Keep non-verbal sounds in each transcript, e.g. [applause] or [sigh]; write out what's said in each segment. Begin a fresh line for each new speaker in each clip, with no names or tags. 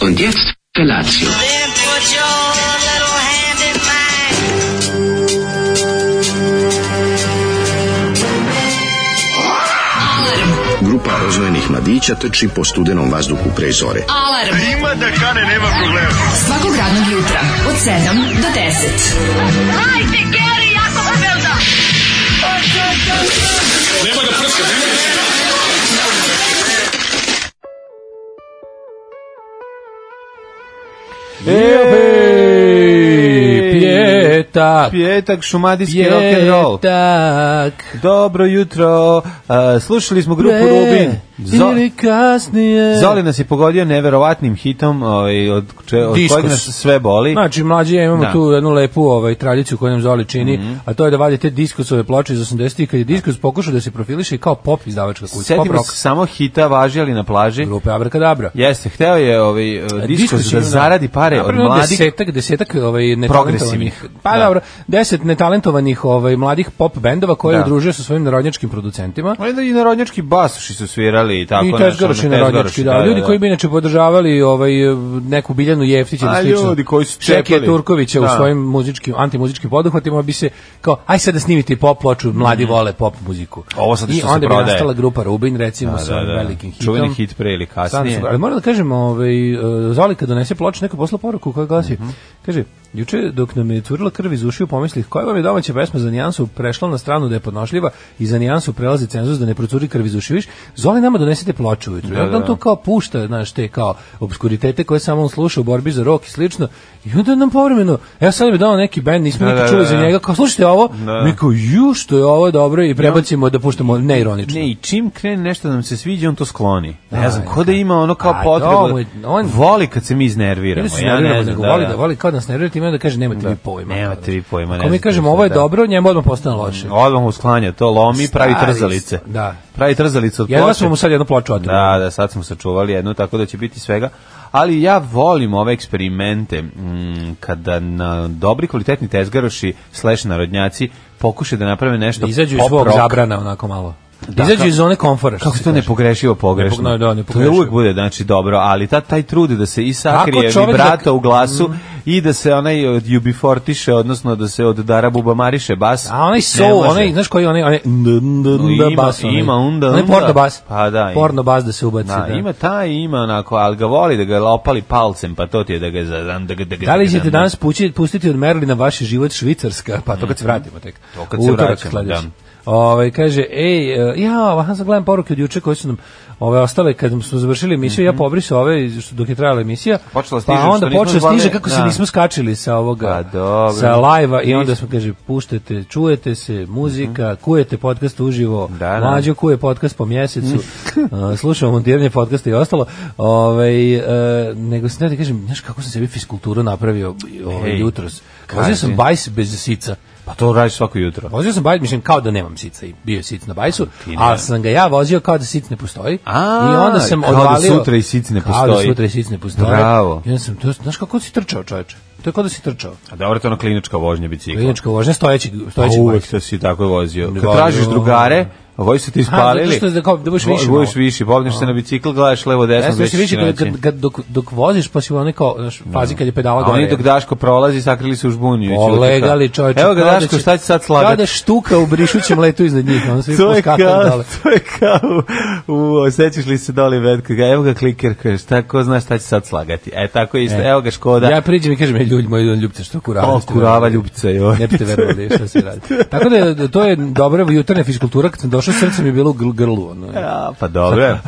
Und jetzt Felatio.
Then put your little hand in mine.
Grupa rozvojenih mladića trči po studenom vazduhu pre zore.
Alarm. Ima da kane, nema problema. Svakog radnog jutra, od 7 do 10.
Ej,
Pjetak,
Pjetak šumadijski rock and roll.
pjetak,
Dobro jutro. Uh, slušali smo grupu
pre
Rubin. Zo
ili kasnije.
Zoli nas je pogodio neverovatnim hitom ovaj, od, če, od
Diskus.
kojeg nas sve boli.
Znači, mlađi, ja imamo
Da. Mhm.
tu jednu lepu ovaj, tradiciju koju nam Zoli čini, a to je da valje te diskusove ploče iz 80-ih, kad je diskus pokušao da se profiliše kao pop izdavačka kuća, pop
Sjetimo
rock
se samo hita važili na plaži.
grupe Abrakadabra.
Jeste, hteo je
E,
ovaj, uh, diskus da
ima-
zaradi pare od
Napravljeno
mladih.
Desetak, desetak ovaj, netalentovanih.
Progresivnih.
Pa
Da.
dobro, deset netalentovanih ovaj, mladih pop bendova koje
Da.
je udružio sa svojim narodnjačkim producentima.
Onda i narodnjački basuši su svirali i tako.
I
znaš,
tezgaroši
ono,
narodnjački, da, Ljudi koji bi inače podržavali ovaj, neku Biljanu Jeftić ili
A,
slično.
ljudi koji su
Čekije
čepali.
Turkovića u
Da.
svojim muzičkim, antimuzičkim poduhvatima bi se kao, aj sad da snimite i pop ploču, mladi vole pop muziku.
Mhm. Ovo sad
I
što se
onda bi
prodaje.
nastala grupa Rubin, recimo, sa
Da, da, da.
velikim hitom.
Čuveni hit pre ili
Stvarno
kasnije.
super. Ali moram da kažem, ovaj, e, Zoli kad donese ploču, neko posla poruku koja glasi,
Mhm.
kaže, juče dok nam je curila krv iz ušiju, pomislih, koja vam je domaća pesma za nijansu prešla na stranu da je podnošljiva i za nijansu prelazi cenzus da ne procuri krv iz ušiju, viš, Zoli nama donesete ploču ujutru. Da,
da,
da.
da.
to kao pušta, znaš, te kao obskuritete koje samo on sluša u borbi za rok i slično, i onda nam povremeno, evo sad bi dao neki band, nismo
Da,
nikad
da,
čuli
da,
za
da.
njega, kao slušajte ovo,
Da.
mi kao, ju, što je ovo dobro i prebacimo da puštamo neironično.
Ne, i čim krene nešto da nam se sviđa, on to skloni. Ne znam,
Aj,
ko da ima ono kao
a to mu
potrebu.
je- on-
Voli kad se mi iznerviramo.
Ili se
ja
nerviramo,
ne znam,
nego voli da voli kao da se nervira, time da kaže nemate vi pojma.
Nemate vi pojma, ne
Ako mi
znam
kažemo
šta,
ovo je
da.
dobro, njemu odmah postane loše.
Odmah mu sklanja to, lomi, pravi
Stari
trzalice.
ste, da.
Pravi trzalice od
Jedva
ploče.
smo mu sad jednu ploču otrli.
Da, da, sad smo sačuvali jednu, tako da će biti svega. Ali ja volim ove eksperimente mm, kada na dobri kvalitetni tezgaroši slash narodnjaci pokušaju da naprave nešto
Da izađu iz
pop
svog
rock.
zabrana onako malo. Da,
Da,
izađu
kako-
iz zone komfora. što
Kako
se
to
kaže.
nepogrešivo pogrešno?
Nepogno- da,
to
nepogrešivo.
je uvek bude znači dobro, ali ta taj trud da se i sakrije
Ako čovek
vibrato
da-
u glasu
Mm.
i da se onaj od UB40 odnosno da se od Dara Bubamariše bas.
A onaj
ne
soul,
može.
onaj, znaš koji onaj, onaj n- n- n-
No, ima-
bas, onaj.
ima onda-
onaj
onda.
porno bas.
Pa da, ima.
Porno bas da se ubaci.
Da,
da.
ima taj, ima onako, ali ga voli da ga lopali palcem, pa to ti je da ga zadam, da ga, da ga,
Da li
da ga-
ćete danas pući, pustiti od Merlina vaš život Švicarska? Pa to kad se vratimo tek.
To kad se
Utorak
vraćamo,
sledeći.
da.
Ovaj kaže ej e, ja aha sad gledam poruke od juče koje su nam ove ostale kad smo završili emisiju ja pobrisao ove iz- što dok je trajala emisija
Počela stiže,
pa
što
onda
nismo
počelo
zvali-
stiže kako se
da.
nismo skačili sa
Pa
ovoga
dobro.
sa lajva i onda
Nismo. Mhm.
smo kaže puštate čujete se muzika kujete podcast uživo
Da, da.
mlađo kuje podcast po mjesecu
Mm.
[laughs] a, slušamo montiranje podcasta i ostalo ovaj e, nego se da kažem znaš kako sam sebi fiskulturu napravio ovaj
Ej,
jutros.
kaži.
Vozio sam bajs bez sica.
Pa to radiš svako jutro.
Vozio sam bajs, mislim, kao da nemam sica i bio je sic na bajsu,
ne.
ali sam ga ja vozio kao da sic ne postoji.
A,
I onda sam
kao da
odvalio...
sutra i sic ne
Kao da
postoji.
sutra i sic ne postoji.
Bravo.
I onda sam, to, znaš kako si trčao, čoveče? To je kao da si trčao.
A dobro, to je ono klinička vožnja bicikla.
Klinička vožnja, stojeći,
Pa
stojeći
uvek
bajs.
to si tako vozio. Kad
Da,
tražiš
da.
drugare, voji su ti
A, zato
ispalili.
što da kao- da budeš više malo.
Budeš više, pobneš se na bicikl, gledaš levo,
Ja
desno,
sam
gde ćeš
se više
više
kad, kad, kad, dok, dok voziš, pa si u onoj kao, znaš, fazi kad je pedala
A
gore.
oni dok Daško prolazi, sakrili su u žbunju. i ćute
Olegali
kao-
čoveče.
Evo ga
kao da
Daško,
će-
šta će sad
Kao
slagati?
da štuka u brišućem letu iznad njih. Ono svi
to je
poskakali
kao,
dole.
[laughs] to je kao, u, osjećaš li se dole vetka, evo ga kliker, kaže, šta, ko zna šta će sad slagati, e, tako isto,
E.
evo ga Škoda,
Ja priđem i kažem, "Ej, ljudi moji, ljubite što kurava.
o,
ste,
kurava
verovali."
ljubica je ovo.
Ne
[laughs]
biste verovali šta se radi. Tako da, je- to je dobra jutarnja fiskultura, kad sam došao, srce mi je bilo u gl- grlu. Ono.
Ja, pa
[laughs]
dobro.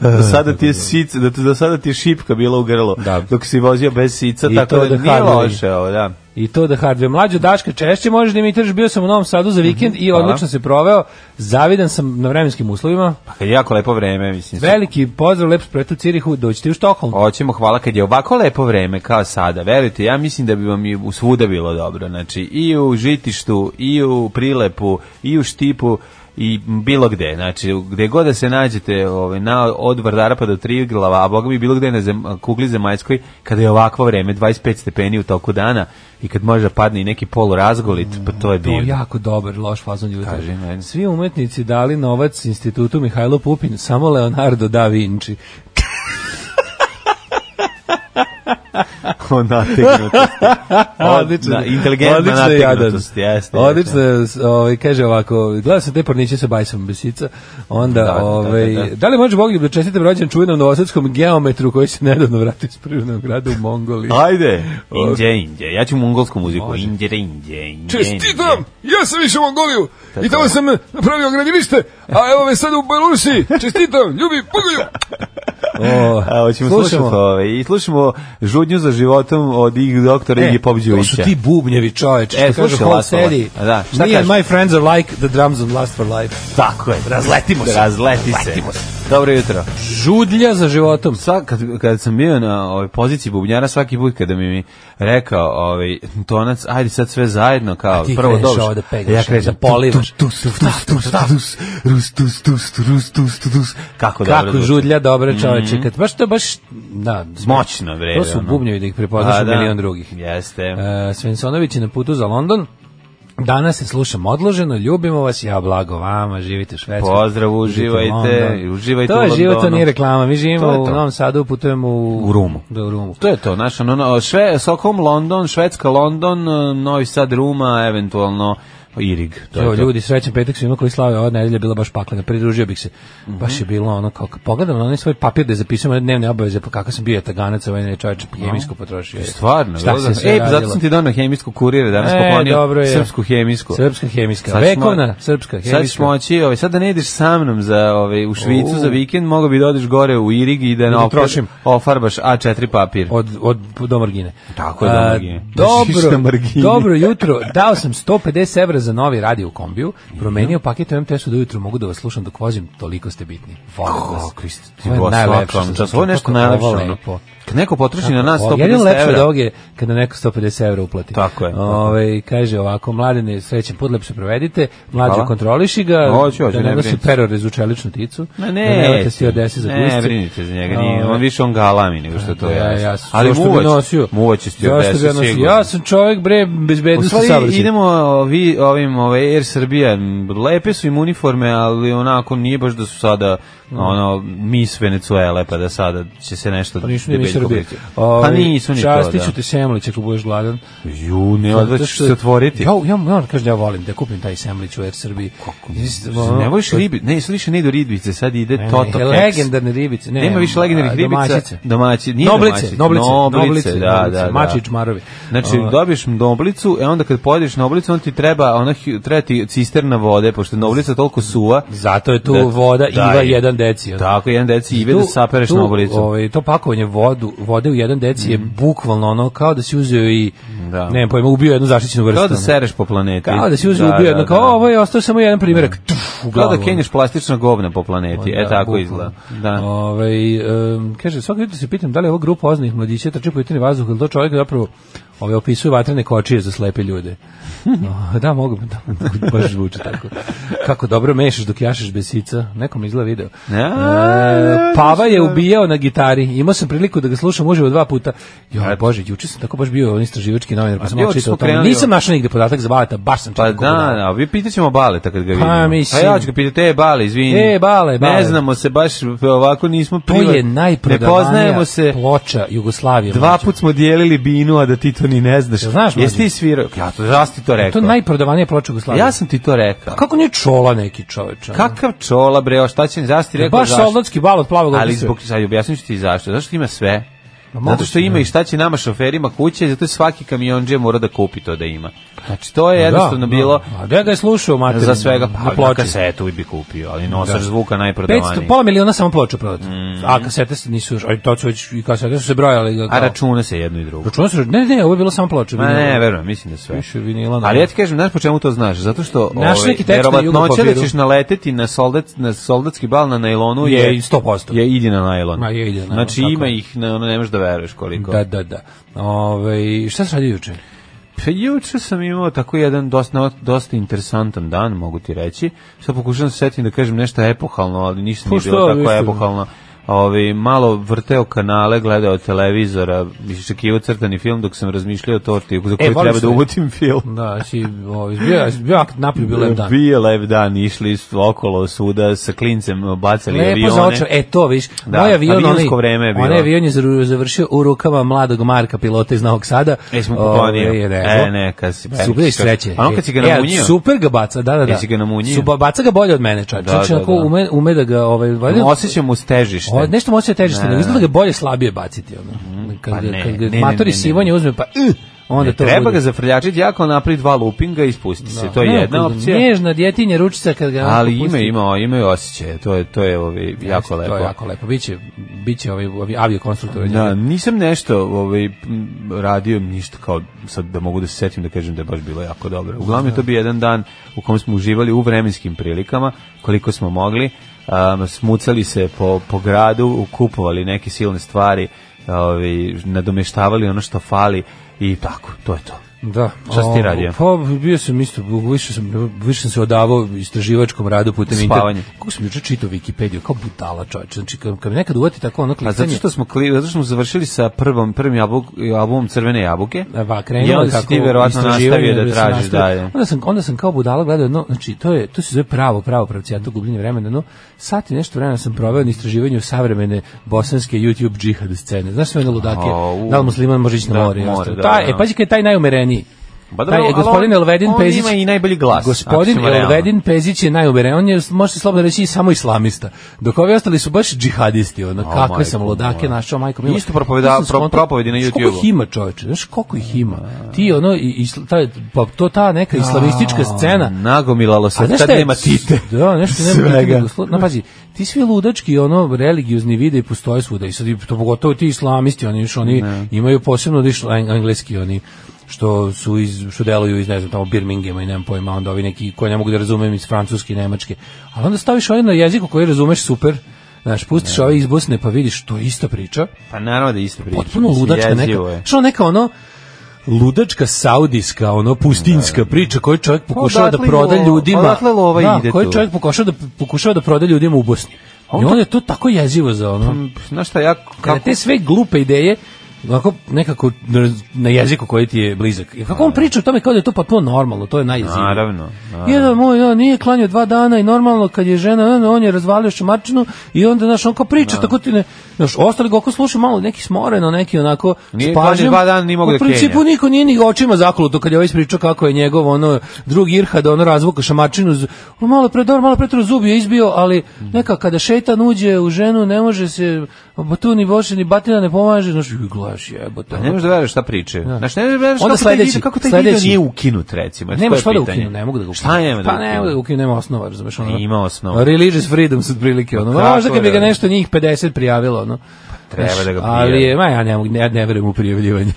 Do sada ti je sica, do, do sada ti je šipka bila u grlu.
Da.
Dok si vozio bez sica,
I to
tako da
da
nije
hardware.
loše ovo, da.
I to da hardware. Mlađo Daška, češće možeš da imitiraš, bio sam u Novom Sadu za vikend i
Mhm, hvala.
odlično se proveo. Zavidan sam na vremenskim uslovima.
Pa kad je jako lepo vreme, mislim. sve-
Veliki pozdrav, lep spret u Cirihu, dođite u Štokholm.
Hoćemo, hvala kad je ovako lepo vreme kao sada. Verujte, ja mislim da bi vam i u svuda bilo dobro. Znači, i u žitištu, i u prilepu, i u štipu, i bilo gde. Znači, gde god da se nađete ovaj, na, od Vardara pa do Triglava, a boga mi bilo gde na zem, kugli zemaljskoj, kada je ovakvo vreme, 25 stepeni u toku dana, i kad može da padne i neki polurazgolit, pa to je
To je
divno.
jako dobar, loš fazon jutra.
Kaži, meni.
Svi umetnici dali novac institutu Mihajlo Pupin, samo Leonardo da Vinci.
O [laughs] nategnutosti.
Odlično.
Na, inteligentna
Odlično je jadan.
nategnutost, jeste.
Odlično, je, s- ovaj, kaže ovako, gledao sam te porniče sa bajsom besica, onda,
Da, da, da,
ovaj, da,
da,
li
da.
da, li može Bogljub da čestitam rođen čuvenom novosadskom geometru koji se nedavno vratio iz prirodnog grada u Mongoliji?
Ajde. Inđe, inđe. Ja ću mongolsku muziku. Inđe, inđe, inđe.
Čestitam, ja sam išao u Mongoliju
Tako
i tamo
je.
sam napravio gradilište, a evo me sad u Belorusiji, čestitam, ljubi,
[laughs]
Bogoljub! O,
A, hoćemo slušati ove. I slušamo žudnju za životom od ig doktora Igi
E, to
Popđevića.
su ti bubnjevi čoveče,
E,
što kažu
slušaj,
Hall
Lasova.
Steady.
A da, šta
Me and
kažeš?
my friends are like the drums that last for life.
Tako je. Razletimo se. Razleti se. Dobro jutro.
Žudlja za životom.
Sva, kad, kad sam bio na ovaj, poziciji bubnjara, svaki put kada mi, mi rekao ovaj, tonac, ajde sad sve zajedno, kao
ti
prvo
kreneš
dobro.
ovo da pegleš,
ja krenem,
da polivaš.
Tus, tus, tus, tus, tus, rus, tus, tus, rus, tus, tus. Kako dobro.
Kako
zvuči. Mhm.
žudlja dobra čoveče, kad baš to baš, da,
Moćno bre.
to su
ono.
bubnjevi da ih prepoznaš
A,
u
da.
milion drugih.
Jeste.
E, Svensonović je na putu za London. Danas se slušam odloženo, ljubimo vas, ja blago vama, živite u Švedskoj.
Pozdrav,
živite u
uživajte,
Londonu.
uživajte
to
u
je život, to
Londonu.
nije reklama, mi
To je
živimo u
to.
Novom Sadu, putujemo u,
U Rumu.
Da, u Rumu.
To je to, znaš, ono, ono, šve, Stockholm, London, Švedska, London, eh, Novi Sad, Ruma, eventualno Irig. To
Evo,
je to.
ljudi, srećan petak svima koji slave, ova nedelja je bila baš paklena, pridružio bih se.
Mhm.
Baš je bilo ono, kao, kad pogledam na onaj svoj papir da zapisujem moje dnevne obaveze, pa kakav sam bio taganac, ovaj ne čovječe, pa hemijsko potrošio.
Stvarno,
Šta
Goran?
se sve
E,
radilo?
zato sam ti donao hemijsku kuriru, danas
E,
poklonio
dobro je.
srpsku hemijsku.
Srpska hemijska,
Sad ćeš
vekovna
mo-
srpska
Sad ćeš
hemijska.
moći, ovaj, sad da ne ideš sa mnom za, ovaj, u Švicu
U.
za vikend, mogo bi da odeš gore u Irig i da,
da
naopar-
trošim.
ofarbaš A4 papir.
od od do margine.
Tako je, do
A,
margine. Držiš na
Dobro.
margini.
dobro jutro. Dao sam 150 evra za novi radio u kombiju. Promenio paket u MTS-u do jutro, mogu da vas slušam dok vozim, toliko ste bitni. Volim vas.
Kako isti,
Ovo je najlepše što sam
čas, ovo je
čuo,
nešto
kako je
najlepše.
ovo
Ono.
lepo.
Kad neko potroši na nas
O, jedino
150
lepše od
evra,
ovog je kada neko 150 evra uplati.
Tako je, tako je.
Ove, kaže ovako, mladene, srećen put, lepo se provedite, mlađe
Hvala.
kontroliši ga,
Hoću, hoću,
da
ne
ne nosi
brinite.
peror iz učeličnu ticu,
Ma
da ne
ne,
vrate svi odesi za Ovaj,
ne,
gusti.
brinite za njega, nije,
Ove,
on više on galami nego što to
ja,
je.
ja,
Ali
zašto bi
muvać-
nosio?
muvać će ti
Zašto bi
odvesti
ja nosio?
sigurno.
Ja sam čovjek bre
U
bezbednosti
stvari
saobraćaja.
idemo ovi, ovim ovaj Air Srbija, m, lepe su im uniforme, ali onako nije baš da su sada
Mm.
ono Miss Venezuele pa da sada će se nešto
Pa nisu ni mi
debeljko
Srbije.
biti. Pa nisu ni to.
Častiću
da.
te semlić ako budeš gladan.
Ju, ne odveć
Zato
ćeš
što-
se otvoriti.
Ja, ja moram kažem da ja volim da kupim taj semlić u Air Srbiji. ono, Kako?
ne voliš ribi, ne, sad više ne idu ribice, sad ide Toto Keks.
Legendarne ribice. Ne,
Nema više legendarnih
a,
ribica.
domaćice.
Domaći, nije
Noblice,
domaćice,
noblice,
noblice,
noblice,
da,
noblice,
da, da.
Mačić, Ovaj. marovi. Ono,
Znači,
A,
dobiješ noblicu, e onda kad pojedeš noblicu, onda ti treba, ono, hi- treba ti cisterna vode, pošto je noblica toliko suva.
Zato je tu
Da-
voda
da,
Iva
i-
1 deci. ono.
Tako, jedan deci ive da sapereš
tu,
noblicu.
Ovaj, to pakovanje vodu, vode u jedan deci je bukvalno ono kao da si uzeo i,
Da.
ne znam pojma, ubio jednu zaštićenu vrstu.
Kao da
ono.
sereš po planeti.
Kao da si uzeo ubio jedno, kao ovo je ostao samo jedan primjerak. Tuf, u
Kao
glavu. ono.
da kenješ plastična govna po planeti. E,
Da,
tako
bukvalno.
izgleda. Da.
Ovaj, em, kaže, svaki jutro se pitam da li je ovo grupa oznih mladića trči po jutrni vazduh, ili to čovjek zapravo ovaj, opisuje vatrene kočije za slepe [laughs] ljude. No, da, mogu, da, [laughs] baš zvuči tako. Kako dobro mešaš dok jašeš besica, nekom izgleda video.
Ja,
E, Pava je ubijao na gitari, imao sam priliku da ga slušam uživo dva puta. Joj, bože, juče sam tako baš bio on istraživački novinar, pa sam
A,
malo
juče
čitao o
smo
tome.
krenuli-
Nisam našao nigde podatak za Baleta, baš sam
Pa
čitao.
da,
ko budala.
da, vi pitaćemo Baleta kad ga vidimo.
Pa mislim.
ja ću ga pitati, e, Bale, izvini.
E, Bale, Bale.
Ne znamo se, baš ovako nismo
To
privat-
je
Ne
najprodavanija
poznajemo se.
ploča Jugoslavije.
Dva
mlađe.
put smo dijelili binu, a da ti to ni ne znaš.
Jel znaš,
Jesi
mlađe?
ti svirao? Ja to, ja sam ti to
To
rekao.
je najprodavanija ploča Jugoslavije.
Ja sam ti to rekao.
Kako nije čola neki čoveč? ono?
Kakav čola, bre, o, šta će, ja sam ti rekao
Baš
zašto.
soldatski bal od plavog
Ali
orkestra.
zbog sad objasniću ti zašto. Zašto ima sve? Zato
moguće,
što ima
da.
i šta će nama šoferima kuće, zato je svaki kamiondžija mora da kupi to da ima. Znači to je
Pa Da,
jednostavno
da.
bilo
A gde ga je slušao, mater?
za svega
na
pa na
ploči.
kasetu bi kupio, ali nosač
Da.
zvuka
500,
najprodavaniji.
pola miliona samo ploča prodati. A kasete se nisu još, aj to su već, i kasete su se brojali. Ga,
Mm. A
kao-
računa se jedno i drugo.
Računa su, ne, ne, ovo je bilo samo ploča.
Ma ne, verujem, mislim da sve.
Više vinila.
Ali ja ti kažem, znaš po čemu to znaš? Zato što
Naš neki tekst na
verovatnoća da
jugopapiru.
ćeš naleteti na, soldat, na soldatski bal na najlonu
Je
je,
i 100%.
Je idi na najlon.
Ma, je idi na najlon,
Znači
tako
ima
je.
ih, ne, ono, ne možeš da veruješ koliko.
Da, da, da. Ove, šta se radi juče?
Pa juče sam imao tako jedan dosta, dosta interesantan dan, mogu ti reći. Sad pokušavam se setim da kažem nešto epohalno, ali ništa
Pa
nije
šta,
bilo tako
ništa.
epohalno. ovaj, malo vrteo kanale, gledao televizora, iščekivao crtani film dok sam razmišljao o torti za koju
voli
treba da
se.
ugotim film.
Da, si, ovi, bio, bio ak- naprijed bio lep dan.
Bio lep dan, išli s- okolo svuda sa klincem, bacali
Lepo
avione.
za očeve. E, to viš.
Da,
moj avion,
avionsko vreme je bilo.
Onaj avion je zaru- završio u rukama mladog Marka, pilota iz Novog Sada.
E, smo
Ovaj,
kuponio.
je rekao.
E, ne, kad si...
Super je sreće.
A on kad si ga
E,
namunio?
super ga baca, da, da, da.
Jesi ga namunio?
Su- ba- baca ga bolje od mene, čač.
Da,
Znači,
da,
onako
da.
ume, ume da ga, ovaj, valjda...
Osjećam uz težište.
O, nešto može težište,
Ne,
nego izgleda
ne.
da ga bolje slabije baciti. Ono. Kad,
pa
ga-
ne,
kad ga
ne, ne,
matori
ne, ne,
sivonje uzme, pa... Uh, onda to
Treba
bude.
ga zafrljačiti jako napravi dva lupinga i ispustiti se. To je
Ne,
jedna
kad
opcija.
Nježna djetinje ručica kad ga... onako
ali ima
pusti.
ima ima osjećaj. To je to je ovaj jako
To je
lepo.
jako lepo. Biće, biće ovaj, ovaj aviokonstruktor.
Da, nisam nešto ovaj, m, radio ništa kao sad da mogu da se setim da kažem da je baš bilo jako dobro. Uglavnom je to bio jedan dan u kom smo uživali u vremenskim prilikama koliko smo mogli. Um, smucali se po, po gradu, kupovali neke silne stvari, ovaj, nadomeštavali ono što fali i tako, to je to.
Da.
Šta si ti
O,
radio?
Pa bio sam isto, više sam, više sam se odavao istraživačkom radu putem
Spavanje.
Kako sam juče čitao Wikipediju, kao budala čovječ. Znači, kad, kad mi nekad uvati tako ono
A Pa zato
klicanje,
što smo kli, zato što smo završili sa prvom prvim jabuk, albumom Crvene jabuke.
Va,
I
krenuo
onda si ti verovatno nastavio da tražiš dalje.
Onda sam, onda sam kao budala gledao jedno, znači to, je, to se zove pravo, pravo pravcijato gubljenje vremena, no sat i nešto vremena sam proveo na istraživanju savremene bosanske YouTube džihad scene. Znaš sve ono ludake,
Au.
da li musliman može ići na
Da,
more? i
more,
ostalo.
da,
taj,
da.
E, pazi kad je taj najumereniji.
Ba dobro,
Taj,
ali
je
on-
gospodin Elvedin
on
Pezić
ima i najbolji glas, ako
Gospodin
ćemo realno.
Elvedin Pezić je najumeren, on je može se slobodno reći i samo islamista. Dok ovi ostali su baš džihadisti, ono
O,
kakve sam
majko
ludake
moja.
našao, majko mila.
Isto propoveda-
Ja sam
pro-
skontao,
propovedi na
znaš
YouTubeu.
Koliko ih ima, čoveče? Znaš koliko ih ima? Ti ono i, i ta, pa to ta neka islamistička scena. pa
Nagomilalo se,
znaš
tad
šta je-
nema tite.
Da, nešto nema tite.
Svega.
nego slu- No, pazi, ti svi ludački ono religiozni videi postoje svuda i sad i to pogotovo ti islamisti, oni još oni imaju posebno diš engleski oni što su iz što deluju iz ne znam tamo Birminghama i nemam pojma onda ovi neki koje ne mogu da razumem iz francuske i nemačke. Ali onda staviš ovaj na jeziku koji razumeš super. Znaš, pustiš ove iz Bosne pa vidiš to je ista priča.
Pa naravno da je isto priča.
Potpuno
mislim,
ludačka neka.
jezivo je.
Što neka ono ludačka saudijska ono pustinjska priča koju čovjek pokušava da
Pa odatle
proda
lo-
ljudima
odatle lova
da,
ide
koju
tu.
čovjek pokušava da pokušava da proda ljudima u Bosni i onda je to tako jezivo za ono
Pff, Znaš šta, ja
kada
Pa, kako...
te sve glupe ideje onako nekako na- na jeziku koji ti je blizak. I kako on priča o tome kao da je to potpuno normalno, to je najjezivije.
Naravno, naravno.
Jedan moj on nije klanio dva dana i normalno kad je žena, on, on je razvalio šamarčinu i onda, znaš, on kao priča, tako ti ne, znaš, ostali ga oko sluša malo neki smoreno, neki onako
Nije
s
klanio
pažnjom.
dva dana, nije mogao da
U principu
kenja.
niko nije ni očima zakluto kad je ovaj pričao kako je njegov ono drugi Irhad ono razvuka šamarčinu z- ono, malo pre dobro, malo pre to zub je izbio, ali
Mm.
neka kada šejtan uđe u ženu ne može se ba, tu ni boše ni batina ne pomaže, znaš, ju, glaš jebote.
Pa Ne možeš da veruješ šta pričaju. Znaš, ne možeš da veruješ
Onda
kako, taj
sledeći,
video, kako taj
sledeći.
video nije ukinut, recimo. Eto,
Nema
to je
šta pa da
pitanje.
ukinu, ne mogu da ga ukinu.
Šta nema da
Pa ne mogu da
ukinu?
ukinu, nema osnova, razumeš ono.
Ima osnova. Pa
Religious freedom su otprilike ono.
kako
Možda kad bi ga
je?
nešto njih 50 prijavilo, ono.
treba
Znaš,
da ga
Ali
prijave.
je, ma ja ne mogu, ja ne verujem u prijavljivanje.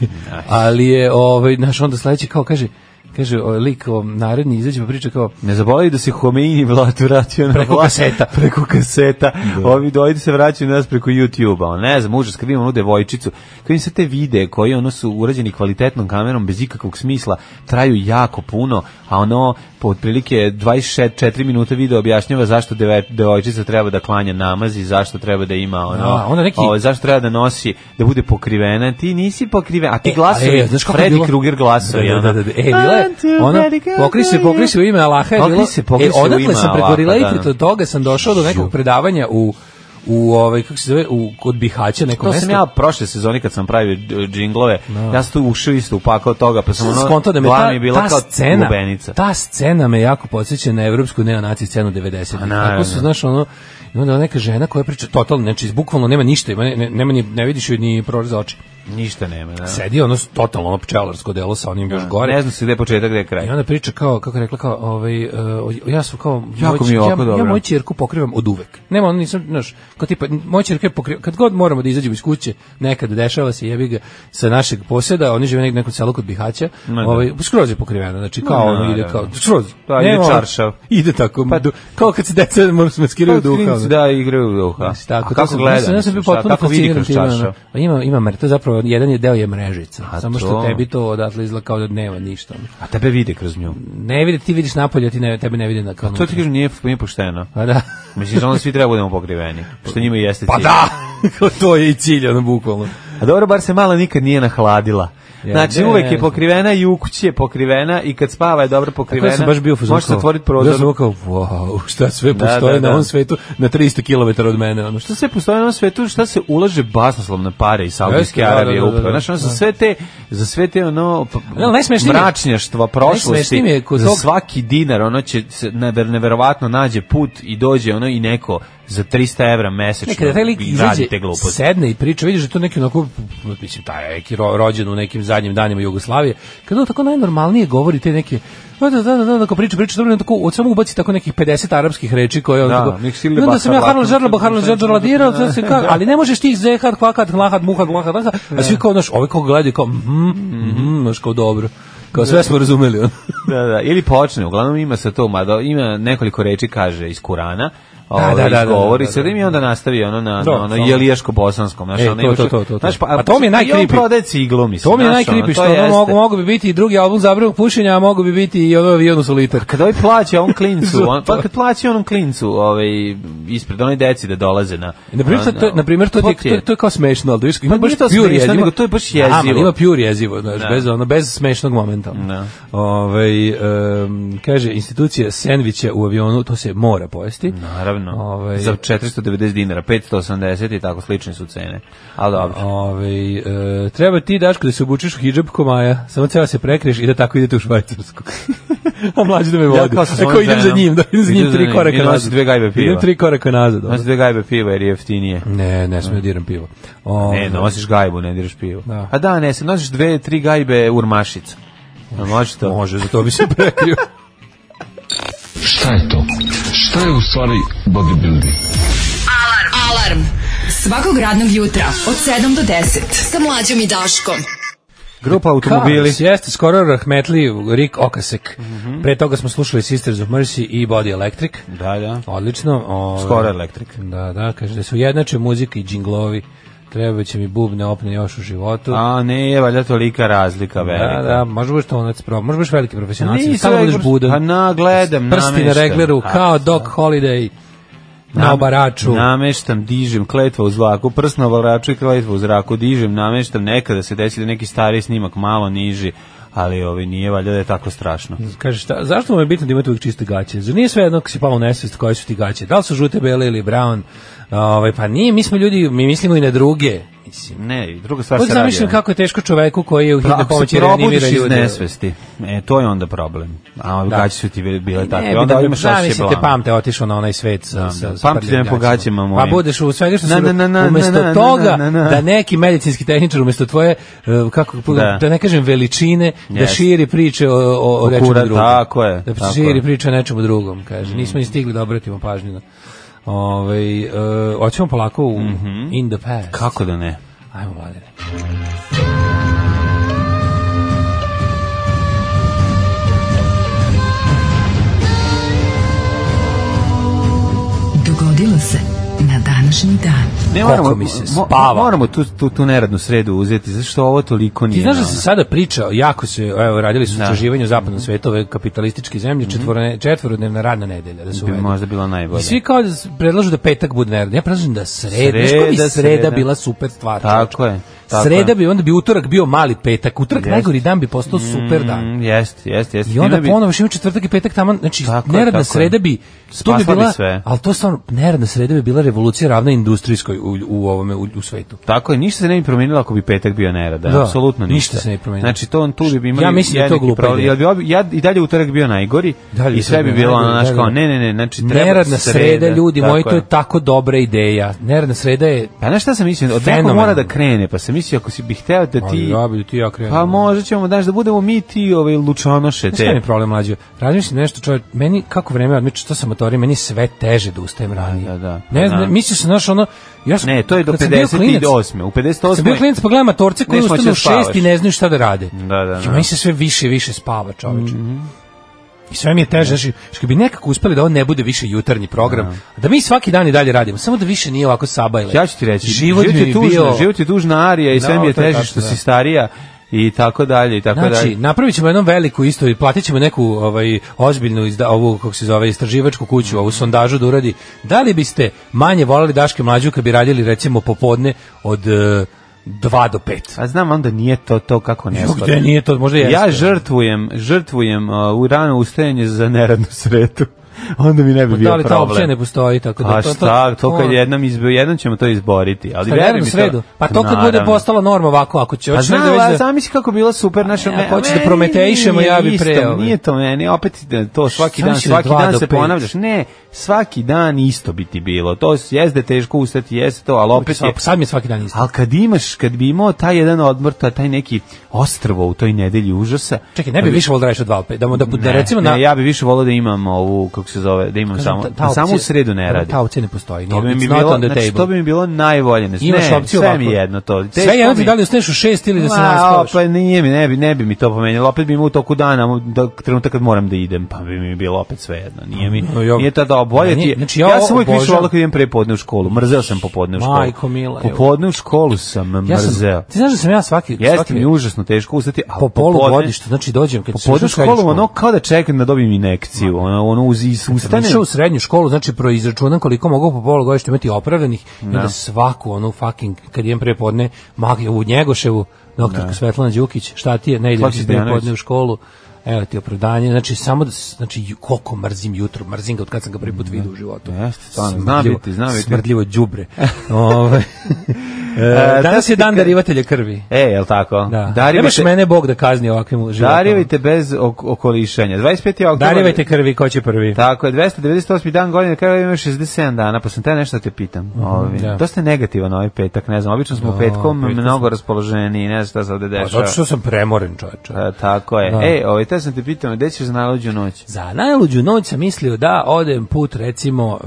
ali je, ovaj, znaš, onda sledeći kao kaže, kaže, o, lik o, naredni izađe pa priča kao,
Ne zaboravi da se Homeini vlatu vratio na
Preko
vlast.
kaseta.
[laughs] preko kaseta. Ovi dojde se vraćaju na nas preko YouTube-a. ono, Ne znam, užas, kad vidim onu devojčicu, kad vidim sve te videe koji ono su urađeni kvalitetnom kamerom bez ikakvog smisla, traju jako puno, a ono po otprilike 24 minuta video objašnjava zašto deve- devojčica treba da klanja namaz i zašto treba da ima ono,
A, onda neki-
ovaj, zašto treba da nosi, da bude pokrivena. Ti nisi pokrivena, a ti glasovi,
a, e, znaš kako je
Freddy
bilo?
Krueger glasovi.
Da, da,
ono.
da, da. E, bila je, ono, pokri se, pokri se u ime Allaha. je
Pokri
bilo-
se, pokri
e,
se u
odatle
ime
sam preko
Allaha,
related
da.
od toga sam došao do nekog
Ju.
predavanja u u ovaj kako se zove u kod Bihaća neko
To
mesto.
sam ja prošle sezoni kad sam pravio e, džinglove, ja sam tu ušao isto u pakao toga, pa sam ono,
skonto da me
glava
ta,
mi je bila
ta
kao
scena,
lubenica.
ta scena me jako podsjeća na evropsku neonaci scenu 90.
A, Pa naravno.
Tako su, znaš, ono, i onda neka žena koja priča totalno, znači, bukvalno nema ništa, ima, ne, ne, nema ni, ne vidiš joj ni prorez za oči.
Ništa nema, da. Pa
Sedi ono, s- totalno ono pčelarsko delo sa onim još gore.
Ne znam se gde je početak, gde je kraj.
I onda priča kao, kako je rekla, kao, ovaj, e, o- ja sam kao,
Jako
moj-
mi je
ja,
ovako dobro.
ja moju čirku pokrivam od uvek. Nema, ono nisam, znaš, kao tipa, moju čirku je pokrivam, kad god moramo da izađemo iz kuće, nekad dešava se, jebi ga, sa našeg posjeda, oni žive negdje u nekom selu kod Bihaća,
Ma da.
ovaj, skroz je pokrivena, znači kao,
Ma,
ono ide
naravno.
kao, skroz,
Da, ide
nema ono-
čaršav.
Ide tako, du- kao kad se deca moram smaskiraju
Pa,
duha.
klinci,
ono.
Da, igraju u duha.
Mislim, Tako,
A
to
kako
sam-
gleda?
mislim, Ja sam bio
mislim, šta,
potpuno
kako vidi
fasciniran
kroz
time. ono.
čaršav?
Pa Ima, ima mrtvo, zapravo zapravo jedan je deo je mrežica.
A
samo
to?
što tebi to odatle izgleda kao da nema ništa. ono.
A tebe vide kroz nju.
Ne vidi, ti vidiš napolje, a ti ne, tebe ne vidi na kao.
To ti kažem, nije, nije pošteno. [laughs]
Pa da.
Misliš, onda svi treba budemo pokriveni. Što njima i jeste
Pa
cilj.
da! to je i cilj, ono, bukvalno.
A dobro, bar se mala nikad nije nahladila.
Ja,
Znači,
ne,
uvek je
ne.
pokrivena i u kući je pokrivena i kad spava je dobro
Krivena,
pokrivena.
ja sam baš bio u fazonu.
Možeš
kao-
zatvoriti
Bio sam
prozor.
kao, wow, šta sve
Da,
postoji
da,
na
da.
ovom svetu, na 300 km od mene, ono što
Šta sve postoje na ovom svetu, šta se ulaže basnoslovne pare iz Saudijske
Jeste, da, da,
Arabije
da, da,
upravo.
da.
Znači, ono, za sve te, za sve te ono, p-
Da, najsmešnije mi je-
mračnjaštva prošlosti,
najsmešnije mi je kod
za
tog-
svaki dinar, ono će, se never, neverovatno nađe put i dođe ono i neko za 300 evra mesečno
Ne, kada taj lik
i
izađe,
radi te gluposti.
sedne i priča, vidiš da je to neki onako, mislim, taj je neki ro- rođen u nekim zadnjim danima Jugoslavije, kada on tako najnormalnije govori te neke, da, da, da, da, da, ako priča, priča, dobro, i on tako, od samo ubaci tako nekih 50 arapskih reči koje on
Da,
tako,
nek sile
i onda
basa
sam ja Harlan
blatom,
Žarlabo, Harlan
blatom,
Žarlabo, dirao,
da.
da se kako, ali ne možeš ti zehar, kvakat, hlahat, muhat, muhat, muhat, a svi kao, znaš, ovi kao gledaju, kao, mhm, mhm, znaš, kao dobro, kao sve smo
[laughs]
razumeli, ono.
da, da, ili počne, uglavnom ima sa to, mada ima nekoliko reči kaže iz Kurana, da, da, da, govori
da,
se
da.
i onda nastavi ono na,
Da,
na ono
samo.
jelijaško bosanskom, znaš,
E,
ono
to,
imaš-
to, to, to, to.
znaš, pa
A to mi je
i on
najcreepy.
prodaje ciglu, mislim.
To mi je
znaš, ono,
najkripi, što
to
ono
jeste.
mogu, mogu bi biti i drugi album zabravog pušenja, a mogu bi biti i ono avion u solitar.
Kad ovaj plaća on
[laughs]
klincu, on, pa
Zato.
kad plaća onom klincu, ovaj ispred onoj deci da dolaze na.
E, Na primjer, to, to, na primjer, to, ti je, to, je- to je kao smešno, ali to je- ima
Pa
baš
nije to
pure
smešno,
jezivo.
nego to je baš
Da, ali
jezivo.
ima pure jezivo, znaš,
Da.
bez, ono, bez smešnog momenta.
Da.
Ovaj, em, kaže, institucija sendvića u avionu, to se mora pojesti.
Naravno.
Ovaj-
Za 490 dinara, 580 i tako slične su cene. Ali dobro.
Ovaj, e, treba ti, Daško, da se obučeš u hijab ko Maja, samo ceo se prekriješ i da tako idete u Švajcarsku. [laughs] a mlađi da me vodi.
kao sa
e,
svojom
ko idem za
ženom.
njim, da, idem za
Idem
njim
za
tri
njim,
koraka
idem
nazad.
nosi dve gajbe piva.
Idem tri koraka nazad. ono.
Nosi dve gajbe piva jer je jeftinije.
Ne, ne smijem da diram pivo.
Ne,
Ovaj,
nosiš gajbu, ne diraš pivo.
Da.
A da, ne, se nosiš dve, tri gajbe urmašica. A može to?
Može, za to bi se [laughs] prekrio.
Šta je to? Šta je u stvari bodybuilding?
Alarm. Alarm. Svakog radnog jutra od 7 do 10 sa mlađom i Daškom.
Grupa automobili. Mhm.
Cars, jeste, skoro rahmetli Rick Okasek. Pre toga smo slušali Sisters of Mercy i Body Electric.
Da, da.
Odlično. Ove,
Skoro elektrik.
Da, da, kaže da su jednače muzika i džinglovi. Treba će mi bubne opne još u životu.
A ne, je valjda tolika razlika velika.
Da, da, možda budeš tonac pro, možda budeš veliki profesionalac,
Nisam
samo budeš
veliki
budan.
prof- Pa na, gledam,
Prsti na
nameštam.
regleru,
A,
kao Doc Holiday, na obaraču.
Nameštam, dižem, kletva u zlaku, prst na obaraču i kletva u zraku, dižem, nameštam, nekada se desi da neki stari snimak malo niži, ali ovi nije valjda da je tako strašno.
Kaže, šta, zašto vam je bitno da imate uvijek čiste gaće? Zar nije sve jedno ako si palo u nesvest koje su ti gaće? Da li su žute, bele ili brown? Ovaj, pa nije, mi smo ljudi, mi mislimo i na druge. Mislim,
Ne, druga stvar
Uvijek
se radi.
zamišljam
ono.
kako je teško čoveku koji je u
Pa,
hitnoj
ako
pomoći
se
reanimira
probudiš iz
ljudi.
nesvesti, e, to je onda problem. A da.
Da.
gaće su ti bile, bile
Ne,
takve.
bi
E onda
da
imaš osjećaj
zamislite,
blama.
pamte, otišao na onaj svet sa, sa, sa
Pamti da me
prljavim
po gaćama
gaćama.
mojim.
Pa budeš u svega što
Na,
se...
na, na, na,
umesto
na, na,
toga,
na, na, na.
da neki medicinski tehničar, umesto tvoje, eh, kako,
Da.
da, ne kažem veličine, da
Jeste.
širi priče o, o,
O
o nečemu
kura-
drugom.
tako je,
Da
tako je. Mm.
širi priče o nečemu drugom, kaže. Nismo ni stigli da obratimo pažnju na... Ove, uh, oćemo polako u
Mhm.
In the Past.
Kako da ne?
Ajmo, mladine.
Dogodilo se na današnji dan.
Ne
Kako
moramo,
mi se
mo-
spava.
moramo tu, tu, tu neradnu sredu uzeti, zašto ovo toliko nije.
Ti znaš da
ono?
se sada priča, jako se, evo, radili su istraživanje u
Mhm.
zapadnom svetu, ove kapitalističke zemlje, četvorne, četvorodnevna radna nedelja, da su
bi možda bilo najbolje.
I svi kao da s- predlažu da petak bude neradno. Ja predlažem da sreda,
Sreda,
sreda, znaš koja bi sreda,
sreda.
bila super stvar.
Tako
čoveče?
je, tako
sreda
je.
bi, onda bi utorak bio mali petak, utorak
Jeste.
najgori dan bi postao super dan.
Mm, jeste, jeste, jeste.
I onda
Time bi-
ponovo što ima četvrtak i petak tamo, znači
Tako je, tako
neradna
je.
sreda bi to
Spasla
bi
bi
bila,
sve.
ali to stvarno neradna sreda bi bila revolucija ravna industrijskoj u, u ovome u, u svetu.
Tako je, ništa se ne bi promijenilo ako bi petak bio nerada,
Da,
apsolutno ništa.
ništa se ne bi promijenilo.
Znači, to on tu bi imali...
Ja mislim da je to
jednaki
glupa
problem.
ideja.
Jel bi obi- ja, I dalje utorak bio najgori
Dalje
i
bi
sve
to
bi
bio
bilo
najgori,
ono, naš
dalje
kao,
bi-
ne, ne, ne, znači treba
Neradna sreda, ljudi
tako
moji, to je
je.
tako dobra ideja. Neradna sreda je
Pa znaš šta sam mislio, od nekog
Fenomen.
mora da krene, pa sam mislio ako si bi hteo da
Ali
ti...
ja bi ti ja krenuo.
Pa možda ćemo, znaš, da budemo mi ti ovaj, lučanoše
Pa Šta mi je
te.
problem mlađe? Razmišljam nešto čovjek, meni kako vreme odmiče, što sam motori, meni je sve teže da ustajem ranije.
da, da.
Ne
Da.
znam, misliš se znaš ono, ja sam,
Ne, to je do
kad sam bio klinac-
58. U
kad Sam bio
58.
klinac, pa gledam matorce koji
Nisi moći
ustanu u
da spavaš.
šest i ne znaju šta da rade.
Da, Mhm. da, da.
Jo, meni se sve više i više spava, čoveče. I sve mi je teže, znači, što bi nekako uspeli da ovo ne bude više jutarnji program, a da mi svaki dan i dalje radimo, samo da više nije ovako sabajle.
Ja ću ti reći,
život, mi
je
je
tužna,
bio...
život je tužna arija i
Da,
sve mi je
to je
teže
tačno,
što
da.
si starija i tako dalje i tako
Znači,
dalje.
napravit ćemo jednom veliku isto i platit ćemo neku ovaj, ozbiljnu, izda, ovu, kako se zove, istraživačku kuću, ovu sondažu da uradi. Da li biste manje volali Daške mlađu kad bi radili, recimo, popodne od 2 do 5?
A znam onda nije to to kako ne
Evo
spada.
gde nije to, možda jeste.
Ja žrtvujem, žrtvujem uh, u rano ustajanje za neradnu sretu. [laughs] Onda mi ne bi bio
Pa da li ta opcija
problem.
ne postoji, tako da
A šta, to kad jednom, izbe, jednom ćemo to izboriti. Ali
Šta,
veruj
naravno,
mi to-
sredu. Pa to kad bude
Naravno.
postala norma ovako, ako će
Pa
hoćeš
znam,
negde već
ali
da-
zamisli kako bila super naša...
A,
me-
ako hoćeš da
meni
prometeišemo, ja bi
isto,
pre, ovaj.
Nije to meni, opet ide to svaki
Šta
dan,
misliš da
svaki
dva
dan
do
se
pet?
ponavljaš. Ne, svaki dan isto bi ti bilo. To s- jeste teško ustati, jeste to, ali opet je...
Svak- Sad mi je svaki dan isto.
Ali kad imaš, kad bi imao taj jedan odmor, ta- taj neki ostrvo u toj nedelji užasa...
Čekaj, ne bi više volio da radiš od 2 do 5, da, mu- da, da
Pa Ne,
recimo na...
ne, ja bi više volao da imam ovu, kako se zove, da imam
Kažem,
samo,
ta- ta
da samo u
opcija-
sredu ne radi.
Ta opcija ne postoji.
To bi mi
It's not
bilo,
on the
znači,
table.
to bi mi bilo najvolje. Ne,
Imaš
ne,
opciju
sve
ovako.
mi jedno to. Teško
Sve jedno
mi-
ti da li usneš u šest ili da se
Ma,
naspavaš.
pa nije mi, ne bi, ne bi mi to pomenjalo. Opet bi mi u toku dana, mu- do trenutak kad moram da idem, pa bi mi bilo opet svejedno. Nije mi,
No, ja-
nije tada obolje
Meni-
ti. je-
znači,
ja,
ja
sam uvijek više
obožavam-
volao kad idem prepodne u školu. Mrzeo sam popodne u školu.
Majko mila, evo.
Popodne u školu sam
Ja sam,
mrzeo.
ti znaš da sam ja svaki,
Jeste
svaki
mi užasno teško ustati, a
po polu
popodne-
godišta, znači dođem kad sam
Popodne u
išao u srednju
školu, ono kao da čekam da dobijem inekciju. Ono, ono uz, iz-
Kad sam
ustanem.
išao u srednju školu, znači proizračunam koliko mogu po polu godišta imati opravdanih i onda svaku onu fucking, kad idem prepodne, mag, u Njegoševu, doktorka Svetlana Đukić, šta ti je, ne idem
Slaviša
ti
Stojanović.
prepodne u školu, evo ti opravdanje, znači samo da, s- znači ju- koliko mrzim jutro, mrzim ga od kad sam ga prvi put vidio u životu.
Jeste, E, stvarno, zna
Smrdljivo-
biti, zna biti.
Smrdljivo
[laughs]
đubre. Ovaj. E, Danas je dan darivatelja krvi.
E, jel tako?
Da. Nemaš
Darivajte,
mene Bog da kazni ovakvim životom.
darivajte bez ok- okolišanja. 25. oktober.
Darivajte krvi, ko će prvi?
Tako je, 298. dan godine, kada ima 67 dana, pa sam te nešto da te pitam. Ovi,
Mhm, da.
Dosta je negativan ovaj petak, ne znam, obično smo petkom mnogo raspoloženi, ne znam šta se ovde
Pa,
dešava.
Zato što sam premoren, čovječe.
E, tako je.
Da.
E, ovaj, te sam te pitao, gde ćeš za najluđu noć?
Za najluđu noć sam mislio da odem put recimo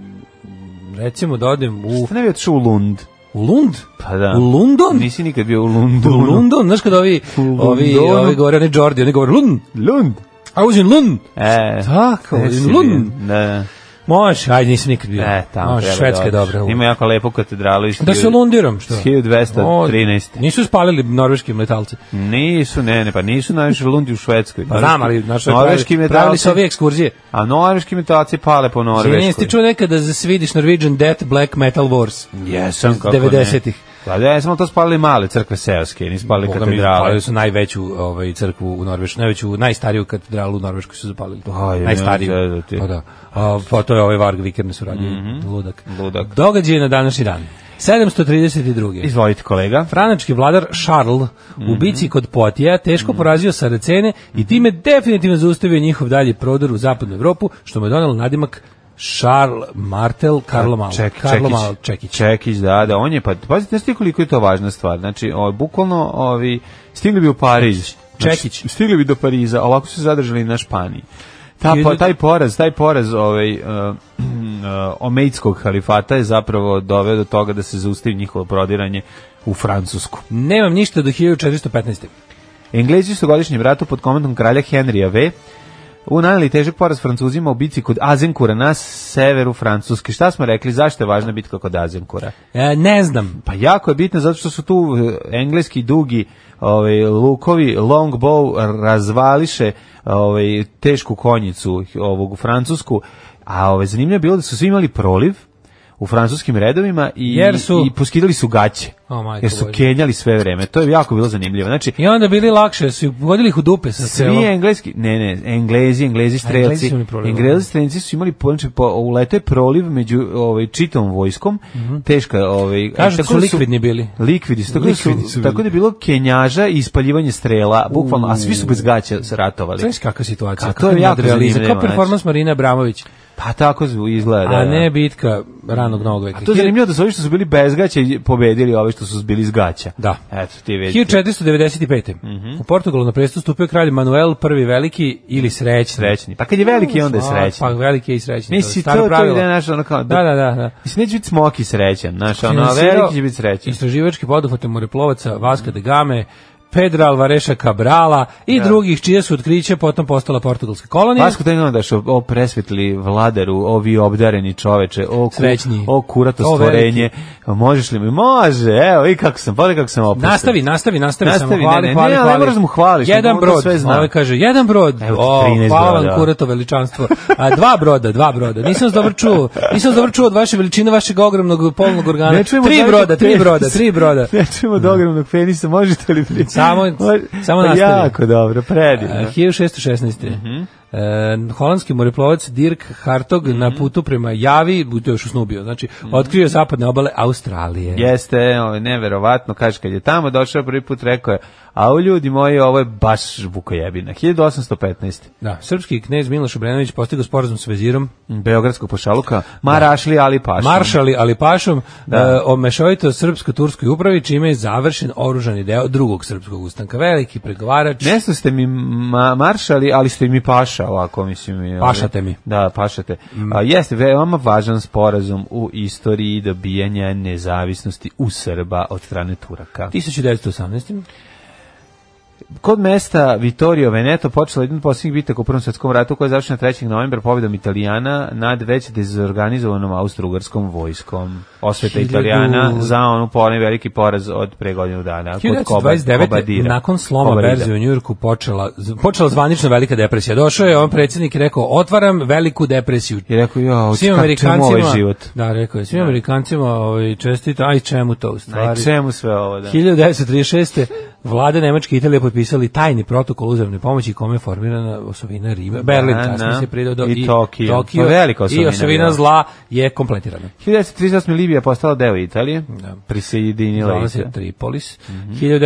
mm, recimo da odem u,
Šta ne bi otišao u Lund?
u Lund.
Pa da.
U London?
Nisi nikad bio u Lundu. ono.
U London, znaš kad ovi,
U
ovi,
Londonu.
ovi govore, ne Jordi, oni govore Lund,
Lund?
I was in Lund.
E,
Tako,
nisi
in
bio.
Lund.
Da,
Može, ajde, nisam nikad bio.
da. E, tamo
Može,
treba
Švedska je
da odeš.
dobra.
Ima jako lepu katedralu. iz
Da se
hiljadu-
lundiram, što?
iz 1213.
O, Nisu spalili norveški letalci.
Nisu, ne, ne, pa nisu najviše u Lundi u Švedskoj.
Pa znam, ali naše
norveški
pravili, pravili su
metalci-
ove ekskurzije.
A norveški metalci pale po
Norveški. Nisi
Norveškoj.
ti čuo nekada da se vidiš Norwegian Death Black Metal Wars?
Jesam,
Iz
kako ne.
90-ih.
Pa da, smo to spalili male crkve seoske, nisu spalili
Boga mi, zapalili
katedrale.
su najveću ovaj, crkvu u Norveškoj, najveću, najstariju katedralu u Norveškoj su zapalili.
Aj,
najstariju.
Pa, nemoj zezati.
Pa da. A, pa to je ovaj Varg Vikernes su radili. Ludak.
Mhm. Ludak.
Događaj na današnji dan. 732.
Izvolite kolega.
Franački vladar Charles
Mhm.
u bici kod Potija teško porazio Saracene i time definitivno zaustavio njihov dalji prodor u zapadnu Evropu, što mu je donalo nadimak Charles Martel Karlo Malo.
Ček,
Karlo
Čekić.
Malo Čekić.
Čekić, da, da, on je, pa, pazite, znaš ti koliko je to važna stvar, znači, o, bukvalno, ovi, stigli bi u Pariz, znači,
Čekić.
stigli bi do Pariza, a ovako su se zadržali na Španiji. Ta, po, taj poraz, taj poraz ovaj, uh, omejskog halifata je zapravo doveo do toga da se zaustavi njihovo prodiranje u Francusku.
Nemam ništa do 1415.
Englezi su u godišnjem ratu pod komandom kralja Henrija V. Unanili težak poraz Francuzima u bici kod Azenkura na severu Francuske. Šta smo rekli, zašto je važna bitka kod Azenkura?
E, ne znam.
Pa jako je bitno zato što su tu e, engleski dugi ovaj lukovi longbow razvališe ovaj tešku konjicu ovog francusku, a ovaj zanimljivo je bilo da su svi imali proliv u francuskim redovima i
Jer su-
i poskidali su gaće.
O, majko
jer su
Božja.
kenjali sve vreme. To je jako bilo zanimljivo. Znači,
I onda bili lakše, su ih pogodili ih u dupe sa
Svi
strelom.
engleski, ne, ne, englezi, englezi
Englezi
strelci,
su imali proliv, da.
englezi strelci su imali, po- znači, po, uleto je proliv među ovaj, čitom vojskom, teška, ovaj,
Kažu da
tako
su likvidni bili.
Likvidi su, tako, da su,
Likvidni su bili.
tako da je bilo kenjaža i ispaljivanje strela, bukvalno, a svi su bez gaća se ratovali.
Znaš kakva situacija,
Ka-
kako je jako zanimljivo. Kao
znači.
performans Marina Abramović,
Pa tako su- izgleda.
a
da.
ne bitka ranog novog veka.
A to je zanimljivo da su ovi što su bili bez gaća i pobedili ove što su bili iz gaća.
Da.
Eto, ti vidi.
1495.
Mhm.
U Portugalu na presto stupio kralj Manuel I veliki ili srećni.
Srećni. Pa kad je veliki, onda je
A,
srećni.
Pa veliki je i srećni.
Misli,
je
to,
staro
to
pravilo.
ide naš ono kao...
Da, da, da. da.
Mislim, neće biti smoki srećan, znaš, ono, a
Finansirao
veliki će biti srećan.
Istraživački poduhvat moreplovaca Vaska de Game, Pedra Alvareša Cabrala i drugih čije su otkriće potom postala portugalska kolonija.
Vasko da imam daš o, o presvetli vladaru, o vi obdareni čoveče, o, ku,
Srećni.
o kurato
O
stvorenje. Možeš li mi? Može, evo, i kako sam, pogledaj kako sam opušten.
Nastavi, nastavi, nastavi,
Nastavi,
samo hvali,
ne, ne,
hvali,
ne, ne
hvali.
moraš da mu hvališ,
Jedan
on to
brod,
sve zna.
ovaj kaže, jedan brod,
Evo ti
o,
13
hvala vam,
broda.
kurato veličanstvo. A, dva broda, dva broda, nisam vas dobro čuo, nisam vas dobro čuo od vaše veličine, vašeg ogromnog polnog organa.
Ne čujemo
tri
zajedno
broda, tri
penis.
broda, tri broda.
[laughs] Ne čujemo do ogromnog penisa, možete li pričati? [laughs]
Samo- samo nastavi. E.
Jako dobro, predivno.
A, 1616.
Mhm.
E, holandski moreplovac Dirk Hartog na putu prema Javi, to je još u snu bio, znači, otkrio je zapadne obale Australije.
Jeste, ovo Mhm. je neverovatno, kaže kad je tamo došao prvi put rekao je, a u ljudi moji ovo je baš bukojebina. 1815.
Da, srpski knez Miloš Obrenović postigao sporazum s vezirom
Beogradskog pošaluka, Marašli Ali Paša.
Maršali Ali Pašom
Da.
e, o mešovito srpsko-turskoj upravi, čime je završen oružani deo drugog srpskog ustanka. Veliki pregovarač.
Nešto ste mi ma, maršali, ali ste mi paša, ovako mislim. i, ovaj,
Pašate mi. Mm.
Da, pašate. A, jeste veoma važan sporazum u istoriji dobijanja nezavisnosti u Srba od strane Turaka.
1918.
Kod mesta Vittorio Veneto počela jedna od posljednjih bitaka u Prvom svjetskom ratu koja je završena 3. novembra pobjedom Italijana nad već dezorganizovanom austro-ugarskom vojskom. Osveta
Hiljadu-
Italijana za onu po onaj veliki poraz od pre godinu dana. kod Koba-
1929.
Kobadira.
nakon sloma
Kobarida.
berze u Njujorku počela, z- počela zvanična velika depresija. Došao je on predsjednik i rekao, otvaram veliku depresiju.
I rekao, ja,
Svim
čemu
Amerikancima,
ovaj život?
da, rekao je, svim Amerikancima ovaj, čestito, aj čemu to u
Aj,
stvari.
čemu sve ovo, da?
1936. vlade Nemačke i Italije potpisali tajni protokol uzemne pomoći kome je formirana osovina Rima, Berlin,
Da,
kasnije
da.
se pridao do
I Tokio. Pa velika
I
osovina,
osovina
da.
zla je kompletirana.
1938. Libija je postala deo Italije.
Da.
Prisjedinila
Zvala
je Mhm. se.
se Tripolis.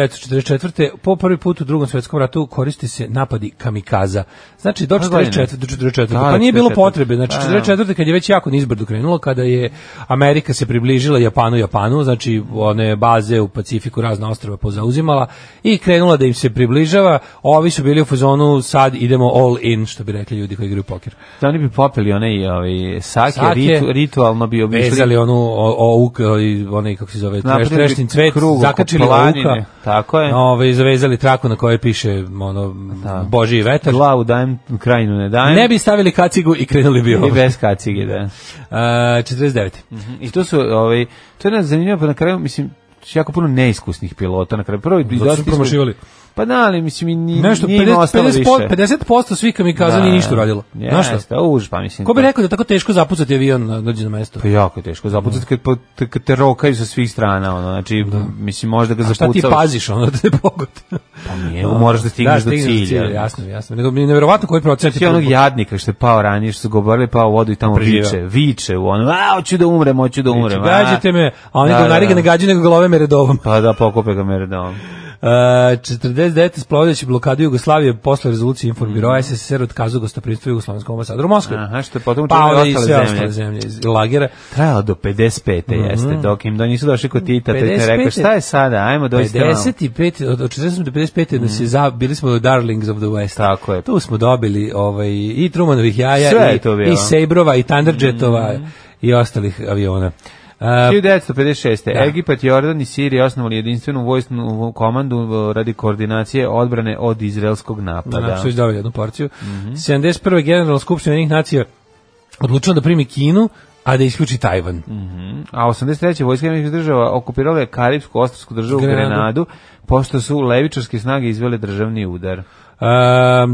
1944. Po prvi put u drugom svetskom ratu koristi se napadi kamikaza. Znači do
Koje godine?
44. do 44.
Da,
Pa nije bilo
44..
potrebe. Znači
Pa, da.
44. kad je već jako nizbrdo krenulo, kada je Amerika se približila Japanu, Japanu, znači one baze u Pacifiku, razna ostrava pozauzimala i krenula da im se približava. Ovi su bili u fazonu, sad idemo all in, što bi rekli ljudi koji igraju poker.
Da oni bi popili onaj ovaj, sake,
Sake,
ritu, ritualno bi obišli
Vezali onu o, o uk, i onaj kako se zove, treš,
Napravili bi
treštin cvet,
krug oko
zakačili
planine,
uka.
tako je.
Ovaj zavezali traku na kojoj piše ono Božji vetar.
glavu dajem, krajinu ne dajem.
Ne bi stavili kacigu i krenuli bi ovo.
I bez Mm. kacige, da.
Uh, 49.
I to su, ovaj, to je nas zanimljivo, pa na kraju, mislim, jako puno neiskusnih pilota na kraju. Prvo je
Zato su promašivali.
Pa da, ali mislim, i ni,
Nešto,
nije im
50,
ostalo
50,
više.
50% svih kamikaza
Da,
nije ništa uradilo. Znaš šta?
Jeste, už, pa mislim.
Ko bi
to-
rekao da je tako teško zapucati avion na dođe na mesto?
Pa jako je teško, zapucati kad, po- te- kad te rokaju sa svih strana, ono, znači, mislim, možda ga
A šta
zapucavaš.
ti paziš ono [laughs] da te pogodi?
Pa nije, moraš da stigneš do cilja.
jasno, jasno. Nego mi je nevjerovatno koji procenat
Ti
je
onog jadnika što je pao ranije, što su ga borili, pao u vodu i tamo
Pa Preživeo.
viče, viče u ono, a, hoću da umrem, hoću da umrem. a."
Gađate me, a oni
Da,
da,
da, da.
ne gađaju nego glave me redobom.
Pa da, pokupe ga meredom.
Uh, 49. splavljajući blokadu Jugoslavije posle rezolucije Informbiroa SSSR otkazao gostoprinstvo Jugoslovenskom ambasadoru u Moskvi.
Mhm. Aha, što je potom
pa
učinila i
onda i
ostale
sve
zemlje.
ostale zemlje iz lagera.
Trajalo do 55.
Mhm.
jeste, dok im do nisu došli kod Tita, te te
55.
rekao, šta je sada, ajmo dođite vam.
55, od od 48 do 55 nas je za, bili smo Darlings of the West.
Mhm. Tako je.
Tu smo dobili ovaj, i Trumanovih jaja,
Sve je
i,
to bilo. Mhm.
i Sejbrova, i Thunderjetova, i ostalih aviona. Uh,
1956. Egipat, Jordan i Sirija osnovali jedinstvenu vojstvenu komandu e, radi koordinacije odbrane od izraelskog
da,
napada.
da. su dobili jednu porciju.
Mhm.
71. generalna skupština jednih nacija odlučila da primi Kinu, a da isključi Tajvan.
Mhm. A 83. vojska jednih država okupirala je Karibsku ostrovsku državu
Grenadu.
Grenadu. Grenadu, pošto su levičarske snage izvele državni udar.
Um,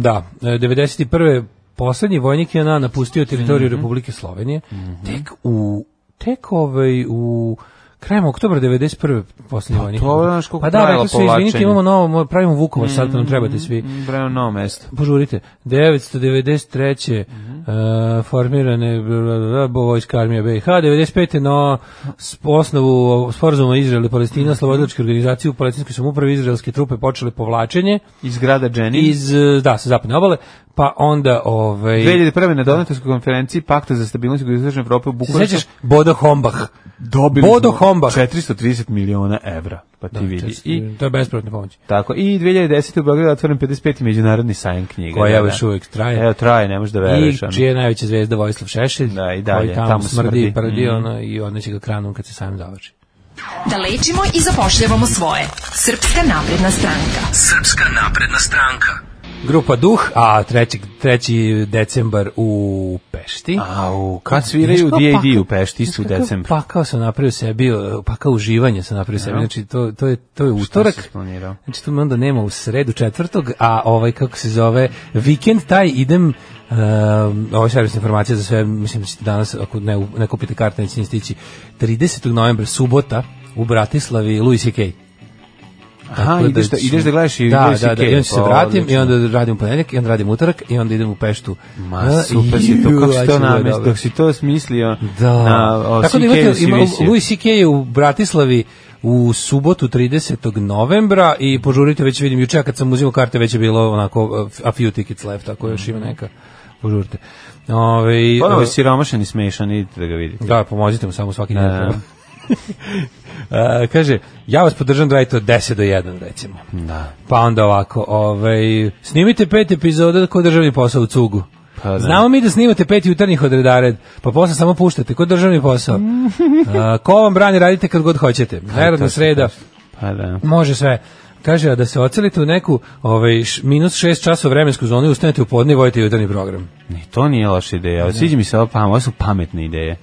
da, E, 91. poslednji vojnik je na napustio teritoriju
Mhm.
Republike Slovenije tek u tek ovaj u krajem oktobra 91. poslednji vojnik.
to je, znaš, koliko
pa da,
trajalo
rekli su izvinite,
povlačenje." Mhm.
imamo novo, mo- pravimo Vukovar, sad nam trebate svi.
Bravo novo mesto.
Požurite. 993. e, formirane bla, bla, bla, bla, vojska armija BiH. 95. na s- osnovu sporazuma Izrael i Palestina, slobodilačke organizacije u palestinskoj samupravi izraelske trupe počele povlačenje
Iz grada Dženin.
iz e, da sa zapadne obale pa onda ovaj
2001. na donatorskoj konferenciji Pakta za stabilnost i istočne Evrope u
se
Bukureštu
sećaš Bodo Hombach
dobili
Bodo
smo
Hombach.
430 miliona evra, pa ti vidi. I,
i to je besplatna pomoć
tako, i 2010. u Beogradu otvoren 55. međunarodni sajam knjiga.
koja
da, da.
još uvek traje
Evo, traje, ne možeš da veruješ.
i
ono.
čija je najveća zvezda Vojislav Šešelj
Da, i dalje,
koji tamo,
tamo
smrdi,
smrdi.
i prdi
Mhm.
ono, i odneće ga kranom kad se sam završi
Da lečimo i zapošljavamo svoje. Srpska napredna stranka.
Srpska napredna stranka.
Grupa Duh, a 3. 3. decembar u Pešti. pa
Au, kad sviraju D.A.D. u Pešti isto u
Znaš pa- kakav
decembru.
Pakao sam napravio sebi, uh, pakao uživanje sam napravio sebi. Znači to to je to je
si
utorak.
planirao?
Znači tu me onda nema u sredu četvrtog, a ovaj kako se zove vikend taj idem Uh, ovo je servisna informacija za sve, mislim da ćete danas, ako ne, ne kupite karte, neće ni stići. 30. novembra, subota, u Bratislavi, Louis C.K.
Aha,
Tako
ideš da,
ću-
ideš da gledaš i
da,
Louis
da, da,
CK,
i onda se
pa
vratim i
odlično.
onda radim ponedjeljak i onda radim utorak i onda idem u Peštu.
Ma,
A,
super si to,
ju,
kako si
aj,
to
ću,
namestio,
dobro.
dok si to smislio
Da.
na o,
Tako da
CK-u
imate,
si
ima,
visio.
Louis CK je u Bratislavi u subotu 30. novembra i požurite, već vidim juče, a kad sam uzimao karte, već je bilo onako a few tickets left, tako još ima neka. Požurite. Ove,
Ponovo je siromašan i smešan, idite da ga vidite.
Da, pomozite mu samo svaki dan. [laughs]
Da.
treba. A, kaže, ja vas podržam da radite od 10 do 1, recimo.
Da.
Pa onda ovako, ovaj, snimite pet epizoda kod državni posao u cugu.
Pa da.
Znamo mi da snimate pet jutarnjih od redared, pa posle samo puštate, kod državni
[laughs]
posao. A, ko vam brani, radite kad god hoćete. Neradna sreda,
Pa da.
može sve. Kaže, a da se ocelite u neku ovaj, š- minus šest časova vremensku zonu i ustanete u podne i vojite jutarnji program.
Ni to nije loša ideja. Sviđa mi se ova pamet, ovo su pametne ideje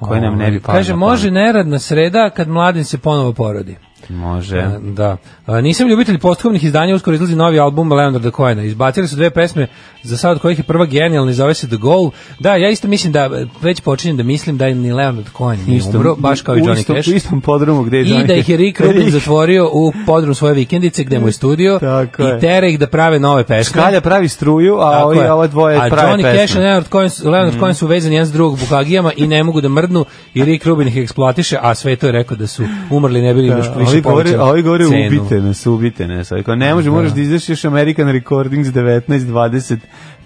koje Pa nam ne bi palo.
Ovaj, Kaže,
na
može neradna sreda kad mladin se ponovo porodi.
pamet. Može.
A, Da. A, Nisam ljubitelj postkovnih izdanja, uskoro izlazi novi album Leonarda Cohena. Izbacili su dve pesme, za sad od kojih je prva genijalna i zove se The Goal. Da, ja isto mislim da, e, već počinjem da mislim da ni Leonard Cohen nije umro, baš kao i
u
Johnny
istom-
Cash.
U istom podrumu gde je Johnny
I da ih je Rick
[laughs]
Rubin zatvorio u podrum svoje vikendice gde mu je studio
Tako je.
i tera ih da prave nove pesme.
Skalja pravi struju, a
Tako
ovi,
je.
ova dvoje
a
prave
Johnny
pesme. Mhm.
Cash i Leonard Cohen, su- Leonard Cohen su vezani jedan s drugog bukagijama i ne mogu da mrdnu i Rick Rubin ih eksploatiše, a sve to je rekao da su umrli ne bili im još
Da,
više
ovi govore,
povećali
a ovi govore
cenu.
ubite nas, ubite nas. Ovi kao, ne može, moraš da izdaš još American Recordings 19, 20,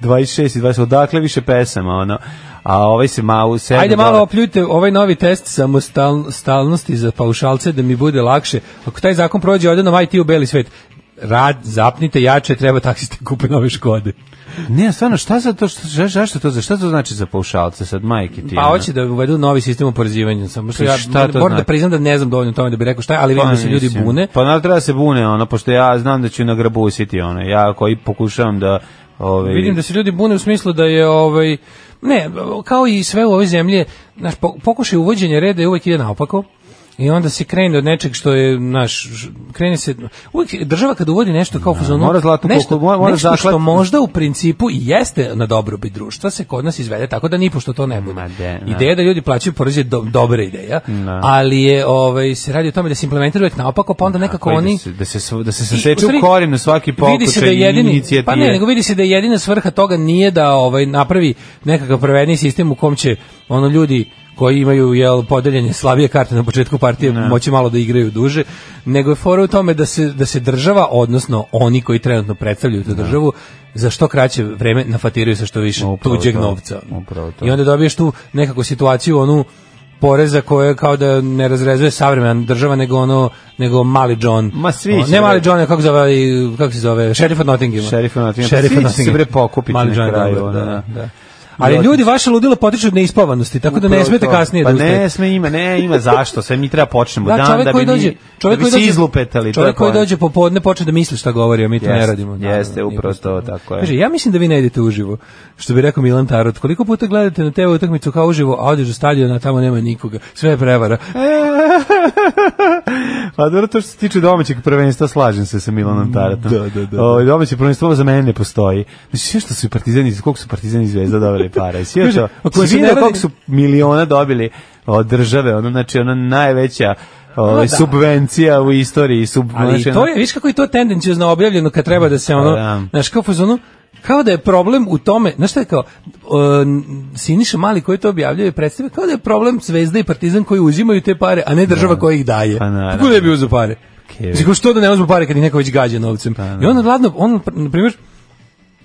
26 i 20, odakle više pesama, ono. A ovaj se malo se
Ajde malo opljujte ovaj novi test samostalnosti za paušalce da mi bude lakše. Ako taj zakon prođe, ode nam IT u beli svet. Rad, zapnite jače, treba taksiste [laughs] kupe nove škode.
Ne, stvarno, šta za to, što, za- zašto to, za- šta to znači za paušalce sad, majke ti?
Pa
ono?
hoće da uvedu novi sistem oporezivanja. Samo što
Pa
ja
šta to
moram da
znači?
priznam da ne znam dovoljno o tome da bi rekao šta, je, ali vidim da se ljudi
mislim.
bune.
Pa naravno treba da se bune, ono, pošto ja znam da ću nagrabusiti, ono, ja koji pokušavam da... ovaj, Ove,
Vidim da se ljudi bune u smislu da je ovaj ne, kao i sve u ovoj zemlji, naš pokušaj uvođenja reda je uvek ide naopako. I onda se krene od nečeg što je naš krene se uvek država kad uvodi nešto kao fuzonu
mora zlatnu
nešto,
koku- mora- mora
nešto što
zaklat-
možda u principu i jeste na dobrobit društva se kod nas izvede tako da nipošto to ne bude.
Ma de, da.
Ideja da ljudi plaćaju porez je do, dobra ideja,
Da.
ali je ovaj se radi o tome da se implementira uvek naopako pa onda nekako
koji
oni
Da se, da se, sv- da se
i, u
saseče
stvari,
u korinu svaki
vidi se da
pokušaj
je
i
jedini,
inicijative.
Pa ne, nego vidi se da je jedina svrha toga nije da ovaj napravi nekakav pravedni sistem u kom će ono ljudi koji imaju jel podeljene slabije karte na početku partije moći malo da igraju duže, nego je fora u tome da se da se država odnosno oni koji trenutno predstavljaju tu državu za što kraće vreme nafatiraju sa što više
Upravo
tuđeg
to,
novca.
upravo to.
I onda dobiješ tu nekako situaciju onu poreza koje kao da ne razrezuje savremena država nego ono nego mali John.
Ma svi
O,
će,
ne mali
bre.
John, nego kako se zove, kako se zove, Sheriff od Nottinghama.
Sheriff od Nottinghama.
Sheriff
Svi
od
će se,
Nottinghama.
bre, pokupiti
Mali
na
John
kraju,
Doubler,
ono,
da,
da.
da. Ali
Ljotić.
ljudi vaše ludilo potiče od neispavanosti, tako da ne
Upravo
smete
to.
kasnije
pa
da
ne
ustajete.
sme ima ne ima zašto sve mi treba počnemo
Da,
dan
čovjek
da bi
koji dođe,
mi,
čovjek
da bi
koji
se
dođe,
izlupetali to je
čovjek koji
poenta.
dođe popodne počne da misli šta govori, a mi to ne
Jeste,
radimo. Da,
jeste,
da,
upravo
nije
to,
postoje.
tako je.
Kaže, ja mislim da vi ne idete uživo, što bi rekao Milan Tarot. Koliko puta gledate na TV utakmicu kao uživo, a odeš do stadiona, a tamo nema nikoga. Sve je prevara.
[laughs] Pa dobro, to što se tiče domaćeg prvenstva, slažem se sa Milanom Taratom.
Mm, Da, da, da.
O, domaće prvenstvo za mene ne postoji. Znači, sve što su i partizani, koliko su partizani i zvezda dobili pare. Sve
Kaže,
to,
a koji se
svi na
ne radi-
koliko su miliona dobili od države, ono, znači, ona najveća o,
da.
subvencija u istoriji. Sub,
Ali
znači,
to je, viš kako je to tendencijozno objavljeno kad treba da se
Pa da.
ono, znaš, kao u fazonu, kao da je problem u tome, znaš šta je kao, on, Siniša Mali koji to objavljuje predstavlja, kao da je problem Zvezda i Partizan koji uzimaju te pare, a ne država koja ih daje.
Pa naravno.
Kako da bi uzeo pare?
Kevin. Pa
Mislim, kao što da ne uzmu pare kad ih neko već gađa novcem? I on, ladno, on, na primjer,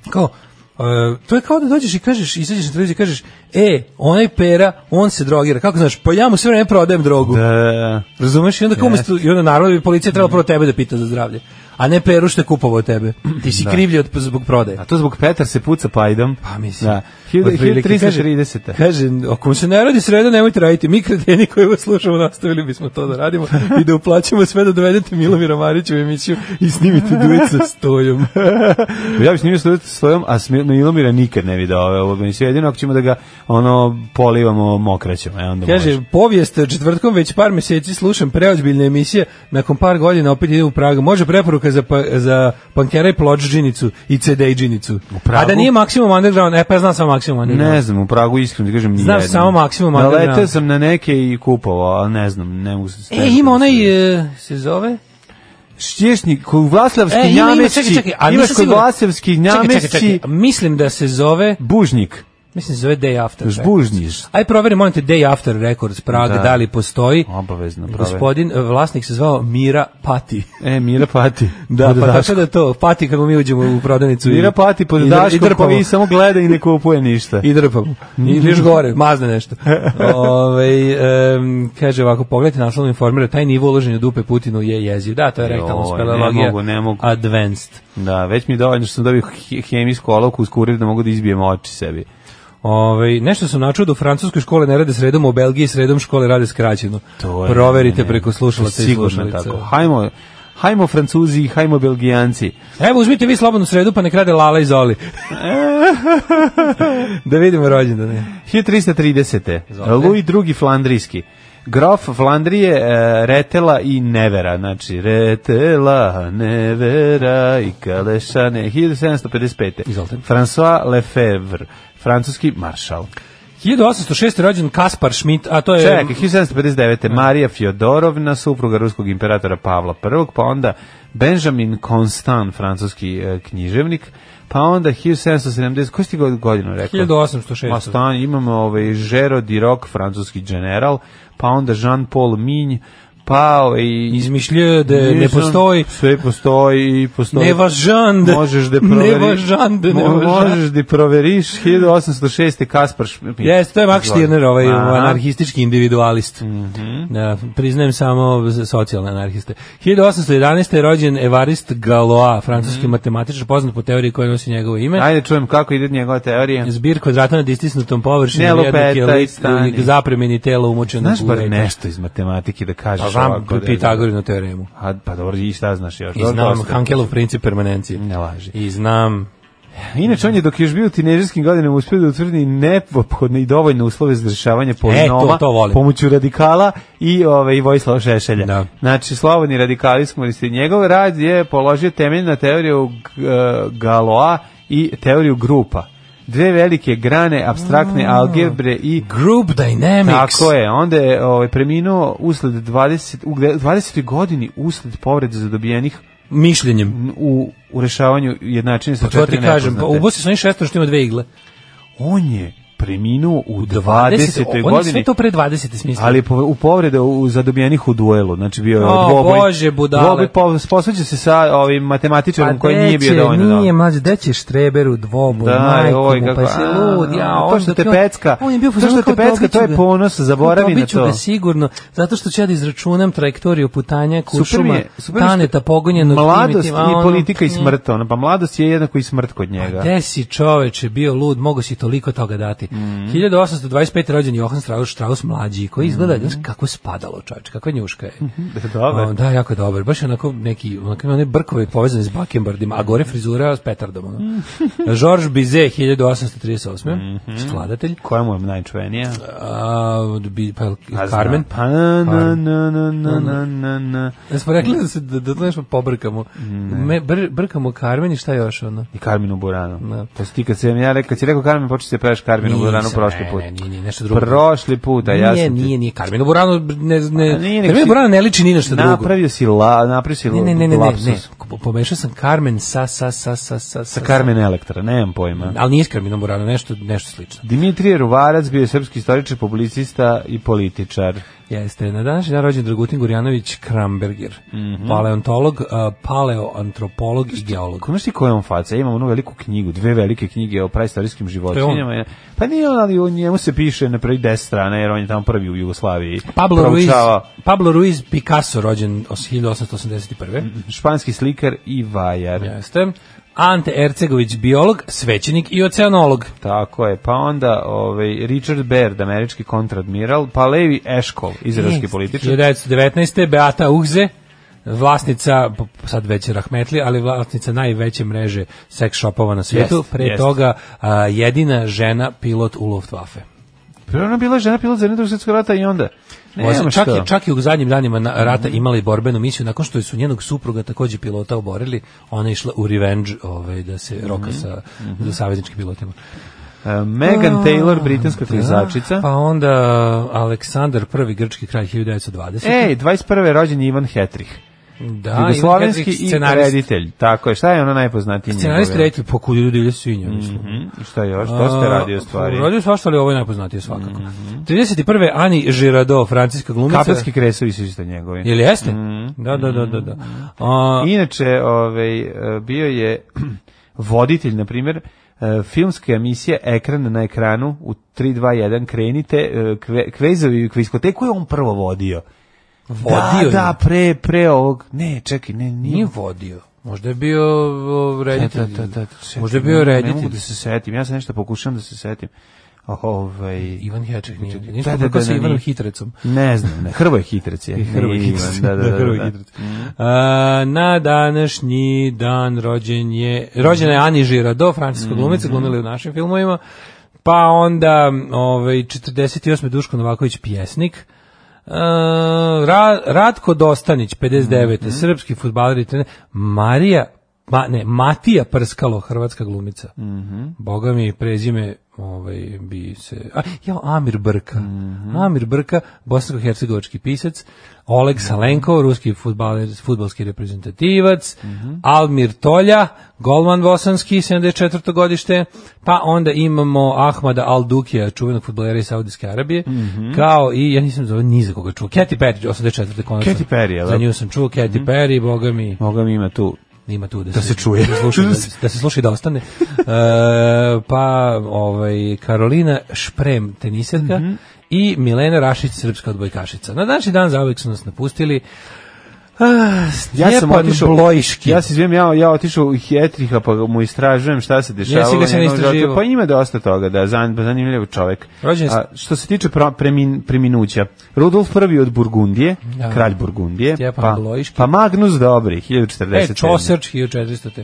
kao, e, to je kao da dođeš i kažeš, izađeš na televiziju i kažeš, e, onaj pera, on se drogira. Kako znaš? Pa ja mu sve vreme prodajem drogu.
Da, da, da.
Razumeš? I onda, kao umesto, i onda naravno bi policija trebala prvo tebe da pita za zdravlje. A ne Peru što je kupovao tebe. Ti si krivlji od, zbog prodaje.
A to zbog Petar se puca pajdom.
Pa, mislim.
Da.
otprilike. Kaže-
1330.
Kaže, ako mu se ne radi sreda, nemojte raditi. Mi kreteni koji vas slušamo, nastavili bismo to da radimo i da uplaćamo sve da dovedete Milomira Marića u emisiju i snimite duet sa stojom.
Ja bih snimio studijet sa svojom, a Smil- Milomira nikad ne bi doveo u emisiju. Jedino ako ćemo da ga ono, polivamo mokraćom. E, onda može.
Kaže, povijest e, četvrtkom već par meseci slušam preozbiljne emisije, nakon par godina opet ide u Pragu. Može preporuka za, pa, za pankera i ploč džinicu i CD džinicu.
Pragu?
A da nije Maximum Underground, e pa ja znam samo Maximum Underground.
Ne znam, u Pragu iskreno ti kažem nijedno.
Znaš samo Maksimum Underground.
Naletao sam na neke i kupovao, ali ne znam, ne mogu se...
E, ima onaj, e, se zove?
Štješnik, koji Vlaslavski
E,
e,
ima, ima, čekaj, čekaj. A
imaš
nisam
kod
siguran.
Vlaslavski
Čekaj, čekaj,
njamešći,
čekaj. Mislim da se zove,
Bužnik,
mislim da se zove Day After.
Žbužnjiš.
Aj proveri, molim te, Day After Records Praga,
Da.
da, li postoji.
Obavezno, prave.
Gospodin, e, vlasnik se zvao Mira Pati.
E, Mira Pati.
Da,
Pod
[laughs] pa
Daškom.
tako da to, pati kako mi uđemo u prodavnicu. i-
Mira Pati pod
i dr- i
Daškom
drpamo.
koji samo gleda i ne kupuje
[laughs]
ništa.
I drpamo. I još gore, mazne nešto. Ove, kaže ovako, pogledajte naslovno informira, taj nivo uloženja dupe Putinu je jeziv. Da, to je rektalna
Joj, ne
speleologija.
mogu, ne mogu.
Advanced.
Da, već mi je dovoljno što sam dobio he- hemijsku olovku uz kurir da mogu da izbijem oči sebi.
Ove, Ovaj, nešto sam načuo da u francuskoj škole ne rade sredom, u Belgiji sredom škole rade skraćeno.
To je-
Proverite
ne, ne,
preko slušalaca i
sigurno
slušalica.
tako. Hajmo, hajmo Francuzi, hajmo
[laughs]
Belgijanci.
Evo, uzmite vi slobodnu sredu, pa nek rade Lala i Zoli. [laughs] da vidimo rođendane.
1330. Louis II Flandrijski. Grof Flandrije, e, Retela i Nevera, znači Retela, Nevera i Kalešane, 1755.
Izvolite.
François Lefebvre, francuski maršal.
1806. rođen Kaspar Schmidt, a to je...
Čekaj,
e.
1759. Marija Fjodorovna, supruga ruskog imperatora Pavla I, pa onda Benjamin Constant, francuski e, književnik, pa onda 1770, koji ste god- godinu rekao?
1806.
Ma stan, imamo ovaj Žero Dirok, francuski general, pa onda Jean-Paul Minj, pa ovaj...
Izmišljio da
Nisam-
ne postoji.
Sve postoji i postoji.
Nevažan.
Možeš da proveriš.
Nevažan,
Mo-
nevažan.
Možeš da proveriš 1806. Kaspar Šmit.
Jes, to je Max Stirner, ovaj
Aha. Mhm.
anarhistički individualist. Da, priznajem samo za socijalne anarhiste. 1811. je rođen Evarist Galois, francuski
Mhm.
matematičar, poznat po teoriji koja nosi njegovo ime.
Ajde čujem kako ide njegova teorija.
Zbir kvadrata na istisnutom
Ne
površinu
lupetaj,
jednog je lik
stani.
u zapremeni tela umočeno
Znaš bar nešto iz matematike da kažeš
Pa znam
ovako da-
Pitagorinu teoremu.
A, pa dobro, i šta znaš još?
I
Dobro,
znam
dosta.
Hankelov princip permanencije.
Ne laži.
I znam
Inače, on je dok je još bio u tinežerskim godinama uspio da utvrdi nepophodne i dovoljne uslove za rješavanje polinoma
E, to- to volim.
pomoću radikala i, ove, i Vojislava Šešelja.
Da.
Znači, slobodni radikali smo listi. Njegov rad je položio temelj na teoriju G- e, Galoa i teoriju grupa. Dve velike grane abstraktne algebre i
Group Dynamics.
Tako je, onda je ovaj, preminuo usled 20, u 20. godini usled povrede zadobijenih
Mišljenjem.
u, u rešavanju jednačine sa
Pa to ti
četiri
kažem, pa
nepoznate.
ubosi su oni šestor što ima dve igle.
On je preminuo u
20,
20.
Oni sve
godini,
to pre 20. smisli.
ali je povr- u povrede u u zadobijenih u duelu, znači bio je
O,
dvoboj.
Bože, budale. Pa
Dvoboj po- posvađa se sa ovim matematičarom koji nije bio dovoljno dobar.
Nije mlađe, da će Štreberu dvoboj,
Da,
majku
oj,
mu,
kako-
pa se lud, ja,
a, to
on
što
dok
te
je on-
pecka,
on je bio
to
fazonu
što te
kao,
pecka,
dobit
to
ću
je
ga.
ponos, zaboravi na
Dobit ću
to.
ga sigurno, zato što ću ja da izračunam trajektoriju putanja
Super mi
Kuršuma,
je- super mi je što-
Taneta, pogonjenog tim i
Mladost
tim, a ono-
i politika i
Mm. Pa
smrt, ono, pa mladost je jednako i smrt kod njega.
Gde si čoveče bio lud, mogo si toliko toga dati.
Mm.
1825. rođen Johan Strauss, Strauss mlađi, koji izgleda, znaš kako je spadalo čoveče, kakva njuška je.
Mhm. Dobar.
O, da, jako je dobar. Baš je onako neki, onako ima one brkove povezane s bakembardima, a gore frizura s petardom.
[laughs]
Ono. Georges Bizet, 1838.
Mhm.
Skladatelj.
Koja mu je najčuvenija?
A, bi, pa,
Pa znam.
Carmen.
Pa na, na, na, na, na, na, na, na.
Da smo rekli da se da, da to nešto pobrkamo. Me, br, brkamo Carmen i šta još ono?
I Karminu Buranu.
Da.
To si ti kad sam ja rekao, kad si rekao Karmin, počeo se peveš Karminu
Nisam,
Buranu prošli
ne,
put.
ne, nije, nije, nešto drugo.
Prošli put, a ja sam
nije,
ti-
nije, nije Carmenu Burano, ne, ne,
A nije, nego
Carmenu
si-
Burano ne liči ni na šta drugo.
Napravio si la, napravio si
Ne, ne, ne, ne, ne,
lapsus.
ne. Ko- Pomešao sam Carmen sa, sa, sa, sa, sa,
Sa Carmen Elektra, nemam pojma.
Ali nije s Carmenom Burano, nešto, nešto slično.
Dimitrije Ruvarac bio je srpski istoričar, publicista i političar.
Jeste, na današnji dan rođen Dragutin Gorjanović Kramberger,
Mhm.
paleontolog, a, paleoantropolog i geolog.
Ko znaš ti koja je on faca? Ja imam onu veliku knjigu, dve velike knjige o praistorijskim životinjama.
on.
Pa nije on, ali o njemu se piše na prvi deset strana, jer on je tamo prvi u Jugoslaviji.
Pablo Ruiz,
Proučavao.
Pablo Ruiz Picasso, rođen os- 1881.
Mhm. Španski slikar i vajar.
Jeste. Ante Ercegović, biolog, svećenik i oceanolog.
Tako je. Pa onda ovaj, Richard Baird, američki kontradmiral, pa Levi Eshkol, izraelski političar.
1919. Beata Uhze, vlasnica, p- p- sad već rahmetli, ali vlasnica najveće mreže seks shopova na svijetu.
Jest,
Pre
jest.
toga a, jedina žena pilot u Luftwaffe.
Prvo ona bila žena pilot za jednog svjetskog rata i onda... Nema
Osim, čak,
što. Mhm.
je, čak i u zadnjim danima na, rata imali borbenu misiju, nakon što su njenog supruga takođe pilota oborili, ona je išla u revenge ovaj, da
Mhm.
se roka sa, sa savezničkim pilotima.
E, Megan Taylor, britanska klizačica.
Pa onda Aleksandar I, grčki kralj 1920.
Ej, 21. rođen E, je Ivan Hetrih.
da,
Da,
Ivan
Jugoslovenski
Hedrić,
i
scenarist.
reditelj. Tako je, šta je ono najpoznatiji
Scenarist
njegove?
reditelj, po kudu divlje svinje. mislim.
Mhm, Šta je još? To ste radio stvari. Mhm.
A, Radio svašta, ali ovo je najpoznatije svakako. 31. Ani Girardot, francuska glumica.
Kapelski Mhm. kresovi su isto njegovi.
Jel jeste? Da, da, da, da. da. A,
Inače, ovaj, e, bio je [clears throat] voditelj, na primjer, e, filmske emisije Ekran na ekranu u 321 krenite, e, kve, kvezovi i kviskoteku je on prvo vodio.
vodio
da,
je.
da, pre, pre ovog, ne, čekaj, ne, nije,
Nije vodio. Možda je bio o, reditelj.
Ta, ta, ta, ta, čekaj,
Možda je
ne-
bio
Ne mogu
reditelj.
da se setim, ja se nešto pokušam da se setim. Ovaj,
Ivan Heček nije.
Da,
Nije
da,
da,
da,
sa
da,
Ivanom
nije.
Hitrecom.
Ne znam, ne, Hrvoje Hitrec je.
Hrvoj
Nije
Hitrac.
Ivan, Da,
[laughs]
da, da,
Hrvoj
da, Mm. da.
Hitrac. A, na današnji dan rođen je, rođena je Ani Žirado, francuska
Mm-hmm.
glumica, glumila je u našim filmovima. Pa onda, ovaj, 48. Duško Novaković, pjesnik. E, Ra, Ratko Dostanić, 59.
Mm-hmm.
Srpski futbaler i trener. Marija, ma, ne, Matija Prskalo, hrvatska glumica.
Mm-hmm. Mhm.
Boga mi prezime ovaj bi se a ja Amir Brka
Mhm.
Amir Brka bosansko-hercegovački pisac
Mhm.
Oleg Salenko ruski fudbaler fudbalski reprezentativac
Mhm.
Almir Tolja golman bosanski 74. godište pa onda imamo Ahmada Al Dukija čuvenog fudbalera iz Saudijske Arabije
Mhm.
kao i ja nisam za ni za koga čuo Katy Perry 84. konačno
Katy Perry, Mhm. jel da?
za nju sam čuo Katy Perry Boga mi
Moga mi ima tu.
ima tu da,
se čuje.
da,
[laughs]
sluša, da, da se sluša i da ostane. E, pa ovaj Karolina Šprem teniserka
Mhm.
i Milena Rašić srpska odbojkašica. Na današnji dan zauvek su nas napustili. E, Ah, Stjepan Blojiški.
Ja se izvijem, ja, ja otišao u Hetriha pa mu istražujem šta se dešavalo.
Jesi ga se
u
ne
njegovom životu.
istraživao?
Pa ima dosta toga, da, zan, zanimljiv čovek.
Rođen je-
A, što se tiče pra, premin, preminuća, Rudolf I od Burgundije,
Da.
kralj Burgundije,
Stjepan
pa,
Blojiški.
pa Magnus Dobri, 1047.
E, Čoserč 1400.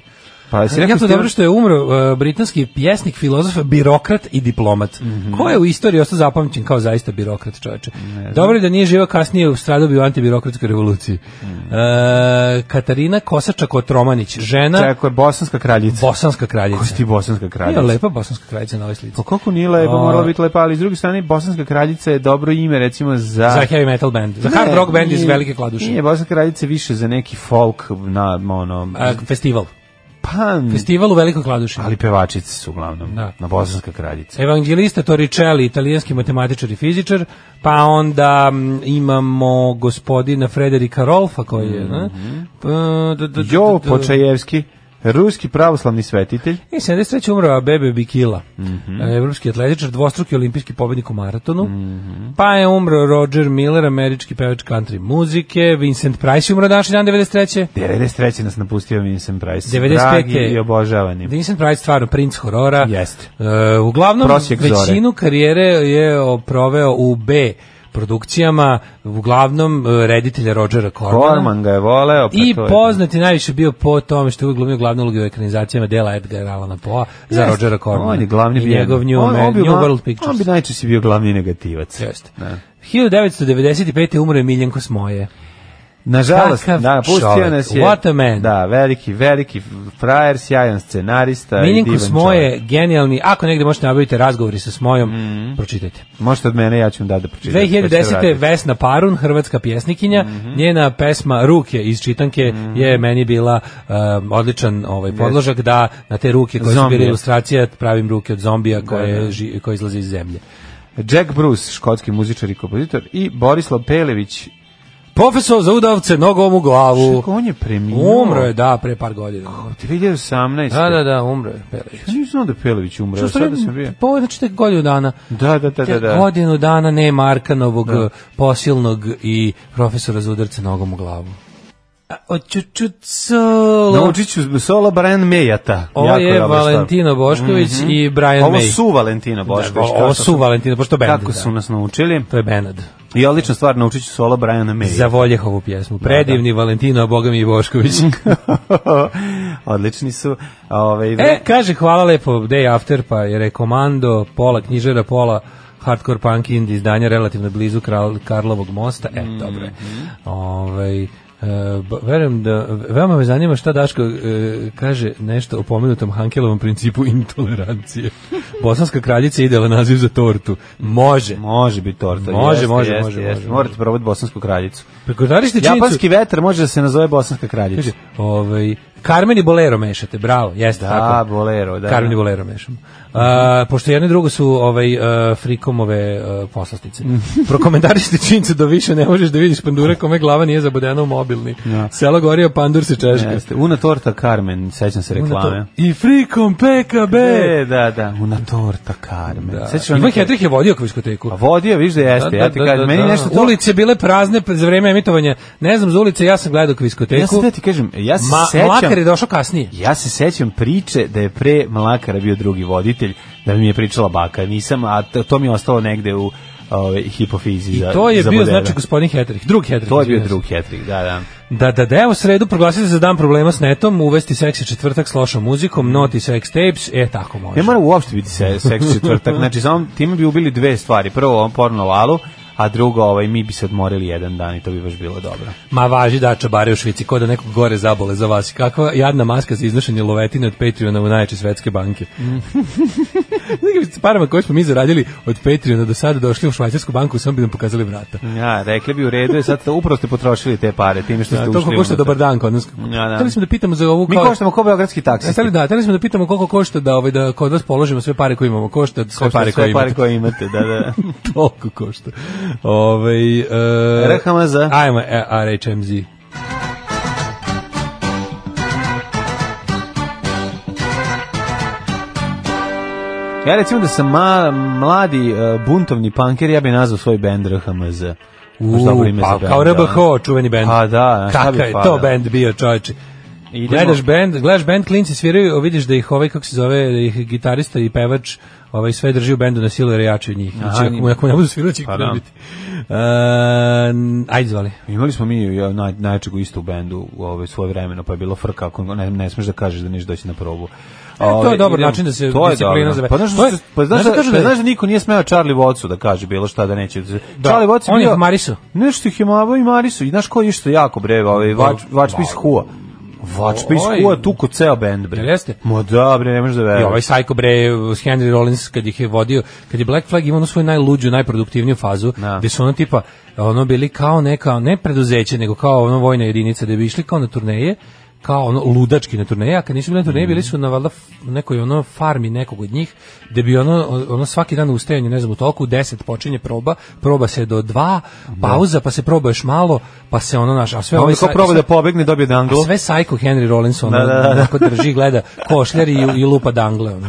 Pa jesi rekao
Jako
Stjepan-
dobro što je umro e, britanski pjesnik, filozof, birokrat i diplomat.
Mhm.
Ko je u istoriji ostao zapamćen kao zaista birokrat čoveče? Dobro je da nije živa kasnije stradao bi u antibirokratskoj revoluciji.
Mhm.
E, Katarina Kosača Kotromanić, žena,
Tako je, bosanska kraljica.
bosanska kraljica.
Kako si ti bosanska kraljica?
Nije lepa bosanska kraljica na ovoj slici.
Pa kako nije lepa,
A-
morala biti lepa, ali s druge strane, bosanska kraljica je dobro ime, recimo, za...
Za heavy metal band. Za hard
Ne,
rock band iz
nije-
Velike Kladuše.
Nije, bosanska kraljica je više za neki folk, na, ono...
A, festival.
pa,
Festival u Velikoj Kladuši.
ali pevačice su uglavnom,
Da.
na bosanska kraljica.
Evangelista Torricelli, italijanski matematičar i fizičar, pa onda mm, imamo gospodina Frederika Rolfa koji je, ne? Pa, da, da, da,
Mhm. Jo
da, da.
Počajevski, ruski pravoslavni svetitelj,
E, 73. umro Abebe Bikila,
Mhm.
e, evropski atletičar, dvostruki olimpijski pobednik u maratonu,
Mhm.
pa je umro Roger Miller, američki pevač country muzike, Vincent Price je umro današnji dan 93.
93. nas napustio Vincent Price.
95.
Dragi i obožavani.
Vincent Price stvarno princ horora.
Jeste.
E, uglavnom
Prosjek zore.
većinu karijere je o, proveo u B produkcijama, uglavnom e, reditelja Rodgera Cormana.
Korman ga je voleo, pa
I
to je-
poznat je najviše bio po tome što je uvijek glumio glavnu ulogu u ekranizacijama dela Edgar Allana Poe za
Jeste.
Rodgera Cormana.
On je glavni
I
bijen.
njegov New,
On- on
Man-
bi
New
gla-
World Pictures.
On bi najčešće bio glavni negativac.
Jeste.
Da.
1995. umro je Miljenko Smoje.
Nažalost,
Kakav
da, pustio
čovek.
nas je.
What a man.
Da, veliki, veliki frajer, sjajan scenarista i
Miljenko
divan
Smoje,
čovek.
genijalni. Ako negdje možete nabaviti razgovori sa Smojom,
Mhm.
pročitajte.
Možete od mene, ja ću vam da da pročitam. pa ćete
2010.
vratiti.
Vesna Parun, hrvatska pjesnikinja, njena pesma Ruke iz čitanke je meni bila um, odličan ovaj podložak da na te ruke koje su bile
Zombija.
ilustracija pravim ruke od zombija koje,
da.
ži- koje izlaze iz zemlje.
Jack Bruce, škotski muzičar i kompozitor i Borislav Pelević.
Profesor za udavce nogom u glavu.
Čekaj, on je preminuo.
Umro je, da, pre par godina.
2018.
Da, da, da, umro je Pelević.
Ja nisam znao da je Pelević umre, a sada sam bio.
Po, znači, tek godinu dana.
Da, da, da, da,
Tek
da.
Godinu dana nema Arkanovog posilnog i profesora za udarce nogom u glavu. Oćuću solo.
Naučit ću solo Brian Mejata.
Ovo
Jako
je
dobra stvar.
Valentino Bošković i Brian
Mhm. Ovo
May.
su Valentina Bošković.
Da, ovo-
kako
ovo su Valentino, pošto bend.
Kako su nas naučili?
To je Benad.
I odlična stvar, naučit ću solo Brian May.
Za Voljehovu pjesmu. Predivni Valentino, a boga mi i Bošković.
[laughs] Mhm. Odlični su. ovaj, Ove,
[laughs] e, kaže, hvala lepo, Day After, pa je rekomando, pola knjižera, pola hardcore punk indie izdanja relativno blizu Kral, Karlovog mosta. E,
Mhm.
dobro je. Ovaj, e, b- verujem da, veoma me zanima šta Daško e, kaže nešto o pomenutom Hankelovom principu
[laughs]
intolerancije. Bosanska kraljica je idealan naziv za tortu. Može.
Može biti torta.
Može,
jeste,
može,
jeste,
može,
jeste.
može,
Morate probati bosansku kraljicu.
Prekodarište činjenicu...
Japanski vetar može da se nazove bosanska kraljica.
Kaže, ovaj, Carmen i Bolero mešate, bravo, jeste
Da,
tako.
Bolero, da.
Carmen i Bolero mešamo. A, pošto jedno i drugo su ovaj, e, frikomove uh, poslastice.
Mm.
[laughs] Prokomentarište činjenicu da više ne možeš da vidiš pandura kome glava nije zabodena u mobilni.
Ja.
Selo gorio, pandur se češka.
Jeste. Una torta Carmen, sećam se
Onda to-
reklame.
I frikom PKB!
E, da, da. Una torta Carmen.
Da.
Sećaš
Ivan
one-
Hetrih je vodio kviskoteku.
A vodio, viš da jeste. ja ti kažem, meni nešto to...
Ulice bile prazne pre- za vreme emitovanja. Ne znam, za ulice ja sam gledao kviskoteku.
Ja se da ti kažem, ja se
Ma,
sećam...
Mlakar je došao kasnije.
Ja se sećam priče da je pre Mlakara bio drugi voditelj, da mi je pričala baka, nisam, a to, to mi je ostalo negde u ove, hipofizi
I
za
to je
za
bio,
Bodera.
znači, gospodin Hetrih, drug Hetrih.
To je bio
izvinjam se.
drug Hetrik, da, da.
Da, da, da, evo sredu proglasite za dan problema s netom, uvesti seksi četvrtak s lošom muzikom, noti sex tapes, e, tako može.
Ne mora uopšte biti se, seks četvrtak, znači samo time bi ubili dve stvari, prvo ovom porno valu, a drugo ovaj, mi bi se odmorili jedan dan i to bi baš bilo dobro.
Ma važi da čabare u Švici, ko da nekog gore zabole za vas. Kakva jadna maska za iznošenje lovetine od Patreona u najjače svetske banke. [laughs] Mm. parama koje smo mi zaradili od Patreona do sada došli u Švajcarsku banku, samo bi nam pokazali vrata.
Ja, rekli bi u redu, je, sad upravo ste potrošili te pare time što ste
Da,
ušli.
to košta
unutra.
dobar dan kod nas.
Ja, da.
Hteli smo da pitamo za ovu
Mi koštamo ko beogradski
E,
taksisti.
hteli da, hteli smo da pitamo koliko košta da ovaj da kod vas položimo sve pare koje imamo. Košta sve
Košta
pare koje
sve
imamo.
pare koje imate, da, da.
[laughs] Toliko košta. Ovaj e,
RHMZ.
Ajmo e, RHMZ.
[laughs] Ja recimo da sam ma, mladi e, buntovni panker, ja bih nazvao svoj bend RHMZ. Baš dobro ime za
pa,
bend,
kao
da.
RBH, čuveni bend.
A, da, šta
Kakav
bi
je
pa,
to
da.
bend bio, čoveče.
Idemo.
Gledaš bend, gledaš bend, klinci sviraju, a vidiš da ih ovaj, kako se zove, da ih gitarista i pevač ovaj sve drži u bendu na silu jer je jači od njih. Znači, ako, mu- ako mu ne budu svirali, će ih
Pa da.
pobiti. E, ajde, zvali.
Pa Imali smo mi ja, naj, najjačeg isto u bendu u ovaj, svoje vremeno, pa je bilo frka, ako ne, ne smeš da kažeš da neš doći na probu.
E, to je
Ovaj,
dobar
idem-
način da se
to je
disciplina
dobro.
zove.
Pa znaš,
To je-
da- pa znaš,
znaš da
da,
kažu da
da,
je-
znaš da niko nije smeo Charlie Wattsu da kaže bilo šta da neće. Da. Charlie Watts je
On je
bio-
Marisu.
Nešto ih je mavo i Marisu. I znaš ko je išto jako bre, ovaj Vač Vačpis Hua. Vačpis
Oj.
Hua tuko ceo bend bre.
Jel jeste?
Ma da bre, ne možeš da
I
veruješ.
ovaj Psycho bre, s Henry Rollins kad ih je vodio, kad je Black Flag imao onu svoju najluđu, najproduktivniju fazu,
Da.
gde su ono tipa, ono bili kao neka, ne preduzeće, nego kao ono vojna jedinica, da bi išli kao na turneje, kao ono ludački na turneje, a kad nisu bili na
Mhm.
turneje, bili su na valjda f- nekoj ono farmi nekog od njih, gde bi ono, ono svaki dan ustajanje, ne znam, u toliko, u 10 počinje proba, proba se do 2, pauza, pa se proba još malo, pa se ono naš, a sve
A
ovaj
onda ko
sa-
proba da pobegne dobije
a
danglo.
sve sajko Henry Rollins ono,
Da, da, da.
onako drži, gleda košljari i, i lupa dangle.
[laughs]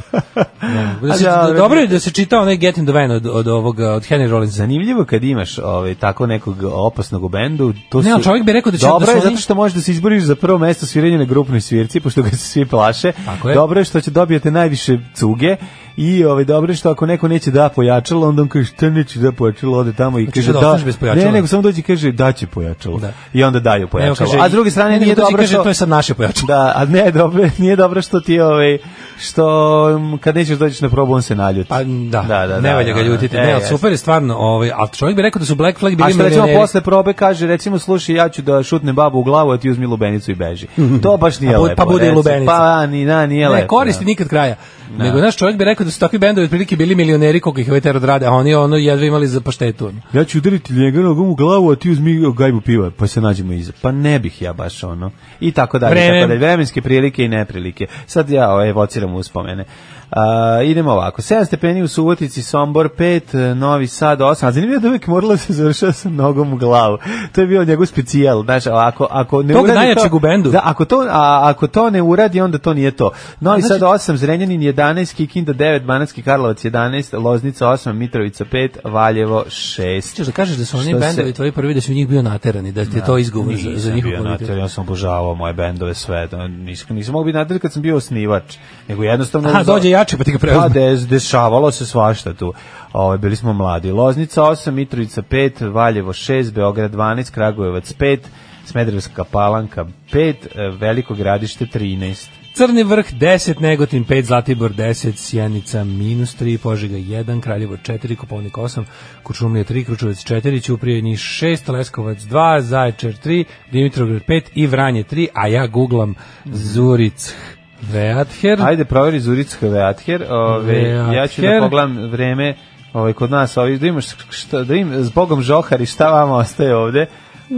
Ono. Da, da se,
A da,
da,
ali-
dobro je da se čita onaj Get in the Van od, od, ovoga, od Henry Rollinsa.
Zanimljivo je kad imaš ovaj tako nekog opasnog u bendu, to
Ne,
su
ali čovjek bi rekao da će- da
Dobro
su
je
oni-
zato što možeš da se izboriš za prvo mesto sviranja na grupnoj svirci, pošto ga se svi plaše.
Tako je.
Dobro je što će dobijete najviše cuge i ovaj dobro je što ako neko neće da pojačalo, onda on kaže šta neće da pojačalo, ode tamo i
Hoćeš
kaže
Znači da
da.
ostaneš bez pojačala?
Ne, nego samo dođe i kaže da će pojačalo.
Da.
I onda daju
Evo,
pojačalo.
kaže,
A s druge strane
ne,
nije
nego dođe i
dobro
kaže,
što
to je sad [laughs] naše pojačalo.
Da, a ne dobro, [laughs] nije dobro što ti ovaj što m, kad nećeš doći na probu on se naljuti.
Pa da, da, da ne valja ga ljutiti. ne, ali
jeste.
super je stvarno, ovaj, ali čovjek bi rekao da su Black Flag
E, A
bili
što recimo
milioneri.
posle probe kaže recimo slušaj ja ću da šutnem babu u glavu a ti uzmi lubenicu i
[laughs]
beži. To baš nije
A bu-
lepo.
pa bude i
recimo.
lubenica.
Pa da, ni na nije lepo.
Ne, koristi
da.
nikad kraja. Nego, znaš, čovjek bi rekao da su takvi bendovi otprilike bili milioneri koliko ih ovaj terod rade, a oni ono jedva imali za paštetu. ono.
Ja ću udariti njega nogom u glavu a ti uzmi gajbu piva pa se nađemo iza. Pa ne bih ja baš ono. I tako dalje.
Vreme.
Vreme. Tako dalje. Vremenske prilike i neprilike. Sad ja ovaj, evociram uspomene. A, idemo ovako. 7 stepeni u Subotici, Sombor 5, Novi Sad 8. A zanimljivo je da uvijek morala da se završava sa nogom u glavu. To je bio njegov specijal. Znači, ako, ako ne
Tog
uradi
najjačeg u bendu.
Da, ako to, a, ako to ne uradi, onda to nije to. Novi
znači-
Sad 8, Zrenjanin 11, Kikinda 9, 9, Banatski Karlovac 11, Loznica 8, Mitrovica 5, Valjevo 6.
Ćeš da kažeš da su oni
Što se-
bendovi tvoji prvi da su u njih bio naterani, da ti je to izgovor za, za
Nisam
njihov
bio
kvalitet.
nater, ja sam obožavao moje bendove sve, da, nisam, nisam mogao biti nater kad sam bio osnivač, nego jednostavno...
Aha, dođe jači pa ti ga preuzme.
Da, des, dešavalo se svašta tu. Ovaj bili smo mladi. Loznica 8, Mitrovica 5, Valjevo 6, Beograd 12, Kragujevac 5, Smederevska Palanka 5, e, Veliko Gradište 13.
Crni vrh 10, Negotin 5, Zlatibor 10, Sjenica minus 3, Požega 1, Kraljevo 4, Kopovnik 8, Kučumlija 3, Kručevac 4, Ćuprije Niš 6, Leskovac 2, Zaječar 3, Dimitrovgrad 5 i Vranje 3, a ja guglam Zuric Veather.
Ajde, proveri Zuricka Veather. Ove,
E,
ja ću da
Veather.
pogledam vreme ovaj, kod nas. Ovaj, da imaš šta, da im, zbogom žohari šta vama ostaje ovde,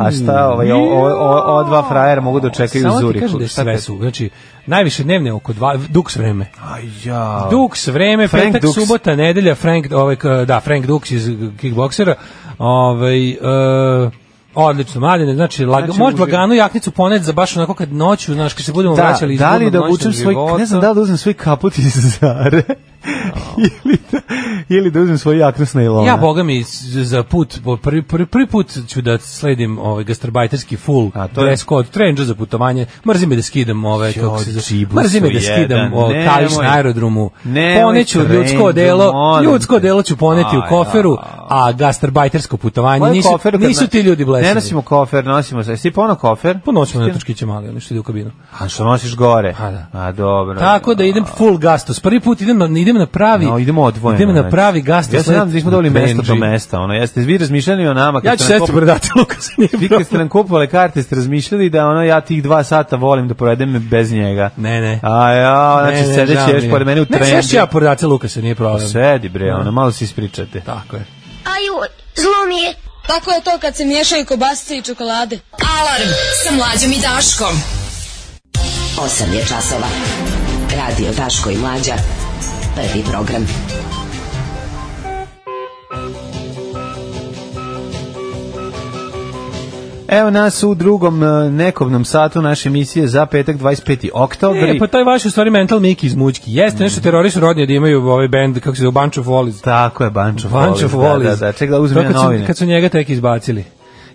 a šta ovaj, o, o, o, o dva frajera mogu da očekaju
Samo ti
Zuriku.
kažem da je
Šta
sve
kad-
su, znači, najviše dnevne oko dva, duks vreme.
Aj, Pa ja.
Dux vreme,
Frank
petak,
Dux.
subota, nedelja, Frank, ovaj, k- da, Frank Dux iz kickboksera, ovaj, e, odlično, mladine, znači, lag,
Znači,
možeš
uživ-
lagano jaknicu ponet za baš onako kad noću, znaš, kad se budemo
Da,
vraćali iz
da li
dugog
da
noćnog
vučem svoj,
života.
ne znam da li da uzmem svoj kaput iz
[laughs]
Zare ili, da, ili da uzmem svoj jaknu s nailona.
Ja, boga mi, s- za put, po prvi, prvi, prvi put ću da sledim ovaj gastarbajterski full
A, to je-
dress code, trenđa za putovanje, mrzi me da skidam ove,
Jo,
kako se zove,
džibusu
mrzi me da skidam
jedan,
o,
nemoj.
kališ na aerodromu,
Nemoj
poneću
trenđu,
ljudsko delo,
molim
ljudsko
te.
delo ću poneti u
Aj,
koferu,
a.
a gastarbajtersko putovanje,
Moje
nisu,
koferu kad
nisu
na-
ti ljudi Pa blesani.
Ne nosimo kofer, nosimo se. Jesi pono kofer?
Ponosimo na točkiće mali, ono što ide u kabinu.
A što nosiš gore?
A, Pa da.
A dobro.
Tako da idem full gastos. Prvi put idem na, idem na pravi...
No, idemo odvojeno.
Idem na
znači.
pravi gastos.
Ja se nadam da nismo dobili mesto do mesta. Ono, jeste vi razmišljali o nama. kad
Ja ću
ste nam
sesti
kup-
predati Lukas, nije
Vi
problem.
kad ste nam kupovali karte, ste razmišljali da ono, ja tih dva sata volim da provedem bez njega.
Ne, ne.
A ja,
Ne,
znači,
ne,
sedeći
žao
još
mi je.
pored mene u trendu.
Ne, sešću ja pored Ace Lukasa, nije problem.
Sedi bre, ono, malo se ispričate.
Tako je.
Aju, zlo mi je. Tako je to kad se miješaju kobasice i čokolade.
Alarm sa mlađom i Daškom.
8 je časova. Radio Daško i Mlađa. Prvi program.
Evo nas u drugom e, nekobnom satu naše emisije za petak 25. oktobri.
E, pa taj vaš je u stvari mental Miki iz Mućki.
Mm.
Jeste nešto terorisu rodnje da imaju ovaj band, kako se zove, Bunch of Wallis.
Tako je, Bunch of
Bunch of Wallis.
Da, da, da, čekaj da uzmem
To
ja
kad su-
novine.
Kad su njega tek izbacili.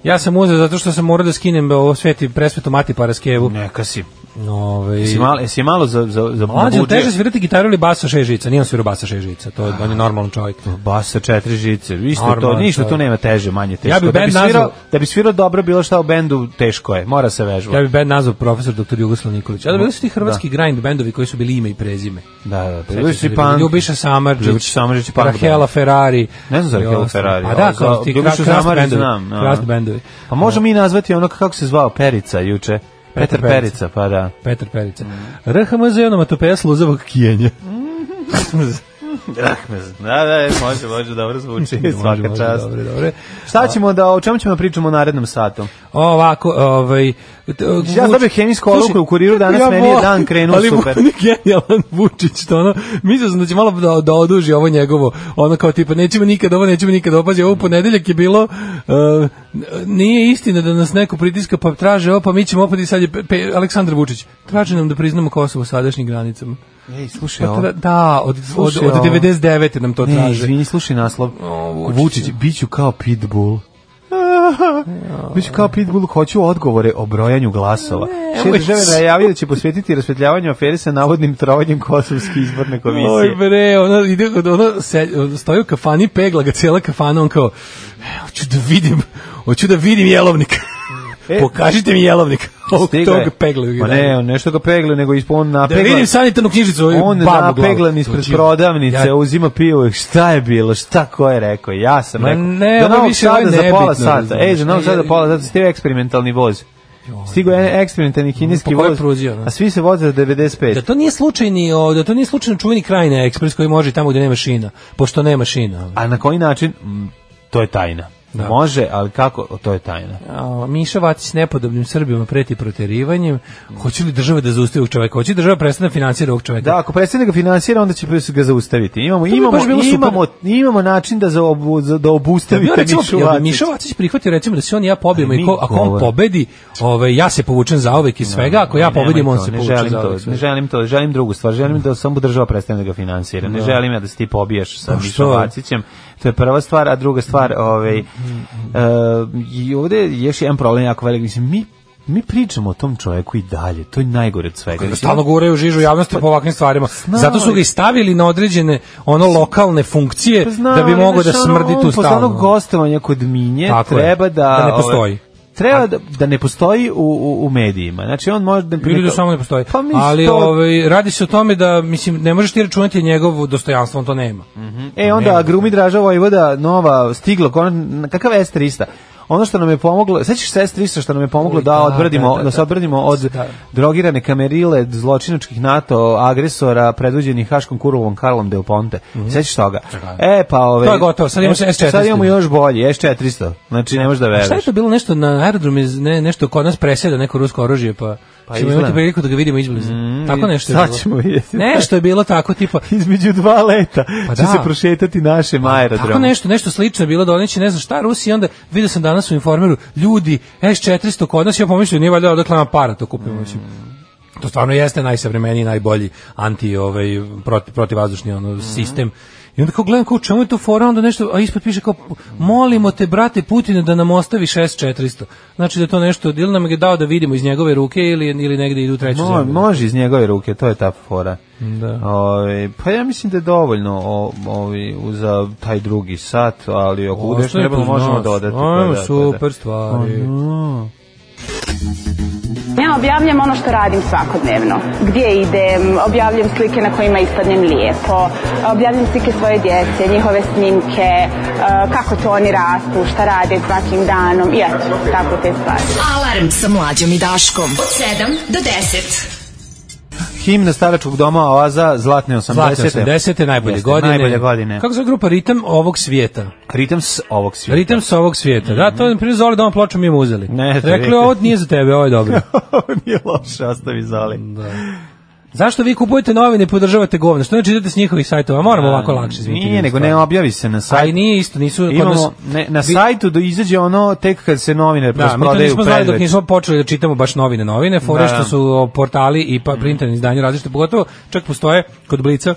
Ja sam uzeo zato što sam morao da skinem ovo sveti presvetu Mati Paraskevu.
Neka si.
Ovaj
Jesi malo, jesi malo za, za, za
Mlađe,
nabuđio?
teže svirati gitaru ili basa šest žica? Nijem svirao basa šest žica, to je, on je normalan čovjek.
Bas sa četiri žice, isto
Normalno,
to, ništa
to je.
tu nema teže, manje teško.
Ja bi
da, bi
band
svirao,
nazvao-
da bi svirao dobro bilo šta u bendu, teško je, mora se vežba.
Ja bih band nazvao profesor dr. Jugoslav Nikolić. A da bili su ti hrvatski grind bendovi koji su bili ime i prezime.
Da, da, da.
Sećaš se da je bio Ljubiša Samardžić,
Ljubiša Samardžić i Punk
Rahela
Band.
Ferrari.
Ne znam za Rahela
i ostalo.
Ferrari,
A
ali
da,
za
kao ti
Ljubišu
krast, krast
Samardžić
bendovi.
znam, da.
Krast bendovi.
Pa možemo mi nazvati onog kako se zvao Perica juče. Petar
Perica.
Perica, pa da.
Petar Perica. RHMZ je onomatopeja sluzavog kijenja.
Ah, Da, da, može, može, dobro zvuči,
[laughs] Može, može, Dobre, dobre.
Šta ćemo da, o čemu ćemo da pričamo u narednom satu?
Ovako, ovaj... t-
Ja
Vuč-
dobio hemijsku olovku u kuriru danas, meni je
volim,
dan krenuo
ali
super.
Ali genijalan Vučić, što ono, mislio sam da će malo da, da oduži ovo njegovo, ono kao tipa, nećemo nikad ovo, nećemo nikad ovo, pazi, ovo u ponedeljak je bilo, uh, nije istina da nas neko pritiska, pa traže ovo, pa mi ćemo opet i sad je pe, pe, Aleksandar Vučić, traže nam da priznamo Kosovo sadašnjim granicama.
Ej, slušaj,
Pa
ovo.
tra, da, od, od,
Slušaj,
od
ovo.
99. nam to
Ne,
traže.
izvini, slušaj naslov. Vučić, biću kao
[laughs]
pitbull. Biću kao pitbull, hoću odgovore o brojanju glasova. Šef
nemoj
države
se.
najavio da će posvetiti rasvetljavanju afere sa navodnim trovanjem Kosovske izborne
Oj
komisije.
bre, ona ide ona se stoji u kafani, pegla ga cijela kafana, on kao "E, hoću da vidim, hoću da vidim jelovnik.
E.
Pokažite mi jelovnik. Ovog
Stigao je.
tog peglaju.
Pa ne, on nešto ga pegle, nego ispod on
da
napegla.
vidim sanitarnu knjižicu, ovaj
On
babu
napeglan
glavu.
ispred
Znači,
prodavnice,
ja-
uzima pivo, šta je bilo, šta ko je rekao, ja sam
Ma
rekao.
ne,
do
ovo
novog
više, ovo je
sada za pola
nebitno,
sata,
razumeš.
ej, za novog
Ne,
sada za
ja-
pola sata, stigo je eksperimentalni voz. Stigo je eksperimentalni kineski
Po kojoj
voz,
pruzi, ono?
a svi se voze za 95.
Da to nije slučajni, o, da to nije slučajno čuveni kraj na ekspres koji može i tamo gde nema šina, pošto nema šina.
A na koji način? Mm, To je tajna.
Da.
Može, ali kako, to je tajna.
A, Miša Vacić s nepodobnim Srbima preti proterivanjem. Hoće li država da zaustavi ovog čoveka? Hoće li država prestane da finansira ovog čoveka?
Da, ako prestane ga finansira, onda će ga zaustaviti. Imamo,
bi
imamo,
baš bilo super.
imamo, imamo način da, za obu, za, da obustavite
Ja, recimo,
Mišu
jel bi
Vacić.
Miša Vacić prihvatio recimo da se on i ja pobijemo
Ali
i ko,
mi
ako on
govor.
pobedi, ovaj ja se povučem za ovek i svega, ako ja
Ne, nemoj
pobedim on
to,
se
ne
povuče
želim
za ovek.
to, ne želim to, želim drugu stvar, želim da samo država prestane da ga finansira. Ne želim ja da se ti pobijaš sa
Pa
Mišom
što?
Vacićem. To je prva stvar, a druga stvar, ovaj e,
Mhm.
i ovde je još jedan problem jako velik, mislim mi mi pričamo o tom čovjeku i dalje. To je najgore od svega.
Ga stalno guraju u žižu javnosti po ovakvim stvarima.
Znao
Zato su ga i stavili na određene ono lokalne funkcije
Pa znam,
da bi
ali,
mogo da
znaš, ono,
smrdi
on
tu
posle onog
stalno.
gostovanja kod Minje
Tako je,
treba da...
da ne
ovaj,
postoji.
Treba da, da ne postoji u, u, u medijima. Znači, on može da...
Ili da samo ne postoji.
Pa mislim,
Ali
to-
ovaj, radi se o tome da mislim, ne možeš ti računati njegovo dostojanstvo, on to nema.
E, onda Grumi Draža Vojvoda, nova, stiglo, konačno- kakav S300? Ono što nam je pomoglo, sećaš se S300 što nam je pomoglo
Oj,
da,
da,
odbrdimo,
da, da,
da se
da.
odbrdimo od
Da.
drogirane kamerile, zločinačkih NATO agresora, predvođenih Haškom Kurulom Karlom Del Ponte. Sećaš toga? E, pa ove...
Mhm. To je gotovo, sad imamo S400.
Sad imamo još bolji, S400. Znači, ne možeš da
Pa Šta je
veruješ.
to bilo nešto na aerodromu, iz- ne, nešto kod nas preseda neko rusko oružje, pa,
Pa
ćemo
izgleda. Mm,
imati priliku da ga vidimo izbliza. tako nešto je
Sad
bilo.
ćemo vidjeti.
Nešto je bilo tako, tipa,
Između dva leta
Pa
će
da. Pa
se prošetati naše aerodrom.
Tako nešto, nešto slično je bilo da oni će ne znam šta Rusi i onda vidio sam danas u informeru ljudi S400 kod nas ja pomislio nije valjda odakle nam para to kupimo mislim. To stvarno jeste najsavremeniji, najbolji anti ovaj proti, protivazdušni
Mhm.
ono sistem. I onda kao gledam kao u čemu je to fora, onda nešto, a ispod piše kao molimo te brate Putine da nam ostaviš S400. Znači da je to nešto, ili nam je dao da vidimo iz njegove ruke ili, ili negde idu u treću
Mo,
zemlju.
može iz njegove ruke, to je ta fora.
Da.
Ovaj, pa ja mislim da je dovoljno o, ovi, za taj drugi sat, ali ako bude još
Ostaje
trebalo
uz
možemo
nas.
dodati.
Ajmo,
pa da, pa da.
super stvari.
Ja objavljam ono što radim svakodnevno. Gdje idem, objavljam slike na kojima ispadnem lijepo, objavljam slike svoje djece, njihove snimke, eh, kako to oni rastu, šta rade svakim danom i eto, tako te stvari.
Alarm sa mlađom i Daškom. Od 7 do 10.
Himna staračkog doma Oaza, Zlatne 80.
Zlatne 80. najbolje
Jeste,
godine.
Najbolje godine.
Kako se zove grupa Ritam ovog svijeta?
Ritam s ovog svijeta.
Ritam s ovog svijeta. Da, to je prije zove da ovom pločom mi uzeli.
Ne, to
Rekli,
je-
ovo nije za tebe, ovo je
[laughs]
dobro.
Nije loše, ostavi zali.
Zašto vi kupujete novine i podržavate govno? Što ne čitate s njihovih sajtova? Moramo ovako lakše izviniti.
Nije, nego ne objavi se na
A i
sajtu.
nije isto, nisu... kod nas-
Imamo, ne, na
Vi-
sajtu do izađe ono tek kad se novine
Da, mi to
rasprodaju
nismo znali dok
predveć.
nismo počeli da čitamo baš novine, novine, fore
Da.
što su o, portali i pa printane izdanje različite, pogotovo čak postoje kod Blica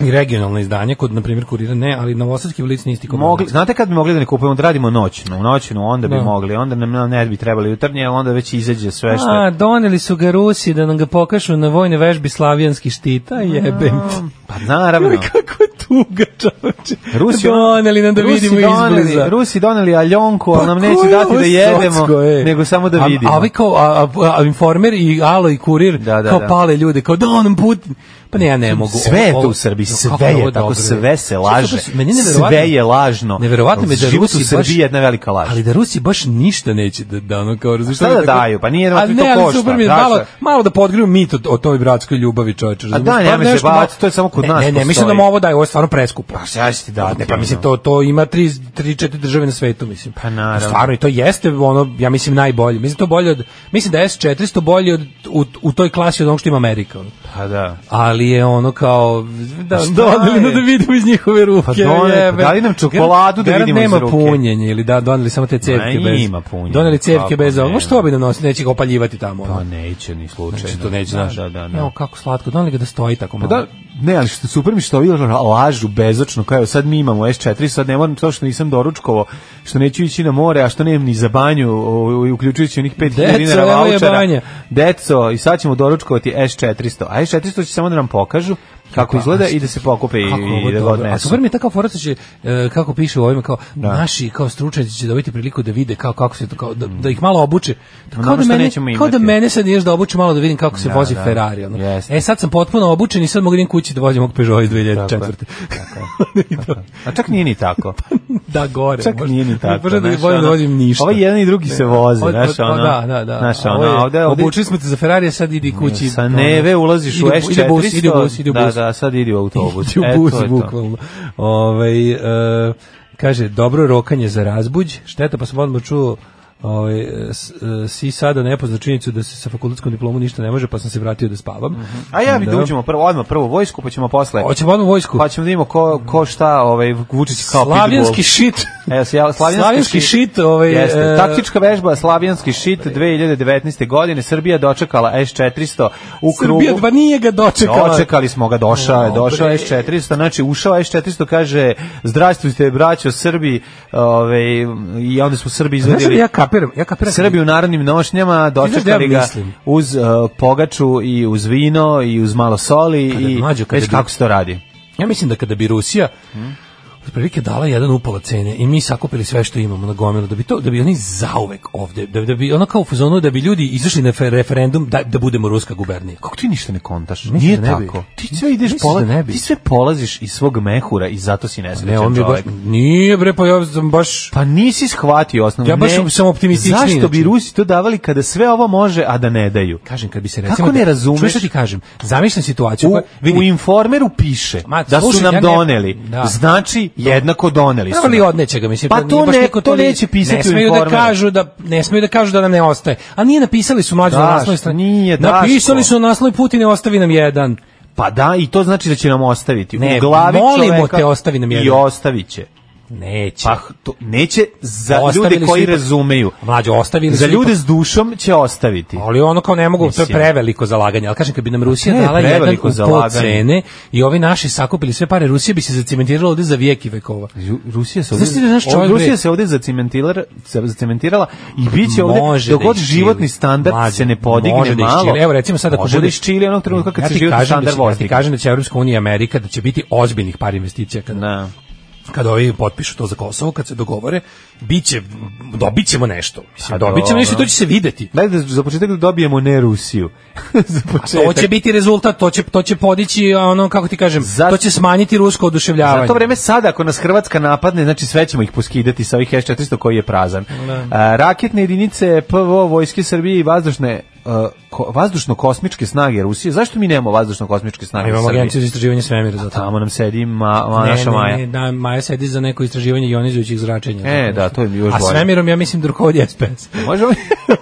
i regionalne izdanje, kod, na primjer, kurira ne, ali novosadski Blic nije isti kod
Mogli,
Blica.
znate kad bi mogli da ne kupujemo, da radimo noćnu, noćnu, onda bi
Da.
mogli, onda nam ne bi trebali jutarnje, ali onda već izađe sve što...
A, doneli su ga Rusi da nam ga pokažu na vojne vežbi slavijanski štita, jebem te.
Pa naravno.
Joj, [laughs] kako je tuga, čoveče.
Rusi
doneli nam da
Rusi
vidimo
doneli-
izbliza.
Rusi doneli aljonku, ali nam
Pa
neće
koje
dati
ovo
da jedemo,
socko, ej?
nego samo da
A-
vidimo.
A, ovi kao a, a, a informer i Alo i kurir
Da, da,
kao
da.
pale ljude, kao da on Putin. Pa ne, ja ne mogu.
Sve
Ovo-
je to
ovo-
u Srbiji,
Kako
sve
ovo
je tako,
dobro.
sve se
Što
laže,
super, meni je neverovatno-
sve je lažno.
Neverovatno mi je da
Život
Rusi
u Srbiji
baš-
je jedna velika laž.
Ali da Rusi baš ništa neće da, da ono kao različno.
Šta da daju? Pa nije,
ali
to
ne, ali
košta,
super mi je
znaš
malo,
šta?
malo da podgriju mit o, o toj bratskoj ljubavi čoveče. razumeš?
da,
Pa
nemoj se
nešto
baviti,
malo-
to je samo kod
ne,
nas
Ne, ne, mislim da
postoji.
mu ovo daju, ovo je stvarno preskupo.
Pa šta će ti dati?
Ne, pa
ono?
mislim to to ima 3 3 4 države na svetu mislim.
Pa naravno.
Stvarno i to jeste ono ja mislim najbolje. Mislim to bolje od mislim da je S400 bolje od u, u toj klasi od onog što ima Amerika. ono.
Pa da.
Ali je ono kao da
šta
doneli
je?
nam da vidimo iz njihove ruke.
Pa doneli,
jebe.
dali nam čokoladu da
Garant
vidimo iz
nema
ruke.
punjenje ili da doneli samo te cevke
Ma,
bez.
ima punjenje,
Doneli cevke
kako
bez
ne.
ovoga što bi nam nosili, neće ga opaljivati tamo. ono.
Pa neće ni slučajno.
Znači, to neće,
Da,
znaš.
Da, da,
Evo
da.
kako slatko, doneli ga da stoji tako malo.
Pa da, ne, ali što super mi je što ovi ono, lažu bezočno, kao evo, sad mi imamo S4, sad ne moram to što nisam doručkovo, što neću ići na more, a što nemam ni za banju, o, o, uključujući onih 5
Deco,
dinara
evo je
vaučera.
banja.
Deco, i sad ćemo doručkovati S400, a S400 će samo da nam pokažu kako
Pa,
izgleda
znaš,
i da se pokupe i,
kako ovo
i da ga
dobro. A
odnesu.
super mi je takav fora što će, e, kako piše u ovima, kao naši kao stručnjaci će dobiti priliku da vide kao, kako se to, kao, da, da ih malo obuče. Da,
Ono
Kao da,
što
mene,
nećemo
kao da
imati.
mene sad ideš da obuče malo da vidim kako se
Da,
vozi
da.
Ferrari. Ono.
Jeste.
E sad sam potpuno obučen i sad mogu da idem kući da vozim ovog Peugeot iz 2004.
A čak nije ni tako.
[laughs] da gore.
Čak
možda.
nije ni tako.
Pa Možda da
znaš,
volim da
ono,
vodim ništa.
Ovo jedan i drugi se voze,
Od-
znaš,
od-
ono.
Da, da, da.
Znaš,
A ovo
ono,
je-
ovde, ovde,
Obučili smo te za Ferrarija, sad idi kući.
sa
ono,
neve ulaziš u
ide bu-
S400.
Ide bus, ide bus, ide
Da,
bus.
da, sad idi u autobus.
Ti u
E, to
bus,
je to.
bukvalno. Ovaj, e, kaže, dobro rokanje za razbuđ, šteta, pa sam odmah čuo ovaj, s- e, si sada nepozna činjenicu da se sa fakultetskom diplomom ništa ne može, pa sam se vratio da spavam.
A ja bih
Da.
da uđemo prvo, odmah prvo u vojsku, pa ćemo posle.
Hoćemo odmah u vojsku.
Pa ćemo da vidimo ko, ko šta, ovaj, Vučić kao pitbull.
Slavijanski šit.
Evo, ja, slavijanski,
Slavijanski šit, ovaj,
E, Jeste.
e,
Taktička vežba Slavijanski šit 2019. godine Srbija dočekala S400 u krugu.
Srbija dva nije ga dočekala.
Dočekali smo ga, došao je,
Dobre.
došao je S400, znači ušao je S400, kaže zdravstvujte braćo Srbi, ove, i onda smo Srbi
Znaš šta
izvedili
ja kapiram, ja kapiram.
Srbi u narodnim nošnjama
da
dočekali
ja
ga
mislim?
uz e, pogaču i uz vino i uz malo soli
Kada
i
mlađo, kada
već
bi-
kako se to radi.
Ja mislim da kada bi Rusija otprilike dala jedan upola cene i mi sakupili sve što imamo na gomilu da bi to da bi oni zauvek ovde da, da bi ono kao u fazonu da bi ljudi izašli na fe- referendum da, da budemo ruska gubernija.
Kako ti ništa ne kontaš?
Misliš
Nije
da ne bi?
tako. Ti sve ideš
Misliš
pola,
da ne bi? Pa
ti sve polaziš iz svog mehura i zato si
Ne,
nesrećan
on mi baš
čovjek.
nije bre pa ja sam baš
Pa nisi shvatio osnovno.
Ja baš
ne.
sam optimističniji,
Zašto bi
znači.
Rusi to davali kada sve ovo može, a da ne daju?
kažem kad bi se
Kako
recimo
ne razumeš?
Čuješ šta ti kažem? Zamišljam situaciju
U,
koja vidi pa
u informeru piše
Ma,
da su
slušaj,
nam
ja ne-
doneli.
Da.
Znači, jednako doneli su.
Pravili
nam.
od nečega, mislim.
Pa
nije
to
baš
ne-
niko
to
li-
neće pisati
ne
u
smeju da
informeru.
kažu da ne smeju da kažu da nam ne ostaje. A nije napisali su mlađi na
Daš,
naslovnoj strani.
nije, Daško.
napisali su na naslovu Putine ostavi nam jedan.
Pa da, i to znači da će nam ostaviti.
Ne,
u glavi
molimo
čoveka
te, ostavi nam
I
jedan.
ostavit će.
Neće.
Pa h- to, neće za
Ostavili
ljude
su
koji
ipak-
razumeju.
Mlađo, ostavili
Za
su
ljude s dušom će ostaviti.
Ali ono kao ne mogu, to je
Mislim.
preveliko zalaganje. Ali kažem, kad bi nam Rusija
ne,
dala jedan
preveliko
u pol
zalaganje.
cene i ovi naši sakupili sve pare, Rusija bi se zacementirala ovde za vijek i vekova.
Ju- Rusija se
Znaš ti da
ovdje,
naš čovjek,
ovdje-
bre-
Rusija se ovdje zacementirala, zacementirala i bit će ovdje
Može
dok
da
god
iz
životni
Čilea.
standard
Mlađe,
se ne podigne
može da iz
malo.
Čilea. Evo recimo sad ako
može da
bude-
iz Čilea onog trenutka kad
ja
se
ti
životni
kažem da
standard
će, ja ti
vozdi.
kažem da će Evropska unija i Amerika da će biti ozbiljnih par investicija kada
Da.
kad ovi potpišu to za Kosovo, kad se dogovore, biće, dobit ćemo nešto.
A
Mislim, dobit ćemo nešto i to
Pa dobro.
će se videti.
Daj da za početak da dobijemo ne Rusiju. [laughs] za
To
početak.
će biti rezultat, to će, to će podići, a ono, kako ti kažem,
Zato-
to će smanjiti rusko oduševljavanje.
Za to vreme sada, ako nas Hrvatska napadne, znači sve ćemo ih poskidati sa ovih S-400 koji je prazan. A, raketne jedinice PVO Vojske Srbije i vazdušne a, ko- vazdušno-kosmičke snage Rusije. Zašto mi nemamo vazdušno-kosmičke snage
Imamo
Srbije?
agenciju za istraživanje svemira za to.
Tamo nam sedi ma, ma,
Ne,
naša
ne,
Maja.
ne, da, Maja sedi za neko istraživanje ionizujućih zračenja.
E, da, to je još
A
bolje.
svemirom ja mislim da rukovodi
[laughs]
SPS.
Možemo?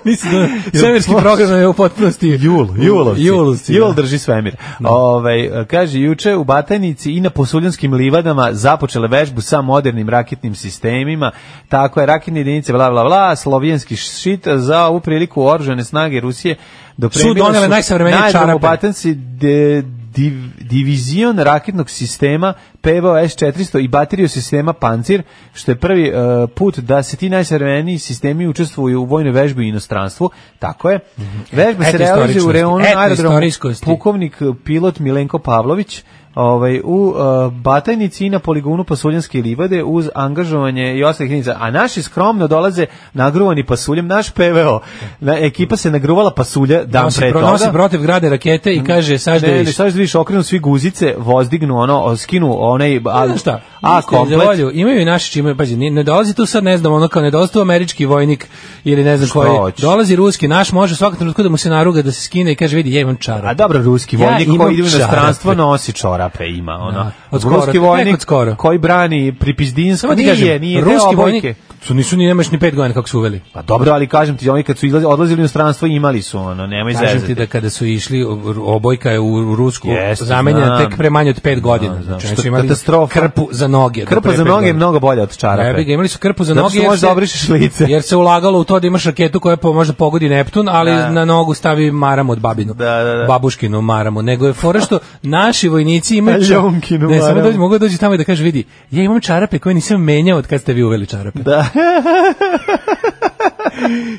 Mislim da svemirski program je u potpunosti
Jul, Julovci.
Julovci,
Jul
da.
drži svemir. Ovaj, kaže, juče u Batajnici i na posuljanskim livadama započele vežbu sa modernim raketnim sistemima. Tako je, raketne jedinice, bla, bla, bla, slovijanski šit za ovu priliku oružane snage Rusije dopremile
Su donele najsavremenije
najbolje
čarape.
u Batajnici de- div, divizion raketnog sistema PVO S-400 i bateriju sistema Pancir, što je prvi e, put da se ti najsavremeniji sistemi učestvuju u vojnoj vežbi u inostranstvu. Tako je.
Mhm.
Vežba se
Eto
realizuje u
istoričnosti.
reonu
Eto
aerodromu
istoričnosti.
pukovnik e, pilot Milenko Pavlović ovaj, u e, Batajnici i na poligonu Pasuljanske livade uz angažovanje i ostalih jedinica. A naši skromno dolaze nagruvani pasuljem, naš PVO. Na, ekipa se nagruvala pasulja dan
Nosi
pre
pro-
toga. Mm.
Nosi protiv grade rakete i kaže sažde
Ne, ne,
više.
sad da vidiš, okrenu svi guzice, vozdignu ono, o, skinu onaj a,
Znaš šta?
a
Niste za
komplet.
volju, imaju i naši čime, pazi, ne, ne dolazi tu sad, ne znam, ono kao ne dolazi tu američki vojnik ili ne znam
Šta
koji.
hoćeš?
Dolazi ruski, naš može u svakom trenutku da mu se naruga, da se skine i kaže, vidi, ja imam čarap.
A dobro, ruski
Ja
vojnik
imam
koji ide u inostranstvo
čarape.
nosi čorape, ima ono.
Da, od skoro,
ruski
tek
vojnik
od skoro.
koji brani pripizdinsko,
Samo ti
nije,
kažem,
nije, deo
ruski
obojke.
vojnik, su, nisu ni nemaš ni pet godina kako su uveli.
Pa dobro, ali kažem ti, oni kad su izlazi, odlazili u inostranstvo imali su ono, nemoj
Kažem ti
zezati.
da kada su išli, o- obojka je u Rusku
Jeste,
zamenjena
znam.
tek pre manje od pet godina.
Znam, znam.
Znači,
Što
oni su imali
katastrofa.
krpu za noge. do
Krpa
pre
za
pet
noge je
godina.
mnogo bolja od čarape.
Jebi ga, imali su krpu za
Zato
noge.
što
jer
možeš da
se-
obrišeš
[laughs]
lice.
Jer se ulagalo u to da imaš raketu koja po, možda pogodi Neptun, ali
Da.
na nogu stavi maram od babinu.
Da, da, da.
Babuškinu maramu. Nego je
[laughs]
fora što naši vojnici imaju... ča-
Ljonkinu
ne, samo
maramu.
dođi, mogu dođi tamo i da kaže, vidi, ja imam čarape koje nisam menjao od kad ste vi uveli čarape.
Da.
[laughs]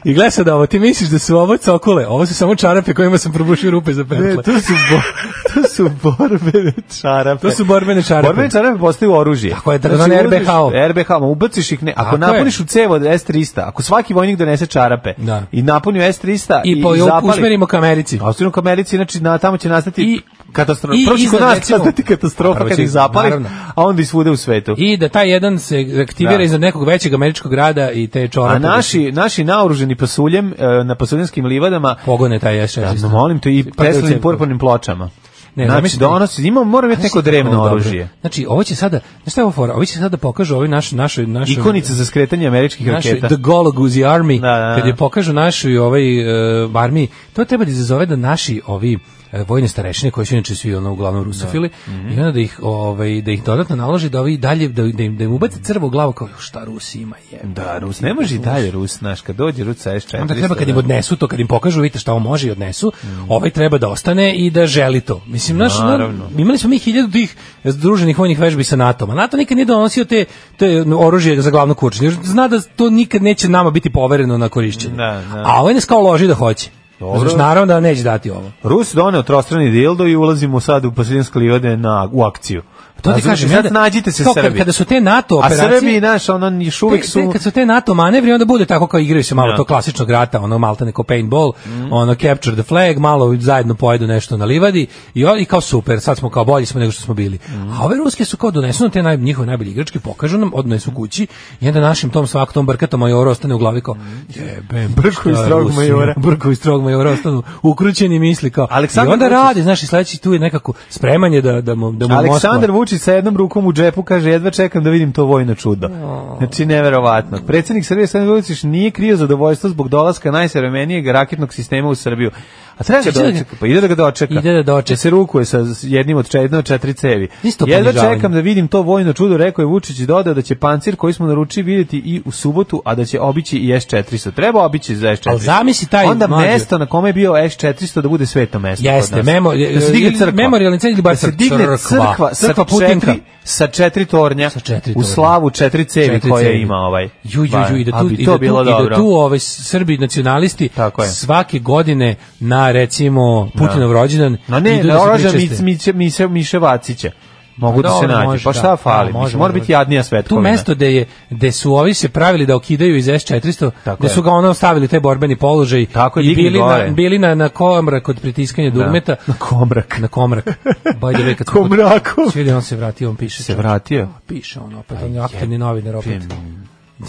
I gledaj sad ovo, ti misliš da su ovo cokule, ovo su samo čarape kojima sam probušio rupe za
Ne,
pentle.
E, to su, bo, [laughs] to su borbene čarape.
To su borbene čarape.
Borbene čarape postaju oružje. Znači,
Tako je, ono takozvane
uzmeš
RBH-o.
RBH, ma ubaciš ih ne. Ako
Tako je.
napuniš u cevo od S300, ako svaki vojnik donese čarape
Da.
i napuni u S300 i,
I po,
zapali.
usmerimo ka Americi.
A u Americi, znači na, tamo će nastati
I
katastrofa.
I
Prvo će kod
iznad,
nas
recimo-
nastati katastrofa
Prvo
kad
će-
ih zapali,
naravno.
a onda i svuda u svetu.
I da taj jedan se aktivira
Da.
iznad nekog većeg američkog grada i te čorape.
A naši, naši naoruženi pasuljem e, na pasuljenskim livadama
pogone taj
Da,
S16.
no, molim te i
Pa da
Teslinim
se-
purpurnim pločama.
Ne,
Ne, znači,
zamisli-
donosi, ima, moram imati
Znaš
neko
šta je
drevno
ovo dobro?
oružje.
Znači, ovo će sada, znaš šta je ovo fora? Ovi će sada pokažu ovi naš, naše, naše...
Ikonice za skretanje američkih
Naše,
raketa.
the Golaguzi Army,
Da, da, da.
kad je pokažu našoj ovaj, uh, armiji, to treba da izazove da naši ovi e, vojne starešine koji su inače svi ono uglavnom rusofili
Mhm.
i onda da ih ovaj da ih dodatno naloži da ovi dalje da, da im da im ubace crvo u glavu kao "Jo, šta Rusi ima je
Da, Rus, ne može i dalje Rus, znaš, kad dođe Rus sa S-400.
Onda treba kad im
da.
odnesu to, kad im pokažu, vidite šta on može i odnesu, ovaj treba da ostane i da želi to. Mislim, naš,
Naravno.
na- imali smo mi hiljadu tih združenih vojnih vežbi sa NATO-om, a NATO nikad nije donosio te, te oružje za glavno kurčenje. Zna da to nikad neće nama biti povereno na korišćenje.
Da, da.
A ovaj nas kao loži da hoće.
Dobro.
Znaš, naravno da neće dati ovo.
Rus doneo trostrani dildo i ulazimo sad u pasuljenske livade na, u akciju.
Pa To ti
Razumeš?
kažem,
I
ja
sad
da-
nađite se
to kad-
Srbi.
Kada su te NATO operacije...
A Srbi, znaš, ono, još uvijek
Te-
su...
te, kad su te NATO manevri, onda bude tako kao igraju se malo
Da.
to klasičnog rata, ono malta neko paintball, ono capture the flag, malo zajedno pojedu nešto na livadi i, o- i kao super, sad smo kao bolji smo nego što smo bili. A ove ruske su kao donesu nam te naj, njihove najbolje igračke, pokažu nam, odnesu kući i onda našim tom svakom tom brkatom majora ostane u glavi kao jebem,
Brko iz
šta je
strog
Rusija,
majora.
[laughs] Brko iz strog majora ostanu ukrućeni misli kao.
Aleksandar
I onda
Vučić-
radi, znaš, i sledeći tu je nekako spremanje da, da mu, da mu
Aleksandar
Moskva-
Vučić sa jednom rukom u džepu kaže jedva čekam da vidim to vojno čudo. Znači neverovatno. Predsednik Srbije Aleksandar Vučić nije krio zadovoljstvo zbog dolaska najsavremenijeg raketnog sistema u Srbiju. A treba ga
Čekaj, čekaj.
dočeka, pa ide da ga dočeka.
Ide da dočeka.
se rukuje sa jednim od čet- jedne od četiri cevi.
Isto
Jedva
ponižavanje.
čekam da vidim to vojno čudo, rekao je Vučić i dodao da će pancir koji smo naručili vidjeti i u subotu, a da će obići i S400. Treba obići za S400.
Ali zamisli taj
Onda
mlađe-
mesto na kome je bio S400 da bude sveto mesto.
Jeste,
kod nas.
memo-
da se digne
ili
crkva.
memorijalni centar ili bar
da se
crk-
digne
crkva.
crkva, crkva
Crkva
Putinka
Putinka.
sa četiri tornja,
Sa četiri
u
tornja.
slavu četiri cevi
Četiri
koje
cevi.
ima ovaj.
Ju, ju, ju, i da
A
tu,
bi
i
to
da tu,
bilo
i da
dobro.
tu ovaj, Srbi nacionalisti
Tako je.
svake godine na, recimo, Putinov rođendan
No ne,
idu
na
da se
orožja
pričaste.
Mice, Mice, Mice, Miše Vacića. Mogu da se
Dobro,
nađe.
može,
Pa šta
da,
fali?
da,
Mislim,
može,
mora
može.
biti jadnija
Tu
svetkovina.
mesto gde je gde su ovi se pravili da okidaju iz S400,
Tako
gde
je.
su ga ono stavili taj borbeni položaj
Tako je,
i
digli
bili
gore.
na, bili na na komrak kod pritiskanja dugmeta.
Na komrak.
Na komrak. By the
[laughs]
way, kad smo kod-
Komrakov.
Svi vidi, on se vratio, on
Se
piše. čovječe.
vratio.
Piše
ono,
on opet,
pa
on je Pa aktivni novinar opet. [laughs]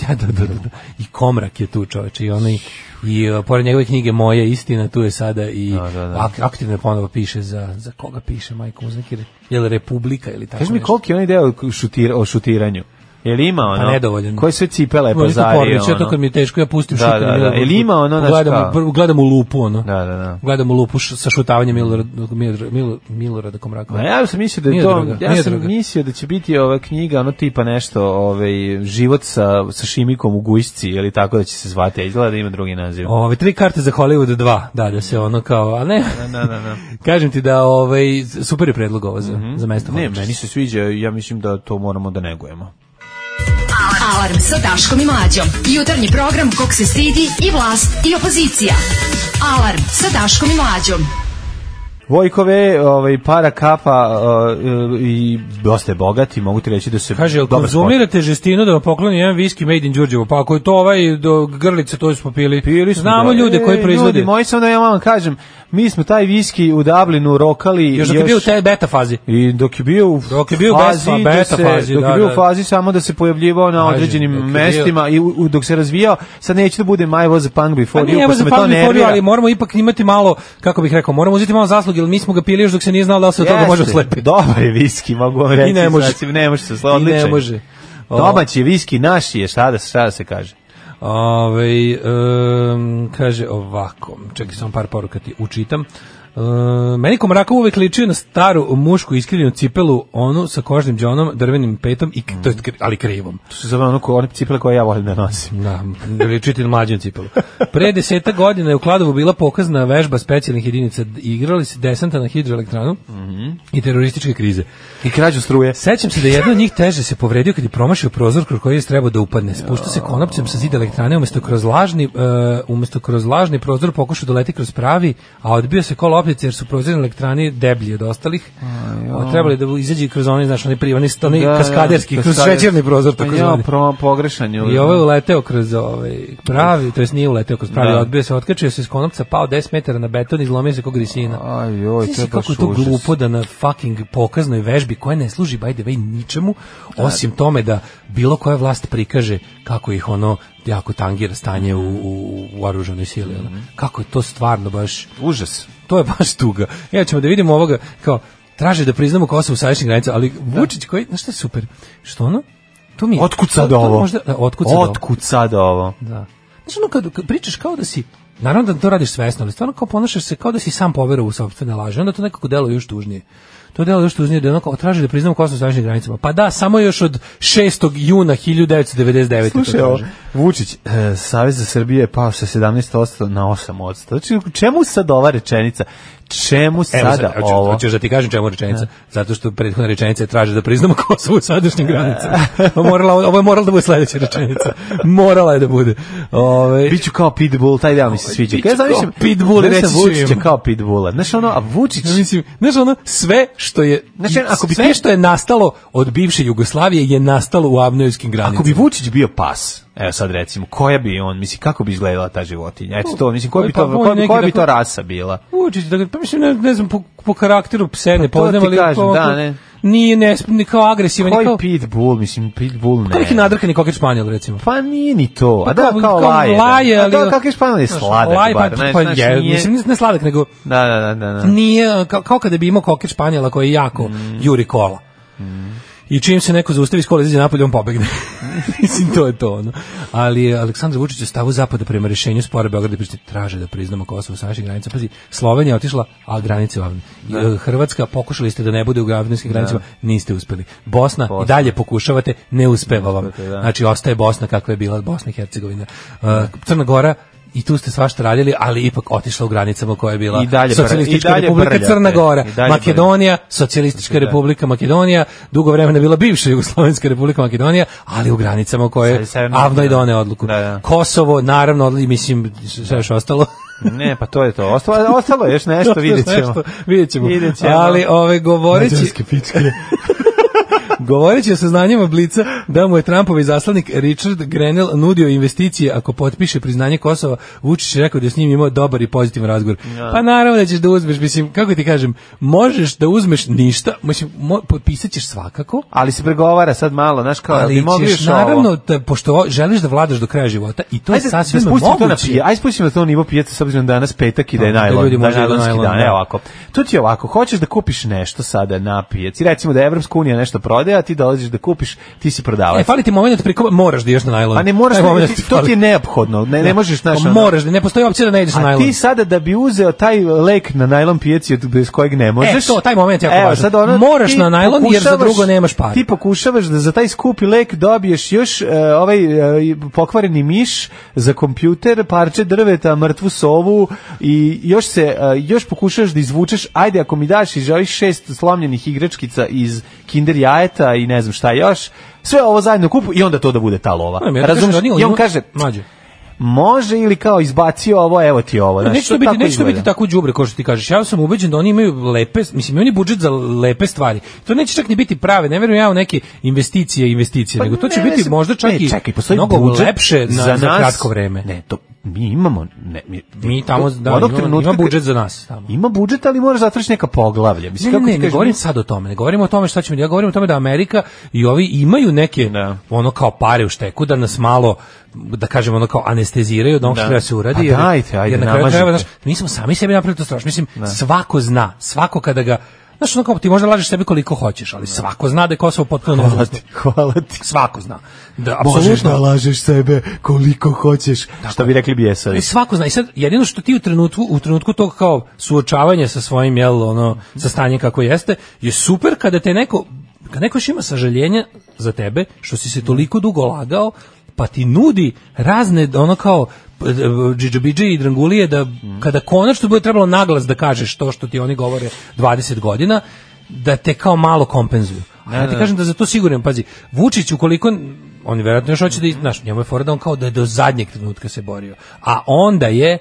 Ja, da, da, da, da. I Komrak je tu čoveče i onaj i uh, pored njegove knjige Moje istina tu je sada i
Da, da, da.
ak- aktivno ponovo piše za, za koga piše majko uz neki re- jel Republika ili tako
Kaži mi koliki je onaj deo o šutir, o šutiranju? Je li ima ono?
Pa nedovoljan.
Koje sve cipele je
Ima isto
pazario?
Porlić, ja to kad mi je teško, ja pustim
Da,
šuter.
da, da. Ili ima ono, znaš
gledam,
kao?
gledam u lupu, ono.
Da, da, da.
Gledam u lupu š- sa šutavanjem Milorad, Milorad, Milorad, Milorada Komrakova.
Ma ja sam mislio da je
Nije
to,
druga,
ja
nije
sam
druga.
mislio da će biti ova knjiga ono tipa nešto, ovaj život sa sa Šimikom u Gujsci ili tako da će se zvati, a izgleda da ima drugi naziv.
Ove, tri karte za Hollywood 2, da, da se ono kao, a ne,
Da, da, da.
[laughs]
Mhm.
kažem ti da ovaj, super je predlog ovo za, za mesto
Ne,
Hollywood.
meni se sviđa, ja mislim da to moramo da negujemo.
Alarm sa Daškom i Mlađom. Jutarnji program kog se stidi i vlast i opozicija. Alarm sa Daškom i Mlađom.
Vojkove, ovaj para kapa uh, i dosta je bogat i mogu ti reći da se
Kaže, jel
dobar sport.
konzumirate žestinu da vam pokloni jedan viski made in Đurđevo? Pa ako je to ovaj do grlice, to smo pili.
Pili smo
Znamo
ga.
ljude
E,
koji proizvode.
Ljudi, moji samo da ja vam kažem, mi smo taj viski u Dublinu rokali
još dok je bio u te beta fazi.
I dok je bio u
Dok je bio u
fazi,
beta-
da
beta
se,
fazi,
dok je
da,
bio
da.
u fazi samo da se pojavljivao na
Kažem,
određenim
dok je bio-
mestima i u, u- dok se razvijao, sad neću da budem I was a punk
Pa
before you,
nije
pa
baš
se me
za
to
pamet Forio,
nervira.
ali moramo ipak imati malo, kako bih rekao, moramo uzeti malo zasluge, jer mi smo ga pili još dok se nije znalo da li se od toga može
Jeste,
slepiti.
Dobar je viski, mogu vam reći.
I ne može.
znači, ne može se
I
slaviti.
ne može. O.
Domaći je viski, naš je, šta da, šta da se kaže.
Ovaj, em, kaže ovako, čekaj samo par poruka ti učitam. E, meni Komrakov uvek ličio na staru mušku iskrivljenu cipelu, onu sa kožnim džonom, drvenim petom, i, to je, kri- ali krivom.
To se zove ono, ko- one cipele koje ja volim da nosim.
Da, ličiti na mlađem cipelu. Pre deseta godina je u Kladovu bila pokazna vežba specijalnih jedinica. Igrali se desanta na hidroelektranu i terorističke krize.
I krađu struje.
Sećam se da je jedan od njih teže se povredio kad je promašio prozor kroz koji je trebao da upadne. Spušta se konopcem sa zida elektrane, umesto kroz lažni, e, umesto kroz lažni prozor pokušao da leti kroz pravi, a odbio se ko topnice jer su proizvodne elektrani deblji od ostalih. A, trebali da izađu kroz one, znaš, one privani, one
Da, da,
kaskaderski, kroz
kaskader-
šećerni prozor.
Pa
tako
Ja,
zvani.
pro, pogrešan je.
I ovo je uleteo kroz ovaj pravi, to jest nije uleteo kroz pravi,
Da.
odbio se, otkačio se iz konopca, pao 10 metara na beton i izlomio se kao grisina.
Aj, joj,
Znaš
to je
si kako
baš
to
užas.
glupo da na fucking pokaznoj vežbi koja ne služi by the way ničemu, osim tome da bilo koja vlast prikaže kako ih ono jako tangira stanje u, u, u oružanoj sili. ono. Kako je to stvarno baš
Užas.
to je baš tuga. Ja ćemo da vidimo ovoga kao traže da priznamo Kosovo sadašnje granice, ali Vučić koji, znaš šta je super? Što ono? To mi je.
Otkud sad
to- to
ovo?
Možda, da, otkud sad ovo?
Otkud sad ovo?
Da. Znaš ono kad, kad pričaš kao da si Naravno da to radiš svesno, ali stvarno kao ponašaš se kao da si sam poverovao u sopstvene laži. Onda to nekako deluje još tužnije. To deluje još tužnije da je ono kao traži da priznamo Kosovo sadašnjim granicama. Pa da, samo još od 6. juna 1999.
Slušaj, ovo, Vučić, e, Savez za Srbije je pao sa 17% na 8%. Znači, čemu sad ova rečenica? Čemu
Evo,
sada
sad, hoću-
ovo?
Hoćeš da ti kažem čemu rečenica? Zato što prethodna rečenica je traži da priznamo Kosovo u
[laughs]
sadašnjim granicama. Ovo je Morala, ovo je morala da bude sledeća rečenica. Morala je da bude. Ove,
Biću kao Pitbull, taj deo mi se sviđa.
Biću
Kaj
kao
zamišljam?
Pitbull i reći ću
Vučića
im.
kao Pitbulla. Znaš ono, a Vučić...
ja mislim, znaš ono, sve što je
Znaš, ako bi
ono, sve
ti-
što je nastalo od bivše Jugoslavije je nastalo u avnojskim granicama.
Ako bi Vučić bio pas, evo sad recimo, koja bi on, mislim, kako bi izgledala ta životinja? Eto to, mislim, koja bi
Pa,
to,
pa, on
koja, bi-
neki
koja bi
tako-
to rasa bila?
Vučić, da, pa mislim, ne, ne znam, po, po karakteru pse ne
Pa to
poznam,
ti
ali...
kažem,
kao-
da, ne.
Nije, ne, ni kao agresivan, ni
Koji
Pa, kao...
Pitbull, mislim, Pitbull ne.
Kao neki nadrkani kokič španjel, recimo.
Pa nije ni to.
Pa
a da, kao,
kao- kao
laje. da.
laje, Pa
A
ali- ono-
da, kakvi španjol je sladak,
Laj,
bar.
pa,
znaš,
pa
znaš,
je,
nije-
mislim, ne sladak, nego
Da, da, da, da. da.
[laughs] nije, kao, kao kada bi imao kokič španjela koji jako juri kola. I čim se neko zaustavi iz kola izađe napolje, on
[laughs]
pobegne. Mislim, to je to. Ono. Ali je Aleksandar Vučić u stavu zapada prema rešenju spora Beograda i Prištine traže da priznamo Kosovo sa naših granica. Pazi, Slovenija je otišla, a granice vam. e, Hrvatska, pokušali ste da ne bude u gravinskim granicama, niste uspeli. Bosna, i dalje pokušavate, ne uspeva vam. Znači, ostaje Bosna kakva je bila Bosna i Hercegovina. Uh, Crna Gora, i tu ste svašta radili, ali ipak otišla u granicama koja je bila
I dalje br-
Socijalistička
i dalje
republika
brljate.
Crna Gora,
I dalje
Makedonija, Makedonija, Socijalistička republika Makedonija, dugo vremena je bila bivša Jugoslovenska republika Makedonija, ali u granicama u koje
Sa- Severna
avno i
Makedonija.
done odluku.
Da, da.
Kosovo, naravno, odli, mislim, sve još ostalo.
Ne, pa to je to. Ostalo, ostalo je
[laughs]
još [laughs] nešto, vidjet ćemo.
Nešto, vidjet ćemo.
Vidjet ćemo.
Ali ove, govoreći,
Mađarske pičke.
govoreći o saznanjima Blica da mu je Trumpov zaslanik Richard Grenell nudio investicije ako potpiše priznanje Kosova, Vučić je rekao da je s njim imao dobar i pozitivan razgovor. Pa naravno da ćeš da uzmeš, mislim, kako ti kažem, možeš da uzmeš ništa, mislim, mo, potpisat ćeš svakako,
Ali se pregovara sad malo, znaš kao, ali
ali
bi mogli
ćeš
još ovo?
naravno da pošto o- želiš da vladaš do kraja života i to je
Ajde, da
sasvim
spustimo to na
moguće.
pije. Ajde spustimo to na nivo pijaca s obzirom da je danas petak i da je
Da, da
najlon,
ljudi
da,
možda
je
idu na
najlonski
najlon,
dan.
da.
Evo ovako. To ti je ovako, hoćeš da kupiš nešto sada na pijaci, recimo da Evropska unija nešto prodaje, a ti dolaziš da kupiš, ti si
E,
prodavac.
fali ti moment priko, moraš da ideš na najlon.
Pa ne moraš,
Taj
ne,
moment
ti, to ti je
fali.
neophodno, ne, ne možeš znaš,
Pa
ono-
Moraš, da- ne postoji opcija da ne ideš na
A
najlon.
ti sada da bi uzeo taj lek na najlon pijaci od bez kojeg ne možeš.
E, to, taj moment je jako
Evo,
važan.
sad ono,
Moraš
ti
na najlon, jer za
pokušavaš-
drugo nemaš para.
Ti pokušavaš da za taj skupi lek dobiješ još e, ovaj e, pokvareni miš za kompjuter, parče drveta, mrtvu sovu i još se e, još pokušavaš da izvučeš, ajde ako mi daš i želiš šest slomljenih igračkica iz Kinder jajeta i ne znam šta još. Sve ovo zajedno kupu i onda to da bude ta lova.
Ne, ja ti kažem
Razumeš?
da nije-
I on kaže,
Mlađe.
može ili kao izbacio ovo, evo ti ovo. Znaš,
Neće to biti, neće to biti tako đubre kao što ti kažeš. Ja sam ubeđen da oni imaju lepe, mislim, oni budžet za lepe stvari. To neće čak ni biti prave, ne verujem ja u neke investicije, investicije, nego to će
Pa ne,
biti
se-
možda čak
ne,
i
čekaj, postoji
mnogo
budžet
lepše na, za,
nas.
kratko vreme.
Ne, to mi imamo, ne, mi,
Mi tamo, da,
onog
ima,
trenutka
ima
kad-
budžet za nas. Tamo.
Ima budžet, ali mora zatraći neka poglavlja. Mislim,
Ne,
kako
ne,
ti
ne, ne
kažem,
govorim sad o tome, ne govorim o tome šta ćemo, ja govorim o tome da Amerika i ovi imaju neke
Da.
ono kao pare u šteku da nas malo da kažem ono kao anesteziraju od onog
Da.
što treba se uradi.
Pa
jer-
dajte, ajde,
jer na kraju
namažite.
krajeva, znaš, mi smo sami sebi napravili to strašno. Mislim, svako zna, svako kada ga Znaš, ono kao, ti možda lažeš sebi koliko hoćeš, ali svako zna da je Kosovo
[laughs]
potpuno
Hvala
nezavisno.
ti, hvala ti.
Svako zna. Da,
Možeš da
apsolutno.
lažeš sebe koliko hoćeš. Što bi rekli bijesari.
I svako zna. I sad, jedino što ti u trenutku, u trenutku tog kao suočavanja sa svojim, jel, ono, sa stanjem kako jeste, je super kada te neko, kad neko još ima sažaljenja za tebe, što si se toliko dugo lagao, pa ti nudi razne, ono kao, p- d- džidžabidže i drangulije da kada konačno bude trebalo naglas da kažeš to što ti oni govore 20 godina da te kao malo kompenzuju. A ja ti kažem da za to siguran, pazi, Vučić ukoliko on vjerojatno još hoće da, iz- znaš, njemu je fora da on kao da je do zadnjeg trenutka se borio. A onda je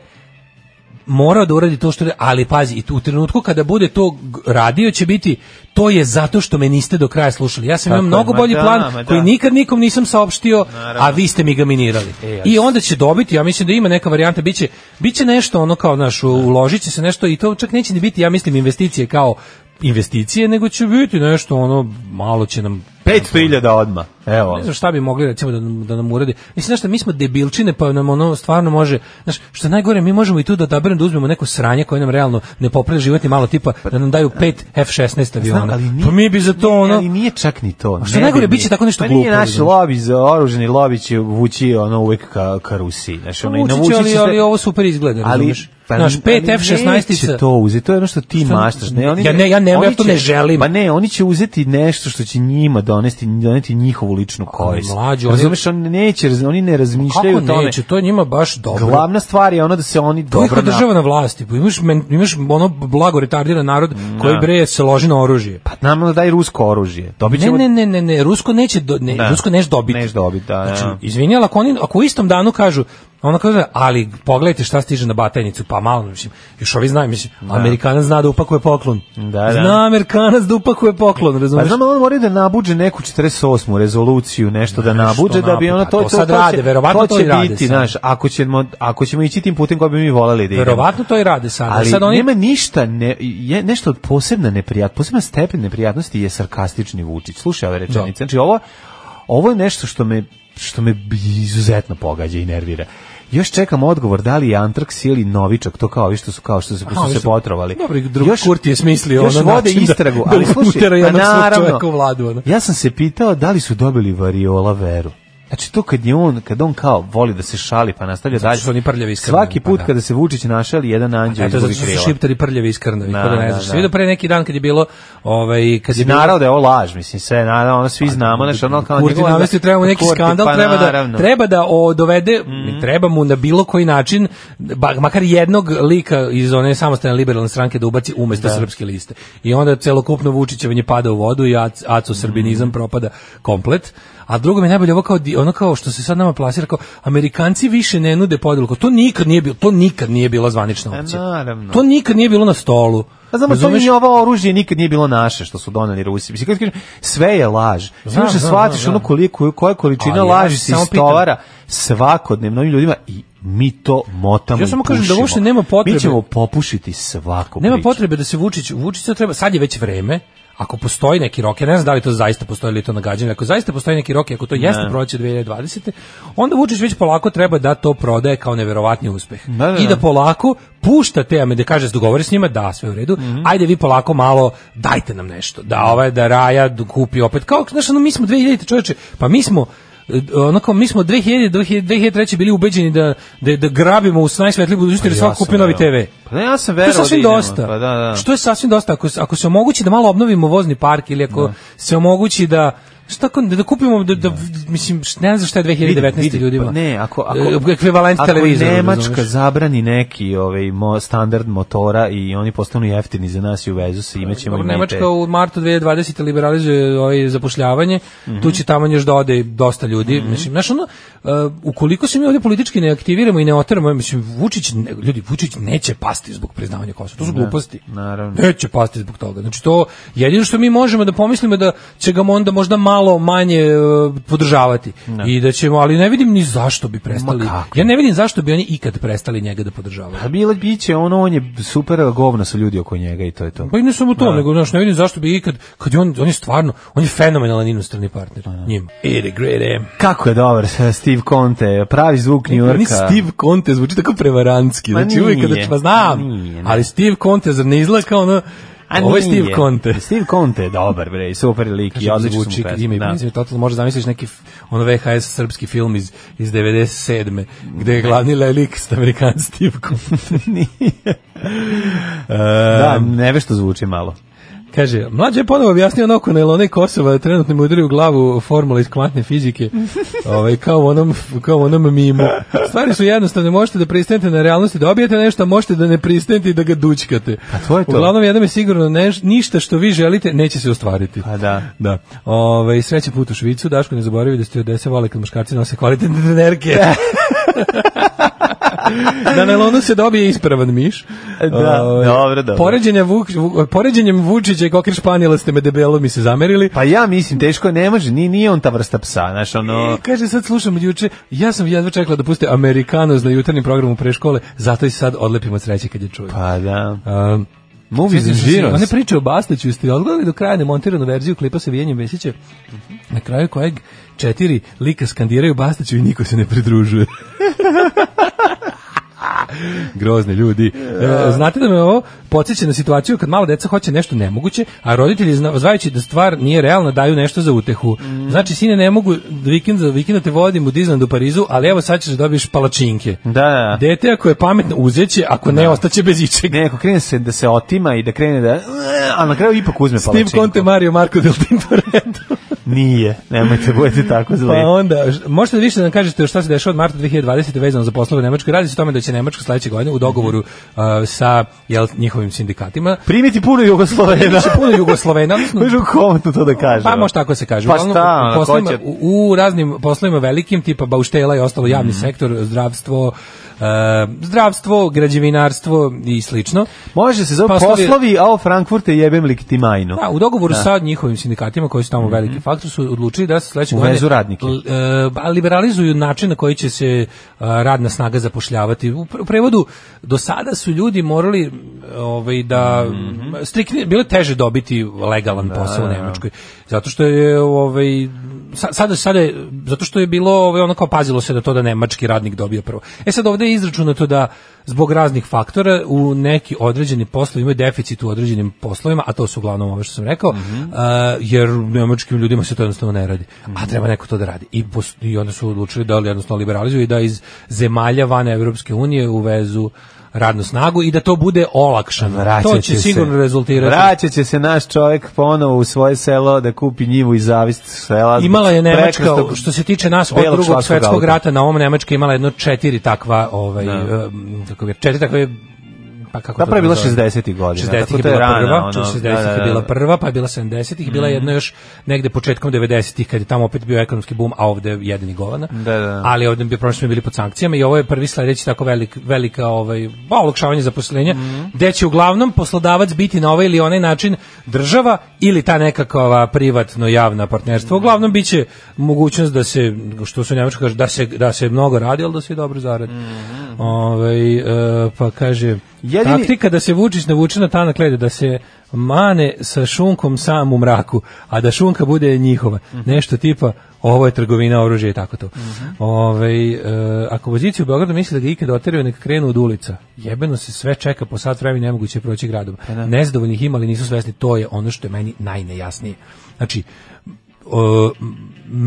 morao da uradi to što je, ali pazi, i tu- u trenutku kada bude to g- radio će biti to je zato što me niste do kraja slušali. Ja sam
Tako je,
imao mnogo
ma
bolji
da,
plan
ma da.
koji nikad nikom nisam saopštio,
Naravno.
a vi ste mi ga minirali.
E,
I onda će dobiti, ja mislim da ima neka varijanta, biće biće nešto ono kao naš uložit će se nešto i to čak neće ni biti, ja mislim investicije kao investicije, nego će biti nešto ono malo će nam
500.000 odma. Evo.
ne znam šta bi mogli recimo da nam, da nam uradi. Mislim znaš šta, mi smo debilčine pa nam ono stvarno može, znaš, što je najgore mi možemo i tu da odaberemo da uzmemo neko sranje koje nam realno ne popravi život ni malo tipa da nam daju pet F16 aviona.
Pa, Znam, ali nije-
pa mi bi za to
nije,
ono
Ali nije čak ni to.
A što
ne
najgore,
bi
bit će
mi.
tako nešto
pa
glupo,
nije naš
razumeš.
lobi za oruženi lobi će vući ono uvek ka, ka Rusiji. Znači, ono, i
Vučić,
navući
Pa ali,
će se-
ali ovo super izgleda,
ali pa
razumeš? Znaš, pet
ali neće
F16
to uzeti, to je ono što ti
Šta?
maštaš. Ne, oni,
Ja ne- ja ne-
oni
ja to
će-
ne želim.
Pa ne, oni će uzeti nešto što će njima donesti, doneti njihovu ličnu korist.
mlađo, oni-
Razumeš, oni neće, raz- oni ne razmišljaju
Kako
o tome.
neće, to je njima baš dobro.
Glavna stvar je ono da se oni
To je
dobro
kao
naprave.
država na vlasti, pa imaš, men, imaš ono blago retardiran narod koji bre se loži na oružje.
Pa nama daj rusko oružje. Dobit
Ne,
ćemo
ne, ne, ne, ne, Rusko neće do, ne,
Pa, Da.
Rusko neš dobiti.
Neš dobiti, da,
Znači,
da.
izvini, ali ako, oni, ako u istom danu kažu, ono kaže, ali pogledajte šta stiže na batajnicu, pa malo, mislim, još ovi znaju, mislim, Amerikanac zna da upakuje poklon.
Da, da.
Zna Amerikanac da upakuje poklon,
Pa
razumiješ?
znam, on moraju da nabuđe neku 48. rezoluciju, nešto da nabuđe, da bi
nabu-
ono,
pa
to,
to
to,
sad
to
rade,
će-
verovatno
to
to
će
i rade
biti,
sad.
znaš, ako ćemo, ako ćemo ići tim putem koji bi mi voleli da idemo.
Verovatno to i rade sad.
Ali
sad oni,
nema ništa, ne, je, nešto od posebna neprijat, posebna stepen neprijatnosti je sarkastični Vučić. Slušaj ove rečenice. Znači, ovo, ovo je nešto što me, što me izuzetno pogađa i nervira. Još čekam odgovor da li je antraks ili novičak, to kao ovi što su kao što su, što
ovi
su se
što-
potrovali.
Dobro, drug Kurti je smislio
još
ono
vode
način da-
istragu,
da
ali
utera
slušaj,
jednog
pa
svog
naravno,
čoveka u vladu, ono.
ja sam se pitao da li su dobili variola veru. Znači to kad je on, kad on kao voli da se šali pa nastavlja dalje.
su oni prljavi i skromni,
Svaki
pa
put
da.
kada se Vučić našali, jedan anđeo
Eto, zato
izgubi
što
krila.
su šiptari prljavi i skrnavi,
Da,
ko da ne
da,
znaš.
da.
Se vidio pre neki dan kad je bilo, ovaj, kad je bilo...
Naravno da je ovo laž, mislim, sve, naravno, ono svi znamo, znaš, ono kao...
Kurti
njegova-
navesti trebamo neki
Kurti,
skandal,
pa
treba da
naravno. Mhm.
treba da o, dovede, treba mu na bilo koji način ba- makar jednog lika iz one samostalne liberalne stranke da ubaci umesto srpske liste. I onda celokupno Vučićevanje pada u vodu i ac, aco
Mhm.
srbinizam propada komplet. A drugo mi je najbolje ovo kao di- ono kao što se sad nama plasira kao Amerikanci više ne nude podelu. Kao, To nikad nije bilo, to nikad nije bila zvanična
E,
opcija.
naravno.
To nikad nije bilo na stolu.
Pa znamo, to
Razumeš?
ni ovo oružje nikad nije bilo naše što su doneli Rusi. Mislim, kad kažem, sve je laž.
Znam,
Samo što
znam,
shvatiš
znam,
ono
znam.
koliko, koja količina
Ali ja
laži
se
se
samo
istovara svakodnevno ovim ljudima i mi to motamo
Ja samo
i
kažem da
pušimo.
uopšte nema potrebe.
Mi ćemo popušiti svaku
Nema
priču.
potrebe da se Vučić, Vučić sad treba, sad je već vreme, ako postoji neki rok, ja ne znam da li to zaista postoji ili je to nagađanje, ako zaista postoji neki rok, i ako to jeste proći 2020. onda Vučić već polako treba da to prodaje kao neverovatni uspeh.
Da, da,
I da
da.
polako pušta te, a me da kaže dogovori s njima, da, sve u redu,
Mhm.
ajde vi polako malo dajte nam nešto, da ovaj, da Raja d- kupi opet, kao, znaš, ono, mi smo 2000 čoveče, pa mi smo e, onako mi smo 2000 do 2003 bili ubeđeni da da, da grabimo u najsvetliju budućnost jer
Ja
svako
sam,
kupi novi
evo.
TV.
Pa ne, ja sam
To je
verovao da
sasvim
idemo,
dosta.
Pa da, da.
Što je sasvim dosta ako se- ako se omogući da malo obnovimo vozni park ili ako se omogući da Šta ako- da, da kupimo da, da mislim š- ne znam šta je 2019
Vidi, vidi,
ljudima.
pa ne, ako
E,
ako
ekvivalent
ako
televizora.
Nemačka
razumeš?
zabrani neki ovaj mo, standard motora i oni postanu jeftini za nas i u vezu sa imaćemo i
Dobro,
mi te-
Nemačka u martu 2020 liberalizuje ovaj zapošljavanje.
Mhm.
Tu će tamo još da ode dosta ljudi. Mislim, znaš, ono, uh, ukoliko se mi ovdje politički ne aktiviramo i ne oteramo, mislim Vučić ne- ljudi Vučić neće pasti zbog priznavanja Kosova. To su gluposti.
naravno.
Neće pasti zbog toga. Znači to jedino što mi možemo da pomislimo je da će ga onda možda malo manje e, podržavati. I da ćemo, ali ne vidim ni zašto bi prestali.
kako?
Ja ne vidim zašto bi oni ikad prestali njega da podržavaju.
A bilo biće ono on je super govno sa ljudi oko njega i to je to.
Pa i ne samo to, nego znaš, ne vidim zašto bi ikad, kad je on, on je stvarno, on je fenomenalan inostrani partner njima. Pa Ere, grere.
Kako je dobar [laughs] Steve Conte, pravi zvuk New
Ni
Yorka.
Steve Conte zvuči tako prevarantski,
Ma
znači uvijek kada
nije,
pa znam,
nije, ne.
ali Steve Conte zar ne izgleda kao ono,
A
ovo je
nije.
Steve Conte.
Steve Conte je dobar, bre, super lik i
Ja
odlično
zvuči
zvuči
kad ime i
da. [laughs]
prezime, totalno možda zamisliš neki f- ono VHS srpski film iz, iz 97. gde je glavni lelik st Amerikan Steve Conte.
da, nevešto zvuči malo.
Kaže, mlađe je ponovo objasnio ono na Elone Kosova, trenutno mu udari u glavu formula iz
[laughs]
kvantne fizike, ovaj, kao, u onom, kao u onom mimu. Stvari su jednostavne, možete da pristanete na realnosti, da obijete nešto, a možete da ne pristanete i da ga dućkate.
Pa to je to.
Uglavnom, jedno je sigurno, neš- ništa što vi želite neće se ostvariti.
Pa da.
Da.
[laughs]
Ovaj, Ove, sreće put u Švicu, Daško ne zaboravi da ste odese vole kad muškarci nose kvalitetne trenerke. Na nelonu se dobije ispravan miš.
Da,
Ovaj,
dobro, dobro.
Poređenja Vuk, Vu- poređenjem Vučića i Kokir Španjela ste me debelo mi se zamerili.
Pa ja mislim, teško je, ne može, nije, nije on ta vrsta psa, znaš, ono...
E, kaže, sad slušam juče, ja sam jedva čekala da puste Amerikanos na jutarnjem programu pre škole, zato i sad odlepim od sreće kad je čujem.
Pa da.
Um,
Movies and
Sjećaš se
Zeros.
One priče o Bastaću, ste odgledali do kraja nemontiranu verziju klipa sa Vijenjem Vesića, na kraju kojeg četiri lika skandiraju Bastaću i niko se ne pridružuje. [laughs] Grozni ljudi. E, znate da me ovo podsjeća na situaciju kad mala deca hoće nešto nemoguće, a roditelji zna- znajući da stvar nije realna daju nešto za utehu. Znači, sine, ne mogu vikend za vikenda te vodim u Disneyland u Parizu, ali evo sad ćeš da dobiješ palačinke.
Da, da.
Dete ako je pametno uzeće, ako ne, ostaće bez ičega.
Ne, ako krene se da se otima i da krene da... A na kraju ipak uzme
Steve
palačinku.
Conte, Mario Marco del Tinto
[laughs]
Redo.
Nije, nemojte budete tako
Pa
zli.
onda, ž- možete više da nam kažete šta se dešava od marta 2020. vezano za poslove u Nemačkoj. Radi se o tome da će Nemačka sledeće godine u dogovoru
Mhm.
uh, sa jel,
[laughs]
njihovim sindikatima
Primiti puno Jugoslovena.
Pa će
[laughs]
puno Jugoslovena, odnosno
Možemo komotno to da kažemo.
Pa može tako se kaže.
Pa
Uglavnom,
šta,
u,
ono, ko
poslovima,
će-
u, u raznim poslovima velikim, tipa bauštela i ostalo javni
Mhm.
sektor, zdravstvo, e, zdravstvo, građevinarstvo i slično.
Može se zove
Poslovi-
poslovi, a o Frankfurte jebem lik ti majnu.
Da, u dogovoru sa njihovim sindikatima koji su tamo veliki faktor su odlučili da se sledeće
Uvezu radnike.
l- e, ba- liberalizuju način na koji će se e, radna snaga zapošljavati. U pr- u prevodu do sada su ljudi morali e, ovaj da strikni bilo je teže dobiti legalan posao u Nemačkoj zato što je ovaj sa- sada sada je, zato što je bilo ovaj ono kao pazilo se da to da nemački radnik dobije prvo. E sad ovde je izračunato da zbog raznih faktora u neki određeni poslovi imaju deficit u određenim poslovima, a to su uglavnom ove što sam rekao,
Mhm.
a, jer nemačkim ljudima se to jednostavno ne radi.
Mhm.
A treba neko to da radi. I, pos- i onda su odlučili da li jednostavno liberalizuju i da iz zemalja van Evropske unije uvezu radnu snagu i da to bude olakšano.
Vraćat
to će
se.
sigurno rezultirati.
Vraćat će se naš čovjek ponovo u svoje selo da kupi njivu i zavist sela. zbog
Imala je Nemačka,
prekrasnog-
što se tiče nas, od
belog
drugog
švabskog
svetskog
auta.
rata na ovom Nemačka je imala jedno četiri takva, ovaj, em, kako bi, četiri takve pa kako
Zapravo je bila
nazovem?
60-ih godina,
60-ih
tako
je
to je
bila
rana,
prva,
ono,
60-ih
da, da,
je
da. Mm.
bila prva, pa je bila 70-ih, i bila je jedna još negde početkom 90-ih, kad je tamo opet bio ekonomski bum, a ovde jedini govana.
Da, da.
Ali ovde bi prošli smo bili pod sankcijama i ovo je prvi sledeći tako velik, velika ovaj, ba, olakšavanje zaposlenja,
Mm.
gde će uglavnom poslodavac biti na ovaj ili onaj način država ili ta nekakva privatno-javna partnerstva. Uglavnom bit će mogućnost da se, što su Njemačka kaže, da se, da se mnogo radi, ali da se i dobro zaradi.
Mm-hmm.
Ovaj, e, pa kaže,
Jedini-
taktika da se Vučić navuče na tanak led, da se mane sa šunkom sam u mraku, a da šunka bude njihova. Nešto tipa, ovo je trgovina oružja i tako to. Ovaj, e, ako poziciju u Beogradu misli da ga ikada oteraju, neka krenu od ulica. Jebeno se sve čeka, po sat vremena nemoguće je proći gradom. Nezadovoljnih ima, ali nisu svesni, to je ono što je meni najnejasnije. Znači, o, m-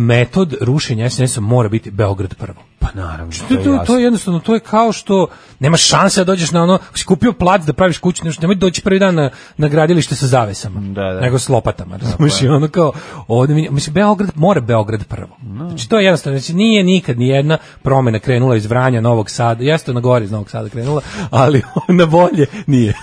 metod rušenja SNS-a mora biti Beograd prvo. Pa naravno. To, to, to, je jednostavno, to je kao što nemaš šanse da dođeš na ono, ako si kupio plac da praviš kuću, nešto, nemoj doći prvi dan na, na gradilište sa zavesama,
Da, da.
nego s lopatama, razumiješ, i ono kao, ovde mi, mislim, Beograd, mora Beograd prvo. Znači, to je jednostavno, znači, nije nikad ni jedna promena krenula iz Vranja, Novog Sada, jeste na gori iz Novog Sada krenula, ali [laughs] na bolje nije.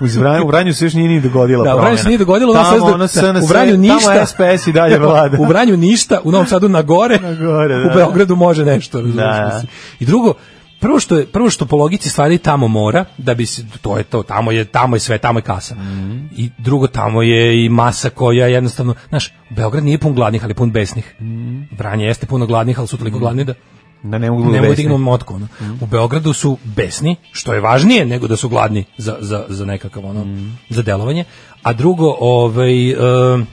U Vranju, u Vranju se još nije ni dogodila
Da, u Vranju se
promjena.
nije dogodilo, u Novom
tamo
Sadu-
ono
da,
SNS,
u Vranju ništa.
Tamo SPS i dalje vlada.
[laughs] U Vranju ništa, u Novom Sadu na gore,
Na gore, da.
u Beogradu može nešto. razumeš,
Da.
mislim. I drugo, prvo što je prvo što po logici stvari tamo mora da bi se to je to tamo je tamo je sve tamo je kasa.
Mhm.
I drugo tamo je i masa koja jednostavno, znaš, Beograd nije pun gladnih, ali pun besnih.
Mhm.
Vranje jeste puno gladnih, ali su toliko gladni da
Da ne mogu
ne mogu
besni. Mm.
dignu motku. ono. U Beogradu su besni, što je važnije nego da su gladni za, za, za nekakav ono,
Mm.
za delovanje. A drugo, ovaj, em,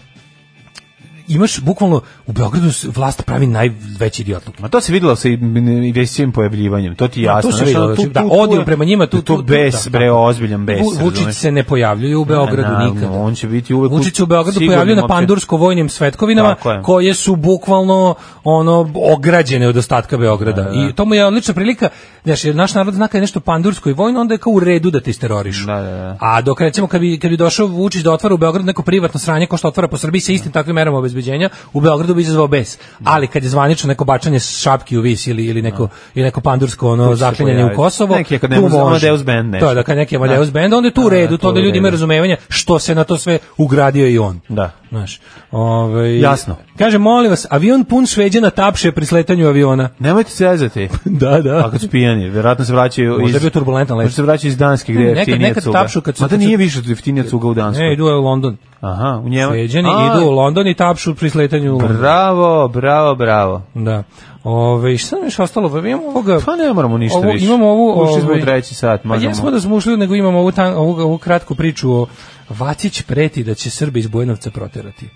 imaš bukvalno, u Beogradu s- vlast pravi najveći idiotluk.
Ma to se videlo sa investicijim pojavljivanjem, to ti je
A
jasno.
to se
znaš, ono,
videlo,
tu-
znači, da,
tu- tu
odijum
je-
prema njima, tu,
da to
tu, tu-
bes,
da,
bre,
da.
ozbiljan bes.
Vu- Vučić
razumeš?
se ne pojavljuje u Beogradu
Na, na,
nikada.
On će biti uvek
Vučić se u Beogradu
sigurni
pojavljuje na
momčad.
pandursko-vojnim svetkovinama
Tako je.
koje su bukvalno ono ograđene od ostatka Beograda. I to mu je odlična prilika, znaš, jer naš narod zna kad je nešto pandursko i vojno, onda je kao u redu da te isterorišu.
Da, da, da.
A dok recimo kad bi, kad bi došao Vučić da otvara u Beogradu neko privatno sranje ko što otvara po Srbiji sa istim takvim merama obezbeđenja u Beogradu bi izazvao bes. Ali kad je zvanično neko bačanje šapki u vis ili ili neko ili neko pandursko ono
se
zaklinjanje u
pojaviti.
Kosovo,
Neki kad nema Amadeus ono band nešto.
To je da kad neki
Da.
Amadeus band onda je tu u
Da,
redu,
tu
to da
u
ljudi imaju
redu.
razumevanja što se na to sve ugradio i on.
Da.
Znaš, ovaj,
Jasno.
Kaže, molim vas, avion pun šveđana tapše pri sletanju aviona.
Nemojte se
[laughs]
jezati.
Da, da.
A kad su pijani, verovatno se vraćaju iz...
Možda je bio turbulentan let.
Možda se vraćaju iz Danske gde
Ne,
je
nekad-
jeftinija
nekad
cuga.
tapšu kad su-
Mada
kad su-
nije više jeftinija cuga u Danskoj.
Ne, idu u London.
Aha, u njemu.
Šveđani
A,
idu u London i tapšu pri sletanju u London.
Bravo, bravo, bravo.
Da. Ove, šta nam je još ostalo? Pa imamo ovoga...
Pa ne moramo ništa
ovo,
više.
Imamo ovu...
Ušli smo
ovaj,
u treći sat,
Pa
možemo.
jesmo da smo ušli, nego imamo ovu, tan, ovu, ovu kratku priču o Vacić preti da će Srbi iz Bujanovca proterati.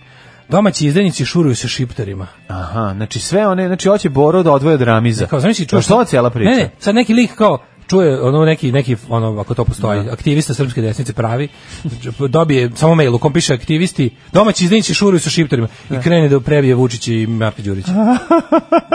Domaći izdajnici šuruju sa šiptarima.
Aha, znači sve one, znači hoće Boro da odvoje od Ramiza.
Kao znači
Pa što je cijela priča?
Ne, ne, sad neki lik kao čuje ono neki neki ono ako to postoji aktivista srpske desnice pravi dobije samo mail u kom piše aktivisti domaći izdajnici šuruju sa šiptarima i krene da prebije Vučića i Marka Đurića. [laughs]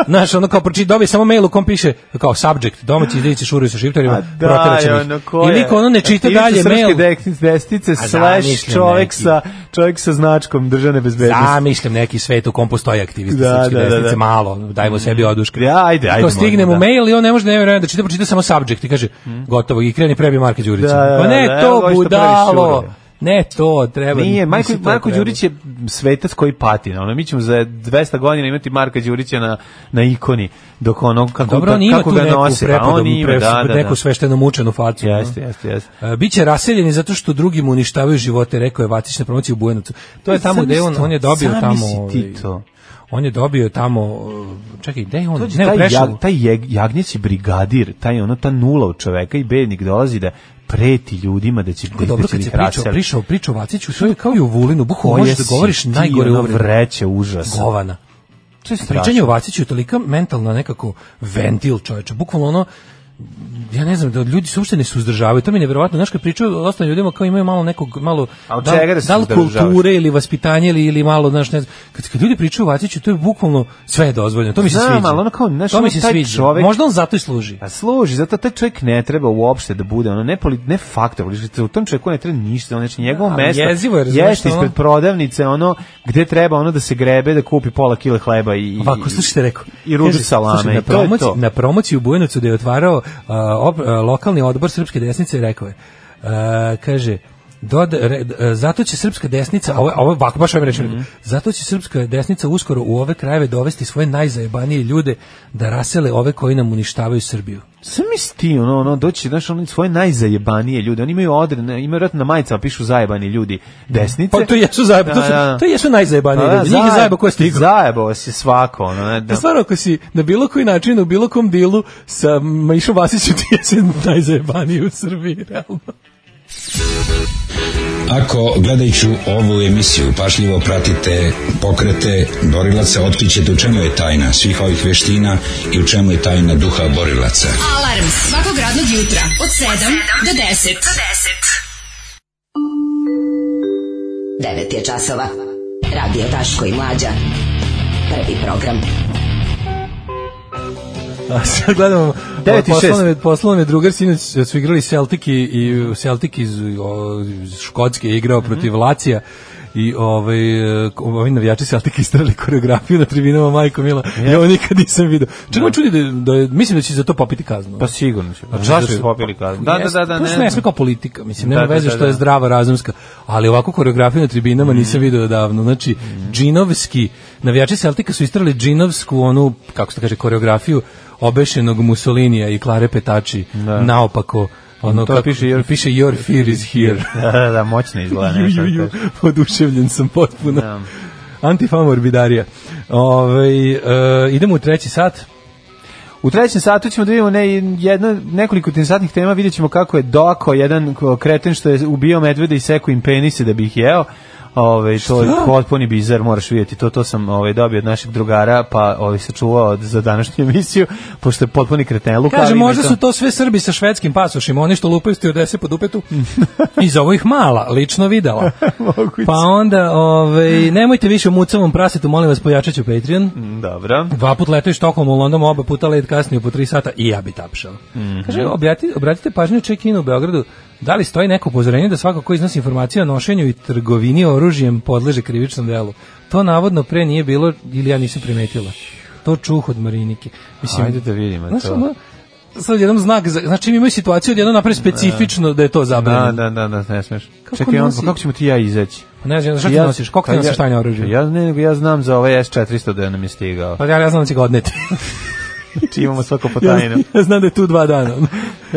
Znaš, ono kao proči dobije samo mail u kom piše kao subject domaći izdajnici šuruju sa šiptarima
A da,
proteraćemo
je
ih.
Pa ono ko
I
je.
lik ono ne čita
Aktivista
dalje
srpske
mail.
dek- desnice slash
zamislim
čovjek
neki.
sa, čovjek sa značkom državne bezbednosti.
Zamišljam neki svet u kom postoji aktivista
Da,
srpske
da, da,
desnice,
da.
malo, dajmo sebi oduška.
Ja, ajde, ajde.
Kao
možda,
stigne mu
da.
mail i on ne može da ne veruje da čita, pročita samo subject i kaže gotovo i kreni prebi Marka Đurića.
Da, da,
pa ne
da, evo ga što
to
prvi
budalo.
šuruje.
Ne to, treba.
Nije, Marko,
mislim, to
Marko
treba.
Đurić je svetac koji pati. Ono, mi ćemo za 200 godina imati Marka Đurića na, na ikoni, dok ono, kako,
Dobro, on
da,
ima
kako
tu
ga
neku
nose. Pa on
prepodobnu,
ima, da, da, da.
neku svešteno mučenu facu. no.
Jeste, jeste, jeste.
E, Biće raseljeni zato što drugi mu uništavaju živote, rekao je Vatić na promociji u Bujanovcu. To je tamo gde on, on je dobio
Zamisli
tamo...
ti
ovaj,
to.
On je dobio tamo... e, Čekaj, gde je on?
Dođe
ne, u
taj,
Preševu.
jag, taj jeg, jagnjeći brigadir, taj ono, ta nula u čoveka i bednik dolazi da preti ljudima da će, da,
dobro
će
kad
ih
se pričao,
raseliti.
pričao, pričao Vaciću, sve je kao i u Vulinu, buho,
Koje
možeš da
si
govoriš
ti,
najgore
ono,
uvrede.
vreće užasa.
Govana.
To je
Pričanje
strašno.
o Vaciću je tolika mentalna nekako ventil čoveče, bukvalno ono ja ne znam da ljudi se uopšte ne suzdržavaju to mi je nevjerovatno znaš kad pričaju o ostalim ljudima kao imaju malo nekog malo
A od
da, li-
čega da se
da li
suzdržavaš?
kulture ili vaspitanje ili, ili malo znaš ne znam kad, kad ljudi pričaju o Vaciću to je bukvalno sve je dozvoljeno to mi se
Znam,
sviđa
ali ono kao, znaš,
to
ono,
mi se
taj
sviđa
čovek-
možda on zato i služi
A Pa služi, zato taj čovjek ne treba uopšte da bude ono ne poli, ne faktor, politički, u tom čovjeku ne treba ništa, znači njegovo
Da, ali
mesto
jezivo je, razumeš,
jeste
ono?
ispred prodavnice, ono gde treba ono da se grebe, da kupi pola kile hleba i
Ovako,
i-
slušajte, rekao.
i ružu
Kaže,
salame,
slušaj,
i
na,
to je
promoci,
to.
na promociji u Bujanovcu da je otvarao a, op- a, lokalni odbor Srpske desnice, rekao je, a, kaže, dod- re- d- a, zato će srpska desnica, a ovo, a ovo je ovako, baš ovim rečima,
Mhm.
zato će srpska desnica uskoro u ove krajeve dovesti svoje najzajebanije ljude da rasele ove koji nam uništavaju Srbiju.
Sam ti, ono, ono, doći, znaš, oni svoje najzajebanije ljude, oni imaju odredne, imaju vjerojatno na majicama, pišu zajebani ljudi desnice.
Pa to jesu zajeba, to, su, to jesu
Pa
najzajebanije ljudi, njih je zajeba ko je stigao.
Zajebao si svako, ono, ne, da.
Da. Stvarno, ako si na bilo koji način, u bilo kom dilu sa Mišom Vasićem, ti jesi najzajebaniji u Srbiji, realno.
Ako gledajuću ovu emisiju pašljivo pratite pokrete borilaca, otkrićete u čemu je tajna svih ovih veština i u čemu je tajna duha borilaca.
Alarm svakog radnog jutra od 7 do 10.
9 je časova. Radio Daško i Mlađa. Prvi program.
A sad gledamo,
Devet i šest.
poslao nam je- poslao nam je drugar, sinoć su igrali Celtic i, i Celtic iz, o, iz Škotske je igrao protiv
Mhm.
Lacija i ovaj e, ko- ovi navijači Celtic istrali koreografiju na tribinama Majko Mila. Ja ovo nikad nisam video. Čak me čudi da, da je- mislim da će za to popiti kaznu.
Pa sigurno će.
Znači,
Zašto
da
su
su-
popili kaznu? Da, da,
Jeste,
da, da,
to se
ne
ne
znam.
sme kao politika, mislim, nema
Da, da,
veze
da, Mhm.
što je
da.
zdrava razumska, ali ovako koreografiju na tribinama nisam video odavno. Znači, džinovski, navijači Celtika su istrali džinovsku, onu, kako se to kaže, koreografiju obešenog Mussolinija i Klare Petači naopako. Ono,
To
kako,
piše your-
piše your fear is here.
[laughs]
[laughs]
[laughs] Da, da, da, moćno izgleda
Ju,
nešto.
ju, ju, Oduševljen sam potpuno.
Da.
Antifamorbidarija. Ove, e, idemo u treći sat.
U trećem satu ćemo da vidimo ne, jedno, nekoliko interesantnih tema, vidjet ćemo kako je Doko, jedan ko- kreten što je ubio medvede i sekao im penise da bi ih jeo. Ove, to je potpuni bizar, moraš vidjeti, to, to sam ove, dobio od našeg drugara, pa ove, sačuvao od- za današnju [laughs] emisiju, pošto je potpuni kreten Luka.
Kaže,
ali ima i
možda su to sve Srbi sa švedskim pasošima, oni što lupaju stjordese
[laughs]
po dupetu. I zovu ih mala, lično videla.
Moguće.
pa onda, ovaj, nemojte više o mucavom prasetu, molim vas, pojačat ću Patreon.
Dobro.
Dva put letaju Štokholm u London, oba puta let kasnije po tri sata i ja bi tapšao.
Mhm.
Kaže, objati, obratite pažnju check u Beogradu, da li stoji neko upozorenje da svako ko iznosi informacije o nošenju i trgovini oružjem podleže krivičnom delu? To navodno pre nije bilo ili ja nisam primetila. To čuh od Marinike. Mislim,
Ajde da vidimo
znaš,
Pa to.
ono, sad jedan znak, za, znači mi imaju situaciju odjednom napravi specifično da je to zabranjeno.
Da, da, da, da, ne smeš.
Kako
Čekaj, on,
nosi-
kako ćemo ti i ja izaći?
Ne znam, šta ti
Ja-
nosiš? Koliko
pa
ti nosiš
ja-
tajne oružje?
Ja ne, nego ja znam za ovaj S400 da nam je stigao.
[laughs] Pa ja, ja znam da će ga odneti.
Znači imamo svako po
Ja,
tajnu.
[laughs] ja znam da je tu dva
[laughs]
dana.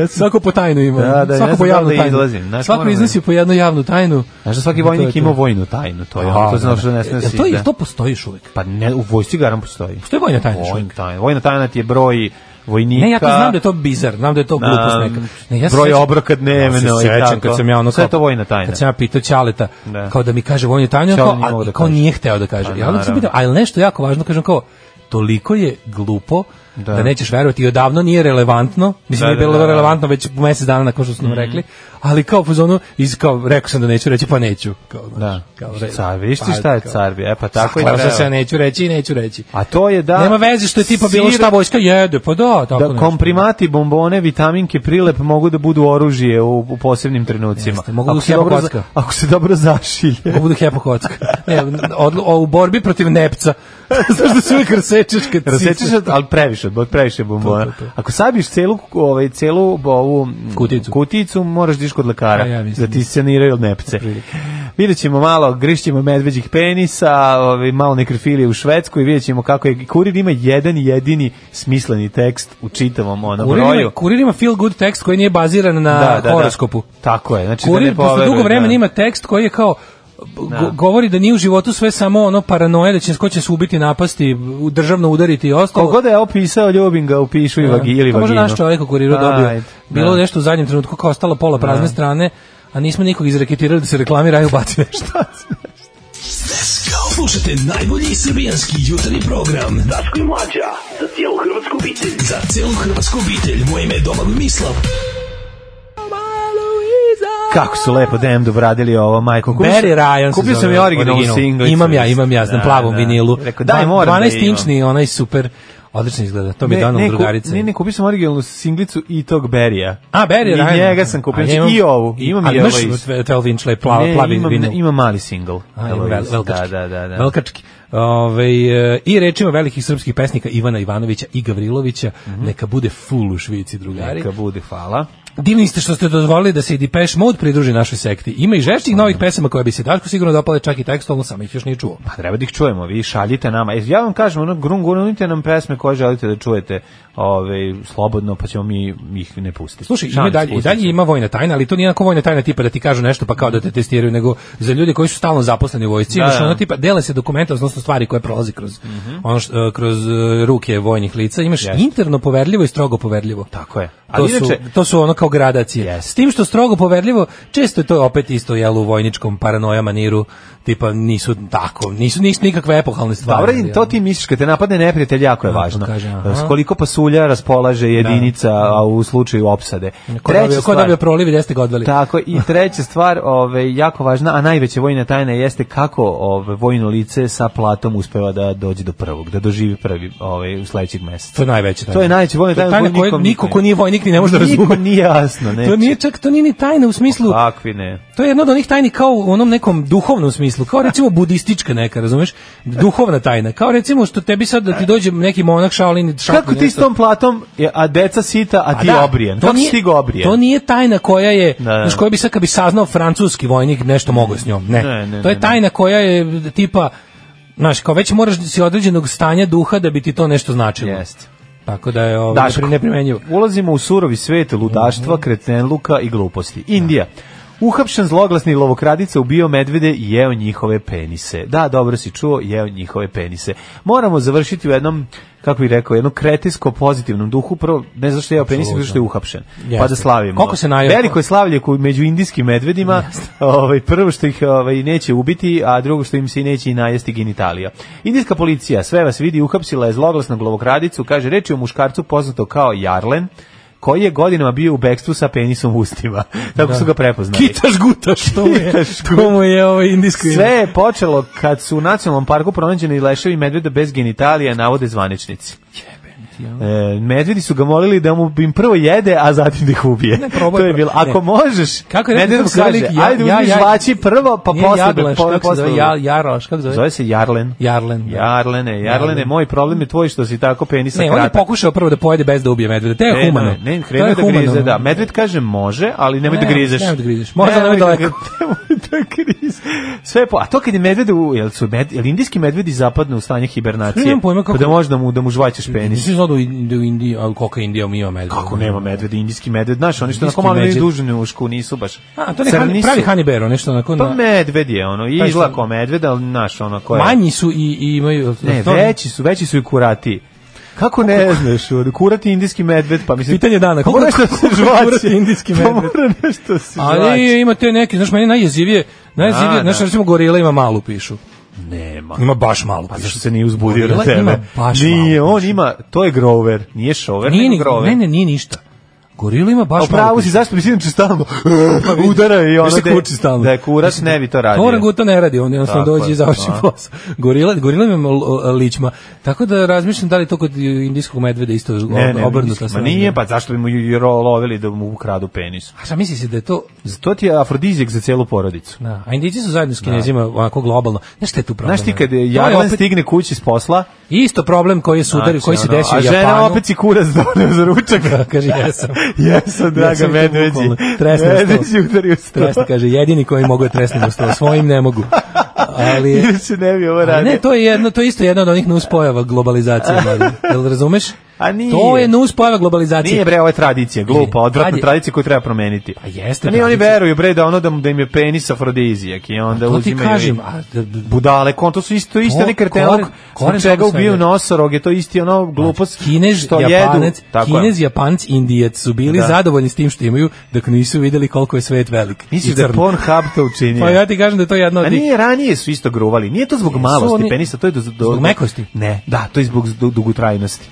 Svako po tajnu ima.
Da, da, ja
Svako
sam
po
znao
javnu
da
tajnu.
izlazim, znaš,
Svako
moram da-
iznosi po jednu javnu tajnu.
Znaš da svaki
to je
vojnik
to.
ima vojnu tajnu, to je ono,
A,
to znaš
da,
da ne
da.
smije
Jel
si.
To, je-
da-
to postoji još uvek.
Pa ne, u vojsci garam postoji.
Postoji vojna tajna još
Vojna
uvek.
tajna. Vojna tajna ti je broj vojnika.
Ne, ja to znam da je to bizar, znam da je to glupost neka. Ne, ja se
broj
sećam-
obroka dnevno
Ja se
i
sećam
tako.
kad sam ja ono
Sve
kao-
je to vojna tajna.
Kad sam ja pitao Ćaleta
Da.
kao da mi kaže vojnu tajnu, on
Ćale
kao,
nije mogao
a,
da
kao
kaže.
nije hteo da kaže.
Pa,
ja onda sam
naravno.
pitao, ali nešto jako važno kažem kao toliko je glupo da,
Da.
nećeš verovati i odavno nije relevantno,
Da,
mislim nije
da,
bilo
da, Mhm. da.
relevantno već mesec dana nakon što su nam rekli, ali kao u fazonu, iz, kao, rekao sam da neću reći, pa neću. Kao, znaš,
Da.
kao, re-
Car, vidiš ti
pa,
šta je
kao-
carbi? E pa tako je.
Saklao sam
treba.
se, ja neću reći i neću reći.
A to je da...
Nema veze što je tipa bilo
sir-
šta vojska jede, pa da, tako
Da
nešto.
komprimati, bombone, vitaminke, prilep mogu da budu oružje u, u posebnim trenucima.
Jeste, mogu da
ako,
se
se dobro,
kocka.
za- ako se dobro
[laughs]
zašilje.
Mogu da hepa kocka. Ne, odlu- o, u borbi protiv
[laughs]
nepca. Znaš da se uvijek rasečeš kad si-
Rasečeš, ali previše, bo- previše bombona.
To, to, to.
Ako sabiš celu, ovaj, celu ovu mm,
Kuticu.
kuticu moraš diš kod lekara
A ja mislim.
da ti saniraju nepce.
Otprilike.
Vidjet ćemo malo grišćima medveđih penisa, ovaj, malo nekrofilije u Švedsku i vidjet ćemo kako je. Kurir ima jedan jedini smisleni tekst u čitavom ono
Kurir ima-
broju.
Kurir ima feel good tekst koji nije baziran na horoskopu.
Tako je. Znači, da
Kurir
ne
posle dugo
poveruju,
vremena
da.
ima tekst koji je kao go- govori da nije u životu sve samo ono paranoja da će ko će se ubiti napasti u- državno udariti i ostalo
Koliko da je opisao, ljubim ga, upišu i vagi, ili
to
vaginu.
može Pa naš čovjek u kuriru dobio.
Ajde,
Bilo
da.
nešto u zadnjem trenutku kao ostalo pola prazne strane, a nismo nikog izreketirali da se reklamira i ubaci nešto.
Slušajte najbolji srbijanski jutarnji program. Daško i Mlađa, za cijelu hrvatsku obitelj. Za cijelu hrvatsku obitelj. Moje ime je Domagoj Mislav.
Kako su lepo DM obradili ovo, majko. Kupio sam-
Barry Ryan se
Kupio sam
zove
i originalnu
original.
singlicu.
Imam ja, imam ja, na
Da,
plavom
da.
vinilu.
Rekao, daj,
Dva-
moram da
12
imam.
inčni, onaj super, odlično izgleda. To mi je donala
ne, ku-
drugarica.
Ne, ne, kupio sam originalnu singlicu i tog Berija.
A, Barry
I
Ryan.
njega sam kupio,
A,
znači,
ja imam-
i ovu. Imam
ali
i
imaš
Eloise.
12 inch lej plav,
ne,
plavi
imam,
vinil.
ima mali single.
A, ima vel-
Eloise.
velkački.
Da, da, da. da.
Velkački. Ovaj, e, I rečima velikih srpskih pesnika Ivana Ivanovića i Gavrilovića, neka bude full u Švici, drugari.
Mhm. Neka bude, hvala.
Divni ste što ste dozvolili da se i Depeche Mode pridruži našoj sekti. Ima i žešćih novih pesama koje bi se Daško sigurno dopale, čak i tekstualno sam ih još nije čuo.
Pa treba da ih čujemo, vi šaljite nama. E, Ja vam kažem, ono, grun, grunite nam pesme koje želite da čujete ove, slobodno, pa ćemo mi ih ne pustiti.
Slušaj, ima
Šalim se,
dalje, i
pustit
dalje
ćemo.
ima vojna tajna, ali to nije onako vojna tajna tipa da ti kažu nešto pa kao da te testiraju, nego za ljude koji su stalno zaposleni u vojsci,
Da,
znači
da. Mhm.
ono tipa dele se dokumenta, odnosno stvari koje prolazi kroz ono što, e, kroz e, ruke vojnih lica, imaš
Jeste.
interno poverljivo i strogo poverljivo.
Tako je.
To
Ali
su,
inače,
to su ono kao gradacije.
Jeste.
S tim što strogo poverljivo, često je to opet isto jel u vojničkom paranoja maniru, tipa nisu tako, nisu, nisu nikakve epohalne stvari.
Dobro,
jel?
i to ti misliš kad te napadne neprijatelj jako je
Tako
važno.
kaže, Pa, ono. aha.
S koliko pasulja raspolaže jedinica a u slučaju opsade.
Ko dobio, ko
stvar-
dobio proliv i gde ste ga odveli?
Tako i treća stvar, ovaj jako važna, a najveća vojna tajna jeste kako ovaj vojno lice sa platom uspeva da dođe do prvog, da doživi prvi ovaj u sledećeg
To [laughs]
meseca.
je najveća tajna.
To je najveća vojna
To je
tajna koju
koju
nikom
niko
ne-
ko nije vojnik ni ne može da razume.
Nikom nije jasno, ne.
To nije čak, to nije ni tajna u smislu,
Kakvi ne.
to je jedna od onih tajni kao u onom nekom duhovnom smislu, kao recimo budistička neka, razumeš? Duhovna tajna, kao recimo što tebi sad da ti dođe neki monak Shaolin i šapne
Kako ti s
nešto.
tom platom, je- a deca sita, a
Pa
ti
da,
obrijen?
to
Kako
nije-
si ti ga obrijen?
To nije tajna koja je,
Da, da.
znaš, koja bi sad kad bi saznao francuski vojnik nešto mogao s njom. Ne.
Ne, ne,
to je
ne,
tajna koja je tipa Znaš, kao već moraš si određenog stanja duha da bi ti to nešto značilo.
Jeste.
Tako da je ovo
Daško. [laughs]
Ovaj, neprimenjivo. Mhm.
Ulazimo u surovi svet ludaštva, kretenluka i gluposti. Indija. Uhapšen zloglasni lovokradica ubio medvede i jeo njihove penise. Da, dobro si čuo, jeo njihove penise. Moramo završiti u jednom, kako bih rekao, jednom kretinsko pozitivnom duhu. Prvo, ne zašto je jeo penise, zato što je uhapšen. Pa
Jeste.
da slavimo.
Koliko se najeo?
Veliko je slavlje koji među indijskim medvedima. Ovaj, prvo što ih ovaj, neće ubiti, a drugo što im se i neće i najesti genitalija. Indijska policija sve vas vidi, uhapsila je zloglasnog lovokradicu, kaže, reč je o muškarcu poznato kao Jarlen, koji je godinama bio u bekstvu sa penisom u ustima. [laughs] Tako su ga prepoznali.
Kitaš gutaš, to mu je,
Kitaš
to mu je ovo indijsko ime.
Sve je počelo kad su u nacionalnom parku pronađeni leševi medveda bez genitalija, navode zvaničnici.
jel?
E, medvedi su ga molili da mu im prvo jede, a zatim da ih ubije.
Ne,
[laughs]
probaj,
to je bilo.
probaj, ne.
Ako možeš,
Kako je rekao
medved mu
kako se
kaže,
lik, ja-
ajde
ja-
uzmi
ja-
žvaći prvo, pa
Nije
posle.
Jaglaš,
pa
kako se
posle
zove?
da-
Ja, Jaroš, kako se zove?
Zove se Jarlen.
Jarlen. da.
Jarlene, Jarlene,
Jarlen.
moj problem je tvoj što si tako penisa
Ne, on je
kratak.
pokušao prvo da pojede bez da ubije medveda. Te je humano.
E, Ne, ne,
To je
krenuo da
humano.
grize, da. Medved kaže može, ali nemoj
Ne,
da grizeš.
nemoj da grizeš. Možda nemoj daleko.
Da, [laughs] nemoj da grizeš. Sve po, a to kad je medved, u, jel su med, jel indijski medvedi zapadnu u stanje hibernacije?
Nemam pojma kako-
Pa da možda mu, da mu žvaćeš penis.
Nisi znao da u da u Indiji, a koliko Indija mi ima medveda.
Kako nema medveda, indijski medved, znaš, oni što
Indijski
onako malo imaju
medved.
dužnu ušku, nisu baš.
A, to ne
crni
hani,
su.
pravi Pa Hani Bero, nešto onako.
Pa
na-
medved je, ono,
šta-
izgleda kao medved, ali znaš, ono, koje...
Manji su i, i imaju...
Ne,
to-
veći su, veći su i kurati. Kako ne znaš, od kurati indijski medved, pa mislim...
Pitanje dana,
Pa mora
koliko-
nešto da se
koliko
žvaće.
kurati indijski
Pa
medved?
mora nešto da se žvaće.
Ali ima te neke, znaš, meni najjezivije, najjezivije,
Da,
znaš,
da.
recimo gorila ima malu pišu.
Nema.
Ima baš malu
Pa
pišu.
zašto se nije uzbudio
Gorila
na tebe?
ima baš
nije,
malu
on ima, to je Grover, nije Šover,
Nije,
nego
ni,
Grover.
ne, ne, nije ništa. Gorila ima
Pa
baš malu
pravo si,
pišu.
zašto bi sinoć stalno udara i ono
Pa Znaš šta kuči stalno?
da je kurac ne bi to radio.
Orangutan ne radi, on jednostavno
Tako je,
dođe i završi
a.
posao. Gorila, gorila ima l- l- ličma. Tako da razmišljam da li to kod indijskog medveda isto
Ne, ne,
obrnuta
Ma nije, pa zašto bi mu ju- ju ro- lovili da mu ukradu penis?
A šta misli se da je to...
To ti je afrodizijak za celu porodicu.
Da, a Indijci su zajedno s Kinezima onako globalno. Znaš šta je tu problem? ono?
Znaš ti kad
To
je
je
Jarlan
opet
stigne kući s posla,
Isto problem koji je sudar, koji se
ono,
desio
a
u
žena
Japanu.
opet si kurac donio za ručak.
[laughs]
[laughs]
Da, kaže, jesam.
jesam, draga
Jesam i to
medveđi.
bukvalno. Tresne u sto.
Medveđi udari u sto. [laughs]
Tresne, kaže, jedini koji mogu je tresnem u sto, svojim ne mogu. Ali,
Ili se ne bi ovo
ali
radio.
ne, to je jedno, to je isto jedna od onih nuspojava globalizacije. mladen. Jel razumeš?
[laughs] A nije.
To je nuspojava globalizacije.
Nije bre, ovo je tradicija, glupa,
Nije.
odvratna
Kad je-
tradicija koju treba promeniti.
Pa jeste
A nije, oni
tradicija.
veruju bre da ono da, mu- da im je penis afrodizijak i onda
Pa to ti
uzimaju i-
kažem, a, da- da-
budale, kon to su isto isto
To-
neki kartel,
koren-
zbog
koren
čega
toga svega.
ubiju nosoroge, to je isti ono glupost
Kinez,
što
Japanac,
jedu. Tako je.
Kinez, Japanc, Indijac su bili
Da.
zadovoljni s tim što imaju, dok nisu videli koliko je svet velik.
Misliš
i
da je
crn.
Pornhub to učinio?
Pa ja ti kažem da je to jedna
A
od njih.
nije, ranije su isto gruvali. Nije to zbog malosti
oni-
penisa, to je do, do,
Zbog mekosti?
Ne, da, to je zbog du- dugotrajnosti.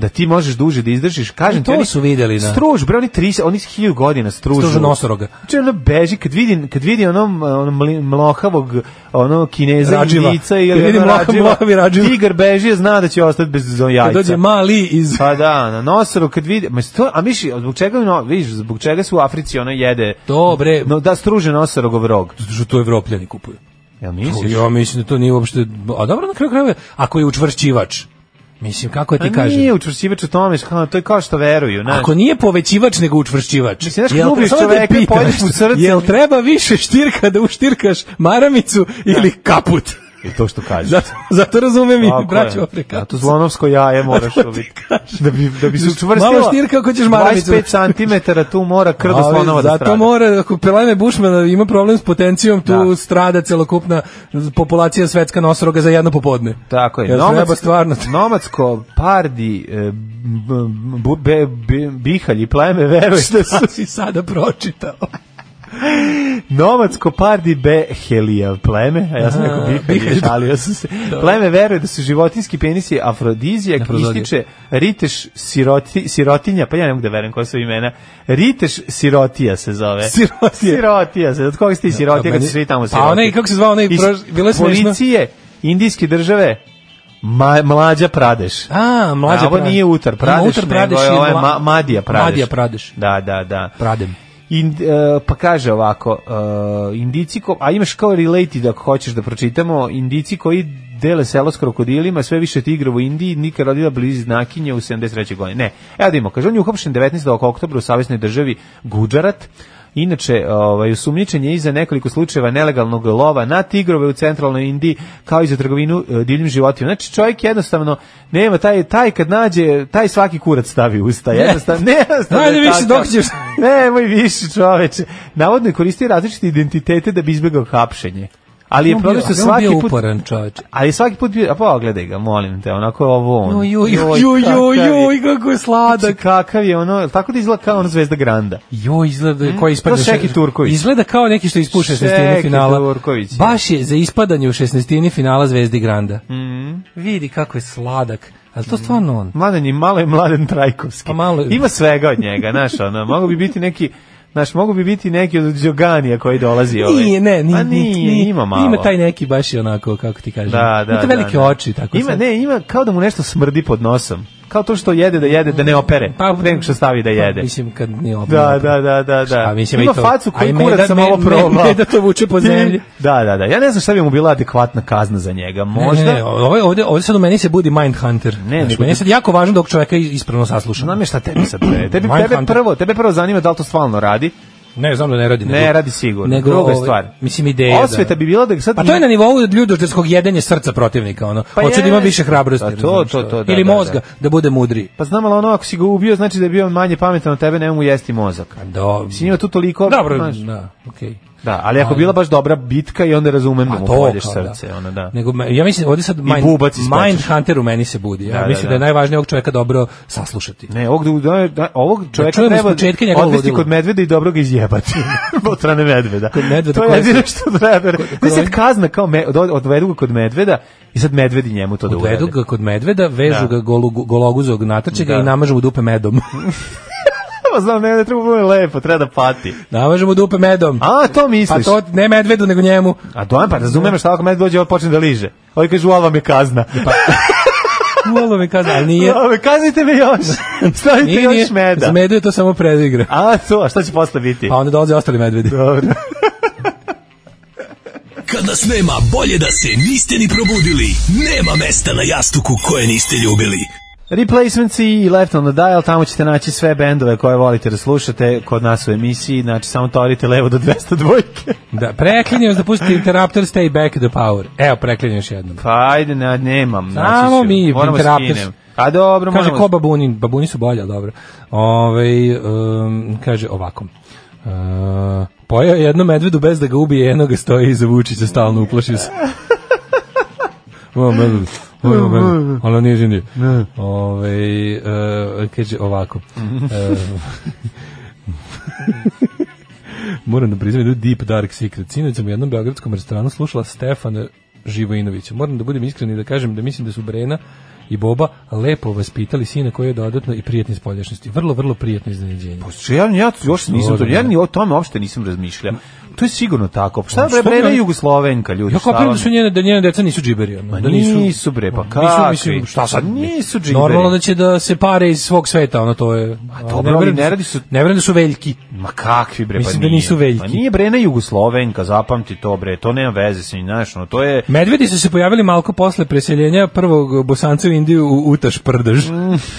Da ti možeš duže da izdržiš, kažem
I to
oni-
su videli, da.
Struž, bre, oni 30, oni 1000 godina stružu.
Stružu nosoroga.
Znači, ono beži, kad vidi, kad vidi onom, onom mli- mlohavog, ono, kineza,
Radživa.
indica
Kad
ili
vidi
ono
mloha- mlohavi radživa.
Tigar beži, zna da će ostati bez jajca.
Kad dođe mali iz...
Pa da, na nosoru kad vidi, ma sto, a miši, zbog čega, no, vidiš, zbog čega se u Africi ono jede,
Dobre,
no, da struže nosorogov rog.
što to evropljani kupuju.
Jel
To,
misliš?
ja mislim da to nije uopšte... A dobro, na kraju krajeva, ako je učvršćivač, mislim, kako ti
A
kažem?
Pa Nije učvršivač u tome, kao- to je kao što veruju. znaš.
Ako nije povećivač nego učvršćivač.
Mislim, znaš,
Jel
kad ubiješ
samo te
čoveka,
pitam,
pojedeš mu srce.
Jel treba više štirka da uštirkaš maramicu ili kaput?
I to što kažeš.
Zato, zato razumem i
Tako je.
braću Afrika.
Zato zlonovsko jaje moraš ubiti. Da bi, da bi se učvrstila.
Malo štirka ako ćeš maramicu.
25 cm tu mora krdo slonova da
zato
strada.
mora, ako Pelajme Bušmana ima problem s potencijom, tu
Da.
strada celokupna populacija svetska nosoroga za jedno popodne.
Tako je.
Jel treba
[laughs]
stvarno...
nomadsko pardi, e, m- m- bu- be, bi- bihalji pleme, veruj da su
Šta si sada pročitao?
Nomadsko pardi behelija pleme, a ja sam rekao
[laughs]
bihelija,
bihelija.
šalio sam se. Pleme veruje da su životinski penisi afrodizijak,
Afrodizijak.
ističe Riteš siroti, sirotinja, pa ja ne mogu da verujem koja su imena. Riteš sirotija se zove.
Sirotija.
Sirotija se, od koga ste i sirotija
Ja,
kad su
meni-
svi tamo
Pa
sirotija?
onaj, kako se zvao onaj
Iz
proš- bilo je smešno.
Policije, indijske države, ma, mlađa Pradeš.
A, mlađa
A, ovo
Pradeš.
nije Utar
Ima
Pradeš,
Uttar Pradeš
nego je
i
ovaj
Mla-
Ma- Madija Pradeš.
Madhya Pradeš.
Da, da, da.
Pradem.
In, e, pa kaže ovako, e, indici, ko, a imaš kao related ako hoćeš da pročitamo, indici koji dele selo s krokodilima, sve više tigra u Indiji, Nika rodila blizi znakinje u 73. godine. Ne, evo da imamo, kaže, on je uhapšen 19. oktobra u savjesnoj državi Gujarat, Inače, ovaj, usumnjičen je i za nekoliko slučajeva nelegalnog lova na tigrove u centralnoj Indiji, kao i za trgovinu e, divljim životima. Znači, čovjek jednostavno nema taj, taj kad nađe, taj svaki kurac stavi u usta. Jednostavno, ne, jednostavno
Ajde
je
više
takav.
dok
[laughs]
ćeš.
Nemoj više, čoveče. Navodno je koristio različite identitete da bi izbjegao hapšenje. Ali je problem što svaki
bio
put...
uporan čoveč.
Ali svaki put bio... A pogledaj ga, molim te, onako je ovo on.
Joj, joj,
Ono, Joj, kakav je.
joj, joj, joj, kako je
Znači,
sladak.
kakav je ono, tako da izgleda kao ono Zvezda Granda.
Joj, izgleda kao ispadne.
Hmm? To Šeki Turković.
Izgleda kao neki što ispuše
Šeki
šestini finala.
Turković.
Baš je za ispadanje u šestnestini finala Zvezdi Granda.
Hmm?
Vidi kako je sladak. Ali to stvarno on.
Mladen je malo je Mladen Trajkovski.
Pa malo je.
Ima svega od njega, znaš, ono, mogu bi biti neki Znaš, mogu bi biti neki od Đoganija koji dolazi ovaj.
Nije, ne, nije,
Pa nije, ima malo.
Ima taj neki baš i onako, kako ti kažem.
Da, da,
Ima te
da,
velike
da.
oči, tako
Ima,
sad.
ne, ima kao da mu nešto smrdi pod nosom. kao to što jede da jede da ne opere.
Pa-
Pa pre nego što stavi da jede.
Mislim kad nije opet.
Da, da, da, da, da.
Šta, mislim,
Ima
i to-
facu koju
a i meda-
kurac sam
me-
ovo
me-
probao.
meda to vuče po zemlji.
Da, da, da. Ja ne znam šta bi mu bila adekvatna kazna za njega.
Možda
Možda
ne, ne, ovdje, ovdje, ovdje sad u meni se budi Mindhunter. Ne,
nego-
meni je sad jako važno dok čoveka ispravno saslušam.
Znam je šta tebi sad pre. Tebi, tebe,
Mindhunter.
prvo, tebe prvo zanima da li to stvarno radi.
Ne, znam da ne radi.
Ne radi sigurno.
Nego,
Druga je
ovaj,
stvar.
Mislim, ideja. da-
Osveta bi bila da sad...
Pa to je na nivou ljudožderskog jedenja srca protivnika, ono.
Pa
Hoću da ima
jest.
više hrabrosti.
Pa to,
razumiješ,
to, to, da,
Ili
da,
mozga, da,
da.
bude mudriji.
Pa znam, ali ono, ako si ga ubio, znači da je bio manje pametan od tebe, nema mu jesti mozak.
Do,
Mislim, ima tu toliko...
Pa- dobro,
znaš.
da, okej.
Da, ali ako je
Ali-
bila baš dobra bitka i onda razumem da
A
mu
to
polješ
kao
srce,
da.
ono da.
Nego, me- ja mislim, ovdje sad mind,
bubac iskačeš.
mind hunter u meni se budi. Ja
Da, da,
mislim da, je
da.
najvažnije ovog čovjeka dobro saslušati.
Ne, ovog, da- da, da, ovog čovjeka
čujemo iz
treba
početka njegovo
odvesti
ludilo.
kod medveda i dobro ga izjebati. [laughs] Od strane medveda.
Kod medveda
to je
koje
jedino
se-
što treba. Kod, sad
ovih-
kazna kao me, od, odvedu ga kod medveda i sad medvedi njemu to da urede.
Odvedu ga kod medveda, vežu
Da.
ga golu, gologuzog, natrče ga
Da.
i namažu mu dupe medom. [laughs]
[laughs] Pa znam, ne, ne treba bude lepo, treba da pati.
namažu mu dupe medom.
A, to
pa
misliš?
to ne medvedu, nego
[laughs]
njemu.
A dojem, pa razumem šta ako med dođe, on počne da liže. Ovi kaže, u vam je kazna.
Ualo me kazna, ali Pa
[laughs]
nije.
Ovo, kaznite me
[laughs]
još. Stavite
Nije,
još
nije.
meda.
Za medu je to samo predigra.
A, to, a šta će posle biti?
Pa onda dolaze ostali medvedi.
Dobro.
Kad nas nema, bolje da se niste ni probudili. Nema mesta na jastuku koje niste ljubili.
Replacements i Left on the Dial, tamo ćete naći sve bendove koje volite da slušate kod nas u emisiji, znači samo torite levo do 202.
Da, preklinjem vas da pustite Interruptor, stay back the power. Evo, preklinjem još jednom.
Pa ajde, ne, nemam.
Samo
naći ću.
mi,
moramo
Interrupters.
skinem. A dobro,
Kaže,
moramo.
ko babuni? Babuni su bolje, ali dobro. Ove, um, kaže ovako. Uh, pojao je jedno medvedu bez da ga ubije, jedno ga stoji iza Vučića, stalno uplašio se. Ovo medved, ovo medved, ali on nije žinio. Ove, e, kaže ovako. E, Moram da priznam jednu deep dark secret. Sinoć sam u jednom beogradskom restoranu slušala Stefana Živojinovića. Moram da budem iskren i da kažem da mislim da su Brena i Boba lepo vaspitali sina koji je dodatno i prijatne spoljašnosti. Vrlo, vrlo prijatno iznenađenje.
Če, Znači, ja, ja još nisam to,
Dobro,
ja
da.
ni o tome uopšte nisam razmišljao. To je sigurno tako. Pa Šta bre,
što
bre,
bi
da je
oni-
Jugoslovenka, ljudi.
Ja
šta
kapiram
vam-
da su njene, da njene deca nisu džiberi. Ono,
Ma
da nisu,
nisu bre, pa
Nisu, mislim,
kakvi?
šta sad?
Pa nisu džiberi.
Normalno da će da se pare iz svog sveta, ono to je. A
dobro, ali ne radi su-
Ne verujem da su veljki.
Ma kakvi bre,
Mislim
pa
da
nije.
nisu veliki.
Pa nije bre, ne Jugoslovenka, zapamti to bre, to nema veze sa njim, znaš, no, to je...
Medvedi su se pojavili malko posle preseljenja prvog bosanca u Indiju u Utaš Prdež.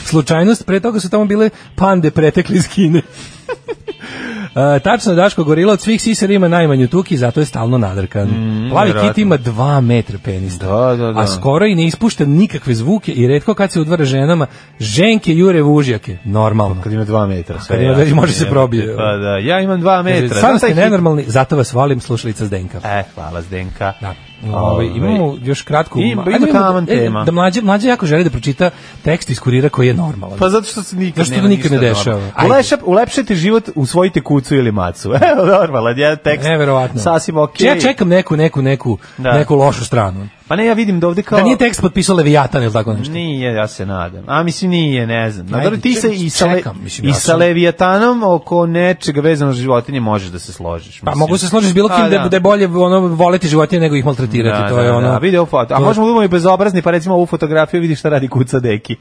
Slučajnost, pre toga su tamo bile pande pretekli iz Kine. [laughs] E, tačno, Daško Gorila od svih sisara ima najmanju tuki, zato je stalno nadrkan. Plavi kit
vjerojatno.
ima dva metra penista.
Mm, Da, da, da.
A skoro i ne ispušta nikakve zvuke i redko kad se udvara ženama, ženke jure vužjake. Normalno.
Kad ima dva metra, sve
Kad ima dva-
jasno,
može se
jebote.
probije.
Pa da, ja imam dva
Kaže,
metra.
Stvarno
Znaš
ste
taj hit-
nenormalni, zato vas volim, slušalica Zdenka.
E, hvala Zdenka.
Da. Ovaj, imamo još kratku...
Im- ima
Ajde, vidimo da-
kaman
e,
tema.
Da mlađe, mlađe jako želi da pročita tekst iz kurira koji je normalan.
Pa zato što se nikad
Zašto
nema
to nikad
ništa
ne dešava?
normalno.
Ajde.
Ulepša, ulepšajte život, usvojite kucu ili macu. [laughs] Evo, normalan, jedan tekst.
Neverovatno.
Sasvim okej.
Ja čekam neku, neku, neku,
Da.
neku lošu stranu.
Pa ne, ja vidim da ovde kao...
Da nije tekst potpisao Leviatan ili tako nešto.
Nije, ja se nadam. A mislim nije, ne znam. Na
Ajde,
dobro ti se
čekam,
i sa, le-
čekam, mislim,
i
ja
sa
sam-
Leviatanom oko nečega vezano za životinje možeš da se složiš.
Pa
mislim.
mogu se složiti s bilo
Pa
kim da,
da.
da je bolje ono, voleti životinje nego ih maltretirati. to je ono...
Da, video foto. A
to-
možemo da budemo i bezobrazni, pa recimo ovu fotografiju vidi šta radi kuca deki.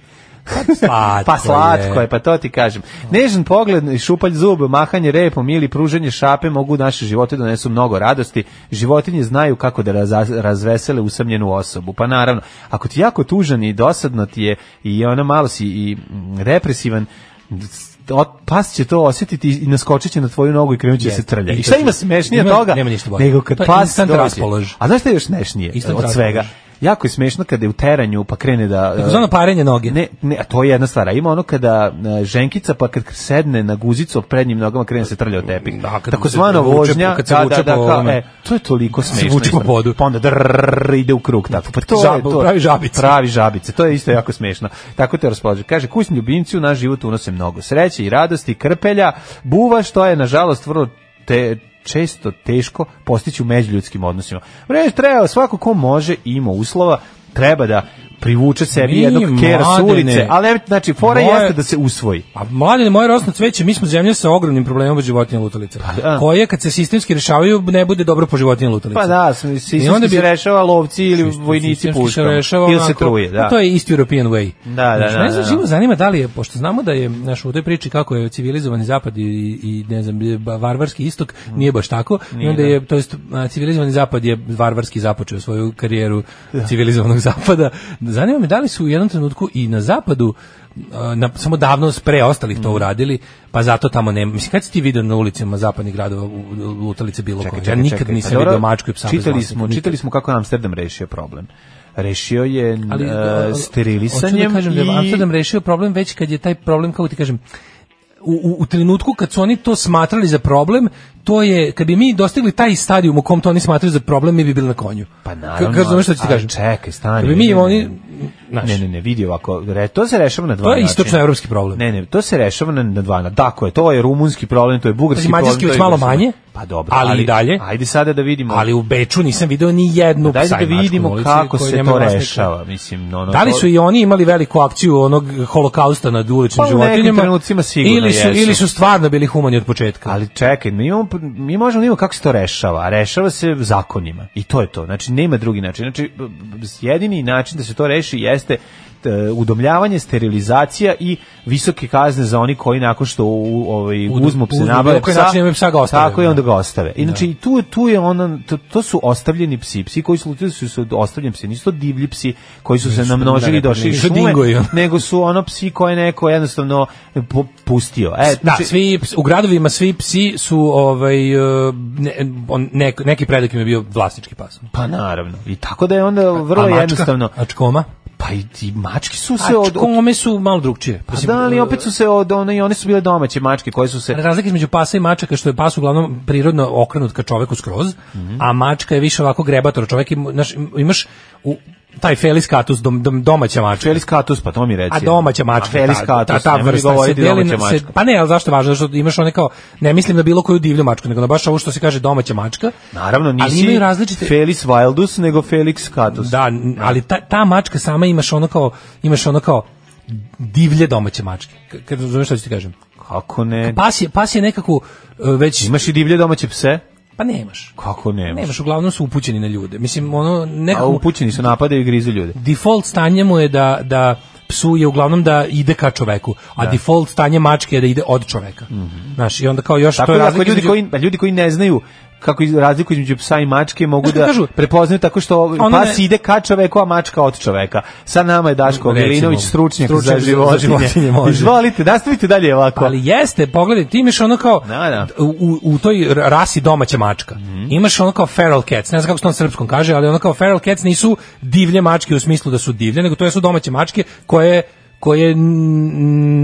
Slatko
[laughs] Pa slatko je, pa to ti kažem. Nežan pogled, i šupalj zub, mahanje repom ili pruženje šape mogu u naše živote donesu mnogo radosti. Životinje znaju kako da raza- razvesele usamljenu osobu. Pa naravno, ako ti je jako tužan i dosadno ti je i ono malo si i mm, represivan, o- pas će to osjetiti i naskočit će na tvoju nogu i krenut će
Jeste.
se trlja. I
I to
šta
će-
ima smešnije
nema-
toga?
nema ništa bolje.
Nego kad
To je
pas
instant
dođe.
raspolož.
A znaš šta je još smešnije
Instant
od svega?
raspolož.
Jako je smešno kada je u teranju pa krene da...
Tako zvano parenje noge.
Ne, ne, a to je jedna stvar. A ima ono kada e, ženkica pa kad sedne na guzicu od prednjim nogama krene se trlja od tepih.
Da, kad
Tako
se
zvano
vuče po-
vožnja,
kad se
da,
vuče
da, da,
po
kao,
ovome.
e, to je toliko smešno.
vuče po
isto.
podu.
Pa onda drrrr, ide u krug tako. Pa to
Žab-
je to.
pravi žabice.
Pravi žabice. To je isto jako smešno. Tako te raspolaže. Kaže kućni ljubimci u naš život unose mnogo sreće i radosti, krpelja, buva što je nažalost vrlo te često teško postići u međuljudskim odnosima. Vreći treba svako ko može i ima uslova treba da privuče sebi
Nije,
jednog kera s
mladene.
ulice, ali ne, znači fora
Moje-
jeste da se usvoji.
A mlade Pa moje rosno cveće, mi smo zemlja sa ogromnim problemom životinja lutalica.
Pa da.
Koje kad se sistemski rešavaju ne bude dobro po životinja lutalica.
Pa da, si
onda bi-
se rešava lovci ili vojnici
sistemski se
puškama.
rešava
Ili se
onako, Pa
truje, da.
To je isti European way.
Da, da,
Znači,
da,
Ne znam,
da,
živo
da.
zanima da li je, pošto znamo da je, znaš, u toj priči kako je civilizovani zapad i, i ne znam, je ba- varvarski istok, nije baš tako. I onda je, to jest, a, civilizovani zapad je varvarski započeo svoju karijeru civilizovanog [laughs] zapada. Zanima me da li su u jednom trenutku i na zapadu a, na, samo davno pre ostalih
Mm.
to uradili, pa zato tamo nema. Mislim, kad si ti video na ulicama zapadnih gradova u- u- lutalice bilo koje? Ja nikad
čekaj. Pa
nisam
Dobro,
video mačku i psa bez
Čitali
vlasnika,
smo,
nikad.
čitali smo kako je Amsterdam rešio problem. Rešio je
ali
e,
a, a, hoću
sterilisanjem
da kažem da je
i
Amsterdam rešio problem već kad je taj problem kako ti kažem u, u, u trenutku kad su oni to smatrali za problem, to je, kad bi mi dostigli taj stadijum u kom to oni smatraju za problem, mi bi bili na konju.
Pa
Ka-
naravno.
Kažu, znaš šta ću ti
ali
kažem?
Čekaj, stani.
Kad bi mi
ne, ne,
oni,
ne,
znaš,
ne, ne, ne, vidi ovako, re, to se rešava na dva
To je
načina.
istočnoevropski problem.
ovaj Ne, ne, to se rešava na, na dva načina. Tako je, to je rumunski problem, to je bugarski
Pazi,
problem.
mađarski
to je
već malo
jugoslovenski.
manje,
Pa dobro.
ali i dalje.
Ajde sada da vidimo.
ali u Beču nisam video ni jednu
Dajde
psa
Pa
i
da
mačku na
vidimo
ulici
kako
koja
se
nema
to
vlasnika.
rešava. Mislim, ono,
Da li
to-
su i oni imali veliku akciju onog holokausta nad uličnim
Pa u nekim
životinjama?
trenucima sigurno
ili su,
jesu.
Ili su stvarno bili humani od početka?
Ali čekaj, mi, imamo, mi možemo da imamo kako se to rešava, a rešava se zakonima i to je to, znači nema drugi način. Znači, b- b- jedini način da se to reši jeste t- udomljavanje, sterilizacija i visoke kazne za oni koji nakon što u, ovaj,
Udom-
uzmu pse,
uzmu
nabave
bilo koji
psa,
način imaju psa ga ostave.
tako je, onda
Da.
ga ostave. I znači, i tu, tu je ona, to, to su ostavljeni psi, psi koji su, to su, su ostavljeni psi, nisu to divlji psi koji su se namnožili i
da, da,
došli iz
nisu
šume,
dingoji, ono.
nego su ono psi koje neko jednostavno pu- pustio. E,
da,
znači-
svi ps- u gradovima svi psi su ovaj e, ne, on, nek- neki predak im je bio vlasnički pas.
Pa naravno. I tako da je onda vrlo
A mačka?
jednostavno.
A čkoma?
Pa i ti mački su se
A
od... od
čkome su malo drugčije.
pa da,
e,
ali opet su se od... One, I one su bile domaće mačke koje su se...
Razlika između pasa i mačaka je što je pas uglavnom prirodno okrenut ka čoveku skroz,
Mhm.
a mačka je više ovako grebator. Čovek im- znaš, im- imaš u, taj felis katus, dom, dom- domaća mačka.
Felis catus, pa to mi reci.
A domaća mačka.
A felis
ta-
catus,
ta, ta,
nemoj mi
vrsta se
govoriti
deli
domaća
na, se,
mačka.
pa ne, ali zašto je važno, zašto imaš one kao, ne mislim na bilo koju divlju mačku, nego na baš ovo što se kaže domaća mačka.
Naravno, nisi
ali imaju različite,
Felis wildus, nego Felix catus.
Da, n- ali ta, ta mačka sama imaš ono kao imaš ono kao divlje domaće mačke. K- Kad razumeš šta ću ti kažem.
Kako ne?
Pas je pas je nekako e, već
Imaš i divlje domaće pse?
pa nemaš.
Kako nemaš?
Nemaš, uglavnom su upućeni na ljude. Mislim ono
A
nekako
upućeni su napadaju i grizu ljude.
default stanje mu je da da psu je uglavnom da ide ka čoveku, a default stanje mačke je da ide od čoveka. Znaš, i onda kao još
Mhm. Tako
to je
da, ako
razlika
ljudi
između-
koji, ljudi koji ne znaju kako iz, razliku između psa i mačke mogu
Znaš
da
kako kažu?
prepoznaju tako što
Ono
pas
ne-
ide ka čoveku, a mačka od čoveka. Sa nama je Daško
Recimo,
Milinović, stručnjak,
stručnjak
za
za
životinje.
životinje, može.
Izvolite, nastavite dalje ovako.
Ali jeste, pogledaj, ti imaš ono kao
Da, da. Mhm.
U, u toj r- rasi domaća mačka. Imaš ono kao feral cats, ne znam kako se to na srpskom kaže, ali ono kao feral cats nisu divlje mačke u smislu da su divlje, nego to su domaće mačke koje koje n-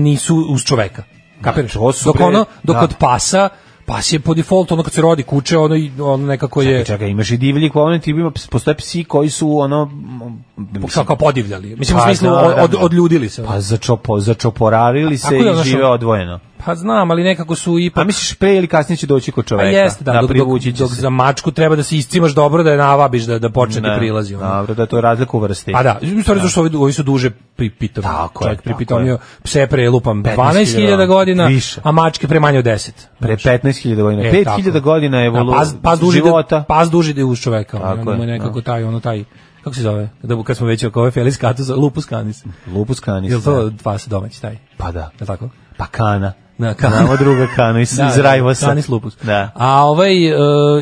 nisu uz čoveka. Kapiraš?
to su
dok
bre-
ono, dok
da.
od pasa Pas je po defaultu, ono kad se rodi kuće, ono, i- ono nekako je...
Čekaj, imaš i divlji klone, ti ima, postoje psi koji su ono... m, mislim,
Kao, kao podivljali. Mislim,
Pa,
u smislu,
da, da,
od,
da.
odljudili se.
Pa začopo, začoporavili se
tako je,
i
znaš,
žive
ono-
odvojeno.
Pa znam, ali nekako su ipak...
A misliš pre ili kasnije će doći kod
Pa
čoveka?
jeste, da, dok, dok,
privući će
dok
se.
za mačku treba da se iscimaš dobro, da je navabiš, da, da počne ti
Ne,
prilazi. ono.
Dobro, da je to razlika u vrsti.
Pa da, u stvari zašto ovi, ovi su duže pripitom.
Tako je,
Čovjek
tako
pripitomio pse pre lupam
15.000
12.000 godina,
Više.
a mačke pre manje od 10.
Pre 15.000 godina.
E,
5.000
tako.
godina Znači, je pa- evolu...
Da, pas, pas duži
života.
Da, pas duži da je uz čoveka.
Tako
Tako
je,
je. Nekako taj, ono taj, kako se zove? Da, kad smo već oko ove Felis Catus, lupus canis.
Lupus canis.
Je li to pas domaći taj?
Pa da.
Je li tako?
Pa kana.
Da, kana.
Znamo druga kana iz, iz Rajvosa.
Canis lupus.
Da.
A ovaj, e,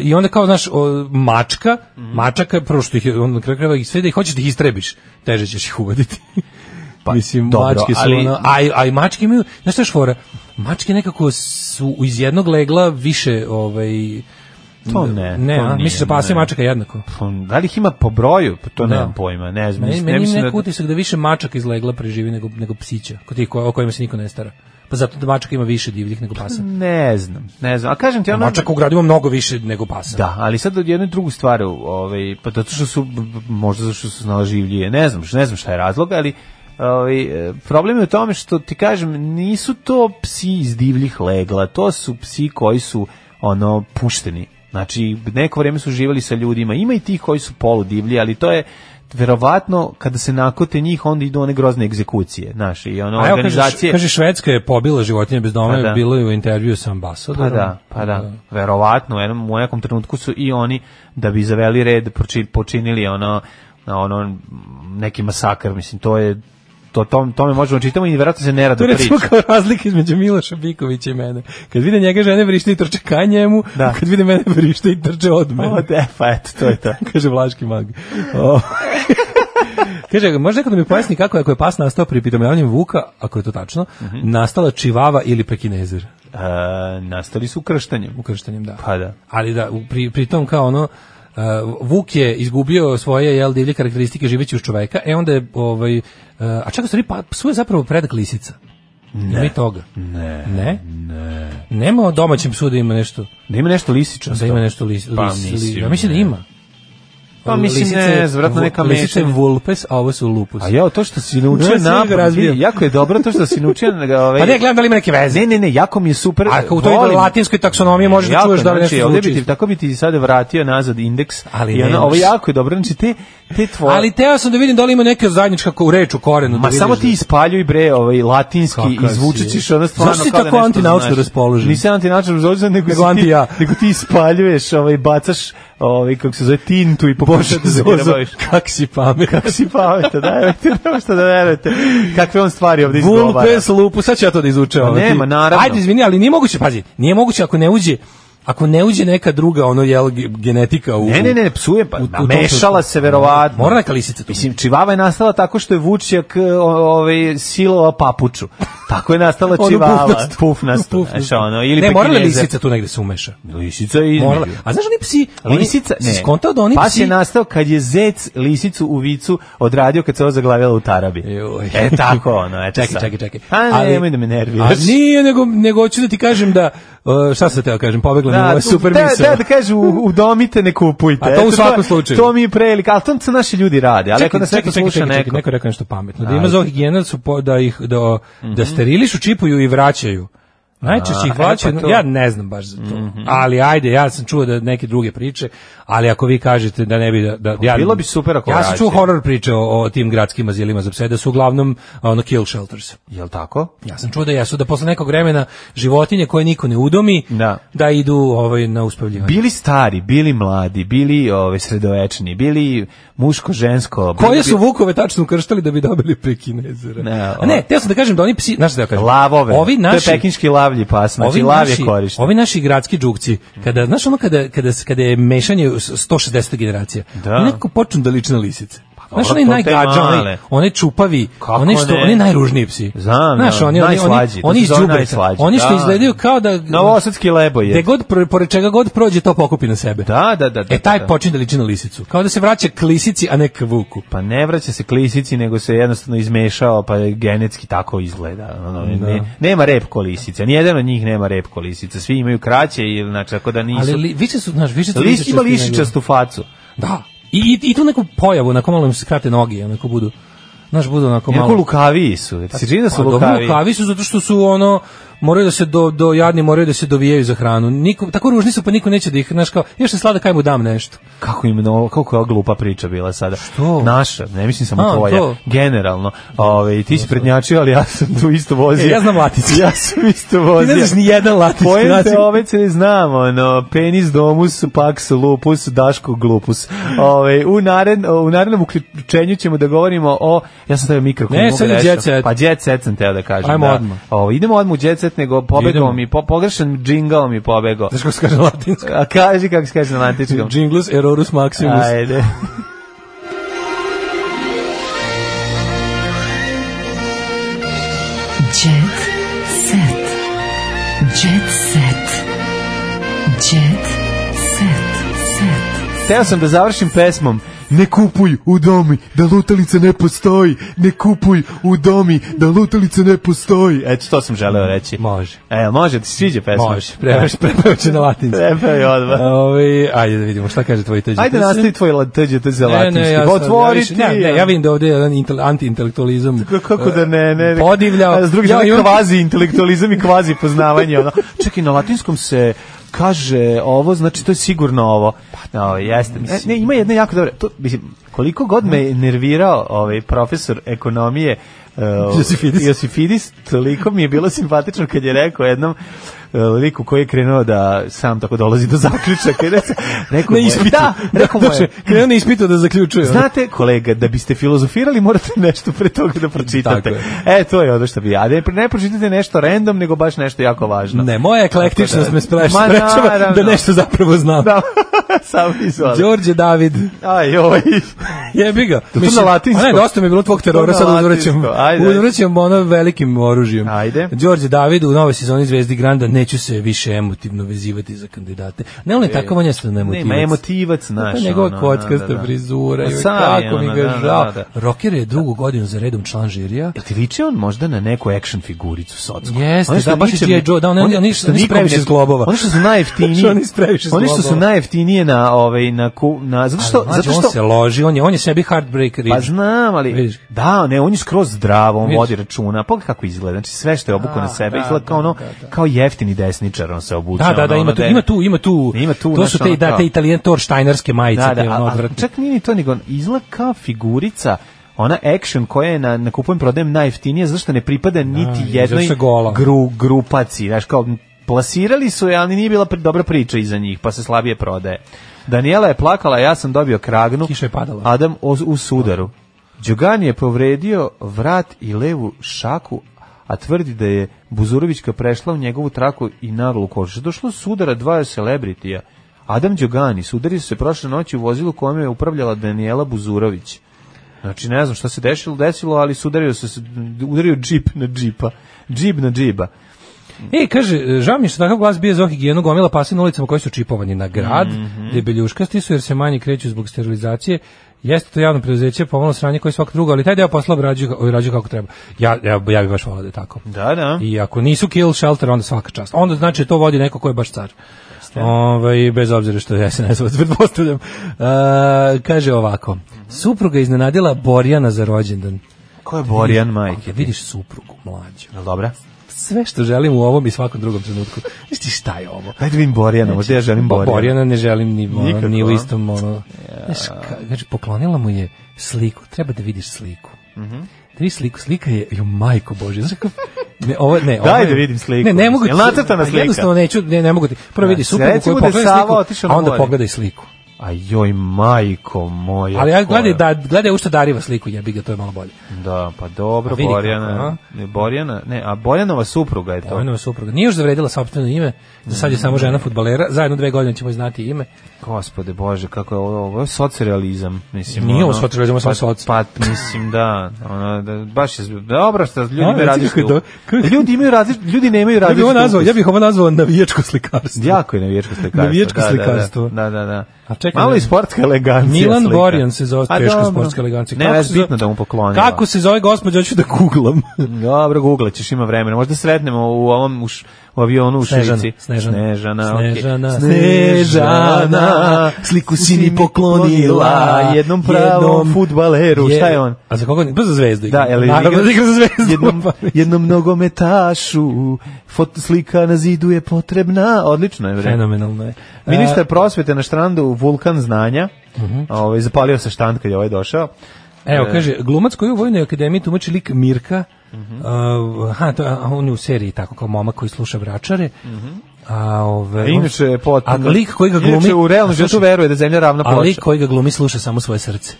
i onda kao, znaš, o, mačka, mačaka je prvo što ih, je- on na kraju krajeva ih sve da ih hoćeš da ih istrebiš, teže ćeš ih uvoditi.
[laughs] Pa,
Mislim,
dobro,
mačke su
ali-
ono, a, i- a i mačke imaju, znaš šta je šfora, mačke nekako su iz jednog legla više, ovaj,
To ne,
ne,
to
a?
nije,
misliš da pasa i
ne.
mačaka jednako?
Pa, Da li ih ima po broju? Pa to
Da.
nemam pojma. Ne znam.
Meni,
Mislim,
meni
ne mislim
ima
da...
neko utisak da više mačak iz legla preživi nego, nego psića, kod tih ko- o kojima se niko ne stara. Pa zato da mačaka ima više divljih nego pasa.
Mm, Ne znam, ne znam. A kažem ti, ono...
Mačaka u gradu ima mnogo više nego pasa.
Da, ali sad od jedne drugu stvar, ovaj, pa zato što su, b- b- možda zato što su naloživljije, ne znam, ne znam šta je razlog, ali ovaj, e, problem je u tome što ti kažem, nisu to psi iz divljih legla, to su psi koji su ono pušteni. Znači, neko vrijeme su živjeli sa ljudima, ima i tih koji su poludivlji, ali to je verovatno kada se nakute njih onda idu one grozne egzekucije, znaš, i ono
A evo,
organizacije.
Kaže, kaže, Švedska je pobila životinje bez doma,
Pa da.
bilo je u intervju sa
Pa
ambasadorom.
da, pa da. Verovatno, u, jednom, u nekom trenutku su i oni, da bi zaveli red, proči- počinili ono, ono neki masakr, mislim, to je to tome tome možemo čitamo i verovatno se nerado
To je
priča.
recimo kao razlika između Miloša Bikovića i mene. Kad vide njega žene vrište i trče ka njemu,
Da.
a kad vide mene vrište i trče od mene.
O, da, pa eto, to [laughs] je to.
[laughs] Kaže Vlaški mag. O. [laughs] Kaže, može neko da mi pojasni kako je ako je pas nastao pri pitomljavanjem vuka, ako je to tačno,
Mhm.
nastala čivava ili pekinezer?
E, nastali su ukrštanjem.
Ukrštanjem, da.
Pa da.
Ali da, u- pri, pri tom kao ono, uh, Vuk je izgubio svoje jel, divlje karakteristike živeći uz čoveka, e onda je, ovaj, uh, a čak u stvari, pa, psu je zapravo predak lisica. Ne. Ima i toga. Ne. Ne? Nema o domaćem psu da ima nešto,
Da ima nešto lisičasto.
da ima nešto lis,
Pa
lis-
mislim,
li- ja mislim da
ne.
ima.
Pa mislim,
Lisice-
ne, zvratno neka
vu- Lisice je
mešavina.
vulpes, a ovo su lupus.
A ja to što si naučio
Ja sam ga
na
razbio.
jako je dobro to što si naučio na ovaj.
Pa ne, gledam da li ima neke veze.
Ne, ne, ne, jako mi je super.
A ako u toj
volim.
latinskoj taksonomiji možeš da
Jako,
čuješ da li
znači,
nešto
ovdje bi
zvuči
ti, tako bi ti sada vratio nazad indeks.
Ali
I
ne
ono,
možeš.
ovo jako je dobro, znači te, te tvoje...
Ali teo sam da vidim da li ima neka zajednička ko- reč u korenu. da
Ma
vidiš
samo
da-
ti ispaljuj bre ovaj latinski
Kakav
i zvuči
si.
ćeš ono stvarno
Zašto si
kao da
tako
nešto
antinaučno
znaš.
raspoložen?
Nisam antinaučno raspoložen, nego,
Nego
si ti,
anti ja.
nego ti ispaljuješ, ovaj, bacaš ovaj, kako se zove, tintu i pokušaš da zajebaviš.
Kak si
[laughs]
pamet.
Kako si pameta, da, evo [laughs] ti nema šta da verujete. Kakve on stvari ovdje izgovara.
Vulpes lupus, sad ću ja to da izučavam.
Ma nema,
Ti-
naravno.
Ajde, izvini, ali nije moguće, pazi, nije moguće ako ne uđe, ako ne uđe neka druga ono jel ge- genetika u
Ne, ne, ne, psuje, pa
u- u tom
namešala
smislu.
se verovatno.
Mora neka lisica tu.
Mislim, čivava je nastala tako što je Vučjak e, o- ovaj, silovao papuču. Tako je
[laughs]
nastala
Onu
čivava.
pufnastu.
Pufnastu.
Pufnastu.
Znaš, ono, ili
Ono, ne, morala
pekineze.
lisica tu negde se umeša.
Lisica je između.
Morala. A znaš oni psi, oni-
Lisica,
si
ne.
skontao da oni
Pas
psi
je nastao kad je zec lisicu u vicu odradio kad se ovo zaglavila u tarabi.
Joj.
E tako, ono, eto
[laughs] Čekaj,
sad.
čekaj, čekaj.
A ne,
Ali-
nemoj da me nerviraš.
A nije, nego, nego hoću da ti kažem da, uh, šta sam teo kažem, pobegla mi ova
tu-
super
da,
misao.
da, da kažu, u- udomite, ne kupujte.
A to u
Eto,
svakom slučaju.
To mi je prelika, ali to se naši ljudi rade. Ali ako nas neko sluša
čekaj,
neko.
neko je rekao nešto pametno. Da ima zoohigijena da su po, da ih da, da sterilišu, čipuju i vraćaju. Najčešće
Mhm. A,
ih vraćaju,
e, pa to. Mhm.
ja ne znam baš za to. Ali ajde, ja sam čuo da neke druge priče, ali ako vi kažete da ne bi da, da ja
Pa bilo bi super ako
Ja sam čuo
vraćaju.
horor priče o, o tim gradskim azilima za pse, da su uglavnom ono kill shelters.
Jel tako?
Ja sam čuo da jesu da posle nekog vremena životinje koje niko ne udomi
Da.
idu ovaj na uspavljivanje.
Bili stari, bili mladi, bili ove sredovečni, bili muško, žensko. bili-
Koje su vukove tačno ukrštali da bi dobili pekinezera?
Ne,
A ne, teo sam da kažem da oni psi, znaš šta da kažem?
lavove.
Ovi naši,
To je pekinški lavlji pas, znači
ovi
lav je
naši,
korišten.
ovi naši gradski džukci, kada, znaš ono kada, kada, se- kada je mešanje s- 160. generacija,
Da. Pa
oni nekako počnu da liče na lisice. Znaš,
dobro,
onaj
to te
najgađa,
male.
onaj, onaj čupavi,
Kako
onaj što,
ne?
oni najružniji psi.
Znam,
Znaš,
ja,
oni, oni, oni,
najslađi, to
oni
se
iz
zove
đubreta,
najslađi,
oni što
da.
izgledaju kao da...
Novosadski lebo je.
Gde god, pro- pored čega god prođe, to pokupi na sebe.
Da, da, da. da
E, taj
da.
počinje da liči na lisicu. Kao da se vraća k lisici, a ne k vuku.
Pa ne vraća se klisici, nego se jednostavno izmešao, pa je genetski tako izgleda. Ono, ne- ne- nema rep kolisica, nijedan od njih nema rep kolisica, svi imaju kraće, ili, znači, tako da nisu...
Ali li, više su, znaš, više su
List ima
lišičasti
lišičastu facu.
nego- Da. I, i, I tu neku pojavu, onako malo im se krate noge, onako budu, znaš, budu onako malo...
Jako lukaviji su. jer Se čini da su
Pa, dobro,
lukaviji.
lukavi su zato što su ono moraju da se do, do jadni moraju da se dovijaju za hranu. Niko tako ružni su pa niko neće da ih znaš kao još se slada kaj mu dam nešto.
Kako im ovo, kako je ova glupa priča bila sada.
Što?
Naša, ne mislim samo
A,
tvoja.
to.
Generalno. Ove, ti si prednjačio, ali [laughs] ja sam tu isto vozio.
E, ja znam
[laughs]
latinski.
ja sam isto
Ti
vozio.
[laughs] ne znaš ni jedan latinski [laughs]
Pojente
naziv.
ove se znam, ono, penis domus, pax lupus, daško glupus. Ove, u, nared, u narednom uključenju ćemo da govorimo o, ja sam stavio mikrofon.
Ne,
mogu
sad je
grešno.
jet set.
Pa jet set sam teo da kažem.
Ajmo
da.
odmah.
Ovo, idemo odmah u jet set, nego pobegao
Idemo.
mi, po, pogrešan džingao mi
[laughs]
pobegao.
Znaš kako se kaže latinski?
A kaži kako se kaže na antičkom.
Jinglus errorus maximus.
Ajde.
Jet set. Jet set. Jet set. Set.
Teo sam da završim pesmom Ne kupuj u domi, da lutalica ne postoji. Ne kupuj u domi, da lutalica ne postoji. Eto, to sam želeo reći.
Može.
E, može, ti se sviđa pesma?
Može, [laughs] prevaš, prevaš na latinski.
Prepevi odmah.
[laughs] Ovaj, ajde da vidimo šta kaže tvoj teđe.
Ajde, nastavi tvoj la- tuđe, to za
Ne, ne,
latinski.
ja
Pa
sam-
otvori
ja više-
ti,
Ne, ne,
ja.
ja vidim da ovde je jedan intel- antiintelektualizam.
K- Kako da ne, ne, ne.
Podivljao.
A s druge
Ja,
strane,
i on-
kvazi intelektualizam i kvazi poznavanje. Ono. Čekaj, na latinskom se kaže ovo, znači to je sigurno ovo. Pa, jeste. E, ne, ima jedno jako dobro, to, mislim, koliko god me je nervirao ovaj profesor ekonomije uh,
Josifidis.
Josifidis, toliko mi je bilo simpatično kad je rekao jednom uh, liku koji je krenuo da sam tako dolazi do [laughs] zaključaka. i da se- Rekao
Na
mu je-
ispitu.
Da, rekao mu je,
Krenuo na ispitu da zaključuje.
[laughs]
ono.
Znate, kolega, da biste filozofirali morate nešto pre toga da pročitate.
Tako
E, to je ono što bi ja. Ne, ne pročitate nešto random, nego baš nešto jako važno.
Ne, moja eklektičnost me spreš,
Ma,
sprečava da
naravno.
nešto zapravo znam.
[laughs] Da, sam izvali.
Đorđe David,
Aj, oj.
jebi ga.
to na latinsko.
a Ne, dosta mi je bilo tvog terora,
To na
sad
latinsko,
uzvraćam,
ajde.
uzvraćam ono velikim oružjem.
Ajde.
Đorđe David u novoj sezoni Zvezdi Granda neću se više emotivno vezivati za kandidate. Ne, on je tako, on je stvarno emotivac.
E, Nema emotivac, znaš.
Pa njegova
ono,
kockasta
da, da.
frizura,
Pa
joj,
sam je,
kako mi
ono,
ga
da,
je
da,
žao.
da, da.
Rocker je drugu godinu za redom član žirija.
Jel ti viče on možda na neku action figuricu socku?
Jeste,
Ono što
da, baš je
ničem-
G.I. Joe, da, on-
ono
on- oni
što
su- oni su
nikom
previše
ne-
zglobova.
Ono što su najjeftinije.
[laughs] Što oni su previše
[laughs] Oni što su
zglobova.
najjeftinije na, ovaj, na, ku, na, zato što,
Ali, mlađe,
zato što,
on se loži, on je, on je sebi heartbreaker.
Pa znam, ali
Vidiš.
da, ne, on je skroz zdrav, on
Vidiš.
vodi računa. Pogledaj kako izgleda. Znači sve što je obukao na
A,
sebe,
da,
izgleda kao
da,
ono
da, da.
kao jeftini desničar, on se obuče.
Da, da,
ono,
da, ima
ono,
tu,
da-
ima tu, ima tu.
Ima tu,
to
znaš,
su te,
ono,
da,
kao-
te italijan Torštajnerske majice,
Da, da,
te ono
a- a,
odvratne.
čak nije ni to, nego izgleda kao figurica ona action koja je na, na kupujem prodajem najjeftinije, zašto ne pripada niti
izgleda
jednoj
se gola.
gru, grupaci. Znaš, kao plasirali su je, ali nije bila pri- dobra priča iza njih, pa se slabije prodaje. Daniela je plakala, ja sam dobio kragnu.
Kiša je padala.
Adam o- u sudaru. Đogan je povredio vrat i levu šaku, a tvrdi da je Buzurovićka prešla u njegovu traku i naglu košu. Došlo su udara dva celebritija. Adam Đogani sudario se prošle noći u vozilu kojem je upravljala Daniela Buzurović. Znači, ne znam šta se desilo, desilo, ali sudario se, se- udario džip na džipa. Džip na džiba.
E, kaže, žao mi je što takav glas bije za higijenu gomila pasa na ulicama koji su čipovani na grad,
Mhm.
debeljuškasti su jer se manje kreću zbog sterilizacije, Jeste to javno preduzeće, pomalo sranje koji svako drugo, ali taj deo posla obrađuju, obrađuju kako treba. Ja, ja, ja bih baš volao da je tako.
Da, da.
I ako nisu kill shelter, onda svaka čast. Onda znači to vodi neko ko je baš car. Ovaj, bez obzira što ja se ne znam, [laughs] pretpostavljam. E, kaže ovako, supruga je iznenadila Borjana za rođendan.
Ko je Borjan
Kada
majke?
vidiš suprugu mlađu,
Jel dobra?
sve što želim u ovom i svakom drugom trenutku. Znaš ti šta je ovo?
Ajde vidim Borjana, možda ja želim
Bo-
Borjana.
Borjana ne želim ni, ono,
Nikako,
ni u
a?
istom ono. Znaš, ka- znači, poklonila mu je sliku. Treba da vidiš sliku.
Mhm.
Da vidiš sliku. Slika je, jo, majko Bože. Znaš kako- Ne, ovo, ne,
[laughs]
ovo
Daj
je-
da vidim sliku.
Ne, ne mogu.
Jel nacrtana
pa
slika?
Jednostavno neću, ne, ne mogu ti. Prvo vidi
Da,
suprugu
recimo
koju
da je
pokloni
Sava
sliku,
otišao
a
na
onda
more.
pogledaj sliku.
A joj, majko moja.
Ali ja
koja-
gledaj, da, gledaj u što dariva sliku, jebi ga, to je malo bolje.
Da, pa dobro,
A vidi kako,
Borjana. ne, Borjana, ne, a Borjanova supruga je to.
Ona je supruga. Nije još zavredila sopstveno ime, za sad je samo žena fudbalera. Zajedno dve godine ćemo i znati ime.
Gospode Bože, kako je ovo, ovo je socrealizam, mislim.
Nije ovo
ono,
socrealizam, ovo je samo
pa-
soc.
Pa, mislim, da, ono, da, baš je, dobro što ljudi
A,
imaju
recimo
različite,
kako je do- kako-
ljudi imaju različite, ljudi nemaju
Ja bih
različite
ovo nazvao,
ukuse.
ja bih ovo nazvao navijačko slikarstvo.
Jako je navijačko slikarstvo.
Navijačko
da, da,
slikarstvo.
Da, da, da.
A čekaj,
Malo
ne.
i sportska elegancija
Milan
slika.
Borjan se zove
A
teška
dobro.
sportska elegancija.
Ne,
Kako
već
se zove-
bitno da mu poklonila.
Kako se zove gospođa, hoću da googlam. [laughs]
Dobro, googlat ćeš, ima vremena. Možda sretnemo u ovom u, š- u avionu u
Snežana,
Švici.
Snežana.
Snežana, okej.
Snežana, Snežana,
Snežana,
sliku si mi poklonila,
jednom pravom
jednom-
fudbaleru. Šta je
[laughs]
on?
A za koga? Pa za zvezdu. igra.
Da, jel je
Naravno
igra-
da igra za zvezdu.
Jednom,
pa-
jednom nogometašu, fot, slika na zidu je potrebna. Odlično je vreme.
[laughs] Fenomenalno je.
Ministar prosvete na štrandu vulkan znanja. ovaj, zapalio se štand kad je ovaj došao.
E, Evo, kaže, glumac koji je u Vojnoj akademiji tumači lik Mirka,
Mhm.
uh, aha, to, a on je u seriji tako kao momak koji sluša vračare, a, ove,
Mhm. A Inače je potpuno...
A lik koji ga glumi...
Inače u realnom životu
Slušaj,
veruje da je zemlja ravna
A lik
ploča.
koji ga glumi sluša samo svoje srce.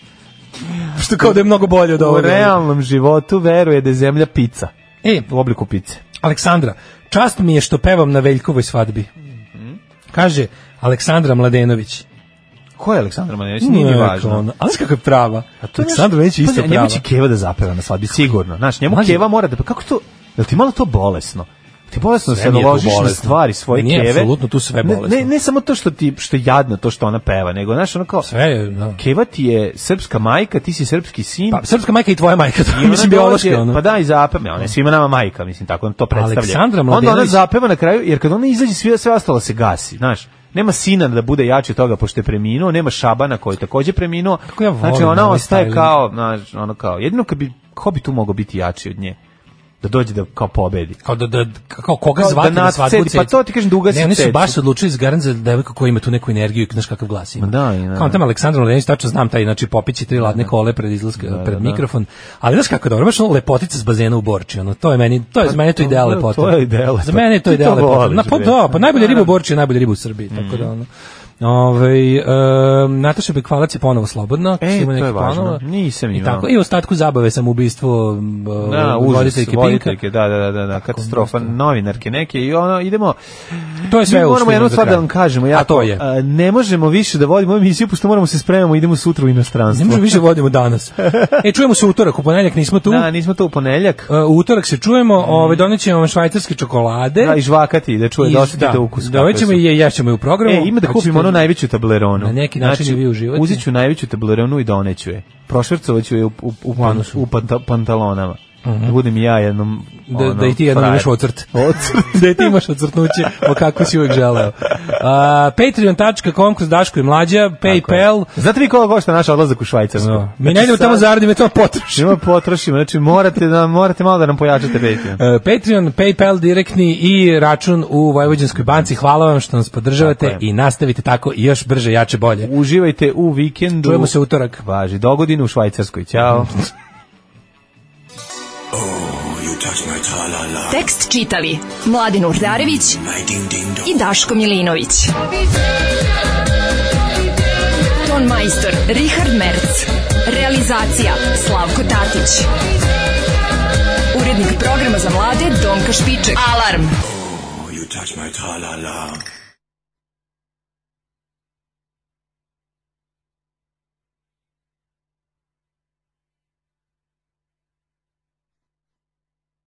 [laughs] Što kao da je mnogo bolje od
U
ovoga.
realnom životu veruje da je zemlja pica.
E,
U obliku pice.
Aleksandra, čast mi je što pevam na Veljkovoj svadbi.
Mhm.
Kaže Aleksandra Mladenović.
Ko je Aleksandar Manjeć? Pa Nije mi
Neka
važno.
ona, Ali znaš kako je prava? Aleksandra Mladenović je isto
Pazi, pa Njemu
prava.
će Keva da zapeva na svadbi, sigurno. Znaš, njemu
Mlađe-
Keva mora da... pa Kako to... Jel ti malo to bolesno? Ti bolesno
Sve
se
mi je to
naložiš na
bolesno.
stvari svoje
Meni je
Keve.
apsolutno tu sve
Ne- Ne,
bolesno.
ne samo to što ti što je jadno to što ona peva, nego znaš ono kao
Sve je, da.
Keva ti je srpska majka, ti si srpski sin.
Pa, srpska majka i tvoja majka, to
I ona
mislim
dođe,
biološki. Ono.
Pa da, i zapeva, ona je svima nama majka, mislim, tako on to predstavlja.
Aleksandra
Onda ona
Mladenović-
zapeva na kraju, jer kad ona izađe, sve, sve ostalo se gasi, znaš. Nema sina da bude jači od toga pošto je preminuo, nema Šabana koji je takođe preminuo.
Kako ja volim
znači ona
ovaj
ostaje
styling.
kao, znaš, ono kao, jedino kad bi, ko bi tu mogao biti jači od nje? da dođe da kao pobedi.
Kao da, da kao koga
Kao da
zvati na
nas
svadbu
cedi, pa
ceti.
to ti kažem, duga si
Ne, oni su
ceci.
baš se odlučili za garant za devojku koja ima tu neku energiju i znaš kakav glas ima.
Ma da, i da.
Kao tamo Aleksandar Mladenović, tačno znam taj, znači popići tri ladne kole pred izlaska, pred mikrofon. Ali znaš kako je dobro, baš ono lepotica s bazena u Borči, ono, to je meni, to je za mene to ideal
Pa to-
lepota.
to je ideal
Za
lepote.
mene je to
Ti
ideal
to
lepota.
voliš,
Na, pa
bre. Mhm.
da, pa najbolja riba u Borči je najbolja riba u Srbiji, tako da ono. Ove, um, Nataša Bekvalac je ponovo slobodna.
E,
ima
to je
nekih
važno.
planova.
Nisam
I
imao.
tako, i u ostatku zabave sam ubistvo da,
Da, užas,
voditeljke Pinka.
voditeljke, da, da, da, da, da katastrofa, novinarke neke i ono, idemo,
To je sve
Mi
u
moramo
stilu
jednu
za
stvar
kraj.
da vam kažemo,
A to je.
a, ne možemo više da vodimo emisiju, pošto moramo se spremamo, idemo sutra u
Ne
inostranstvo.
možemo više vodimo
[laughs]
danas. E, čujemo se u utorak, u ponedjeljak nismo tu.
Da, nismo to u ponedeljak.
E, u utorak se čujemo, ovaj donećemo vam švajcarske čokolade.
Da, i žvakati, da čuje
E? I-
dosta da,
da,
ukus. kakve
donećemo
su.
i je, jašćemo je u programu.
E, ima da
Ako
kupim
ćete-
ono najveću tableronu. Znači,
Na neki način i vi uživati.
Uzet ću najveću tableronu i doneću je. Prošvrcovaću je u, u, u, pan, u panta, pantalonama. Da budem ja jednom...
Mhm.
ono,
Da, da i ti jednom
frajer.
imaš
[laughs]
ocrt. da i ti imaš ocrtnuće o kako si uvek želeo. A, Patreon.com kroz Daško i Mlađa, Paypal.
Znate vi koliko košta naš odlazak u Švajcarsku?
No. Mi
Znači,
ne idemo
sad-
tamo zaradimo, to potrošimo.
Nema potrošimo, znači morate, da, morate malo da nam pojačate Patreon.
E, Patreon, PayPal direktni i račun u Vojvođanskoj banci. Hvala vam što nas podržavate
Tako je.
i nastavite tako i još brže, jače, bolje.
Uživajte u vikendu.
Čujemo se utorak.
Važi, dogodine u Švajcarskoj.
[laughs]
Ćao.
Tekst čitali Mladin Urdarević i Daško Milinović. Ton majstor Richard Merc. Realizacija Slavko Tatić. Urednik programa za mlade Donka Špiček. Alarm!
You touch my tra-la-la.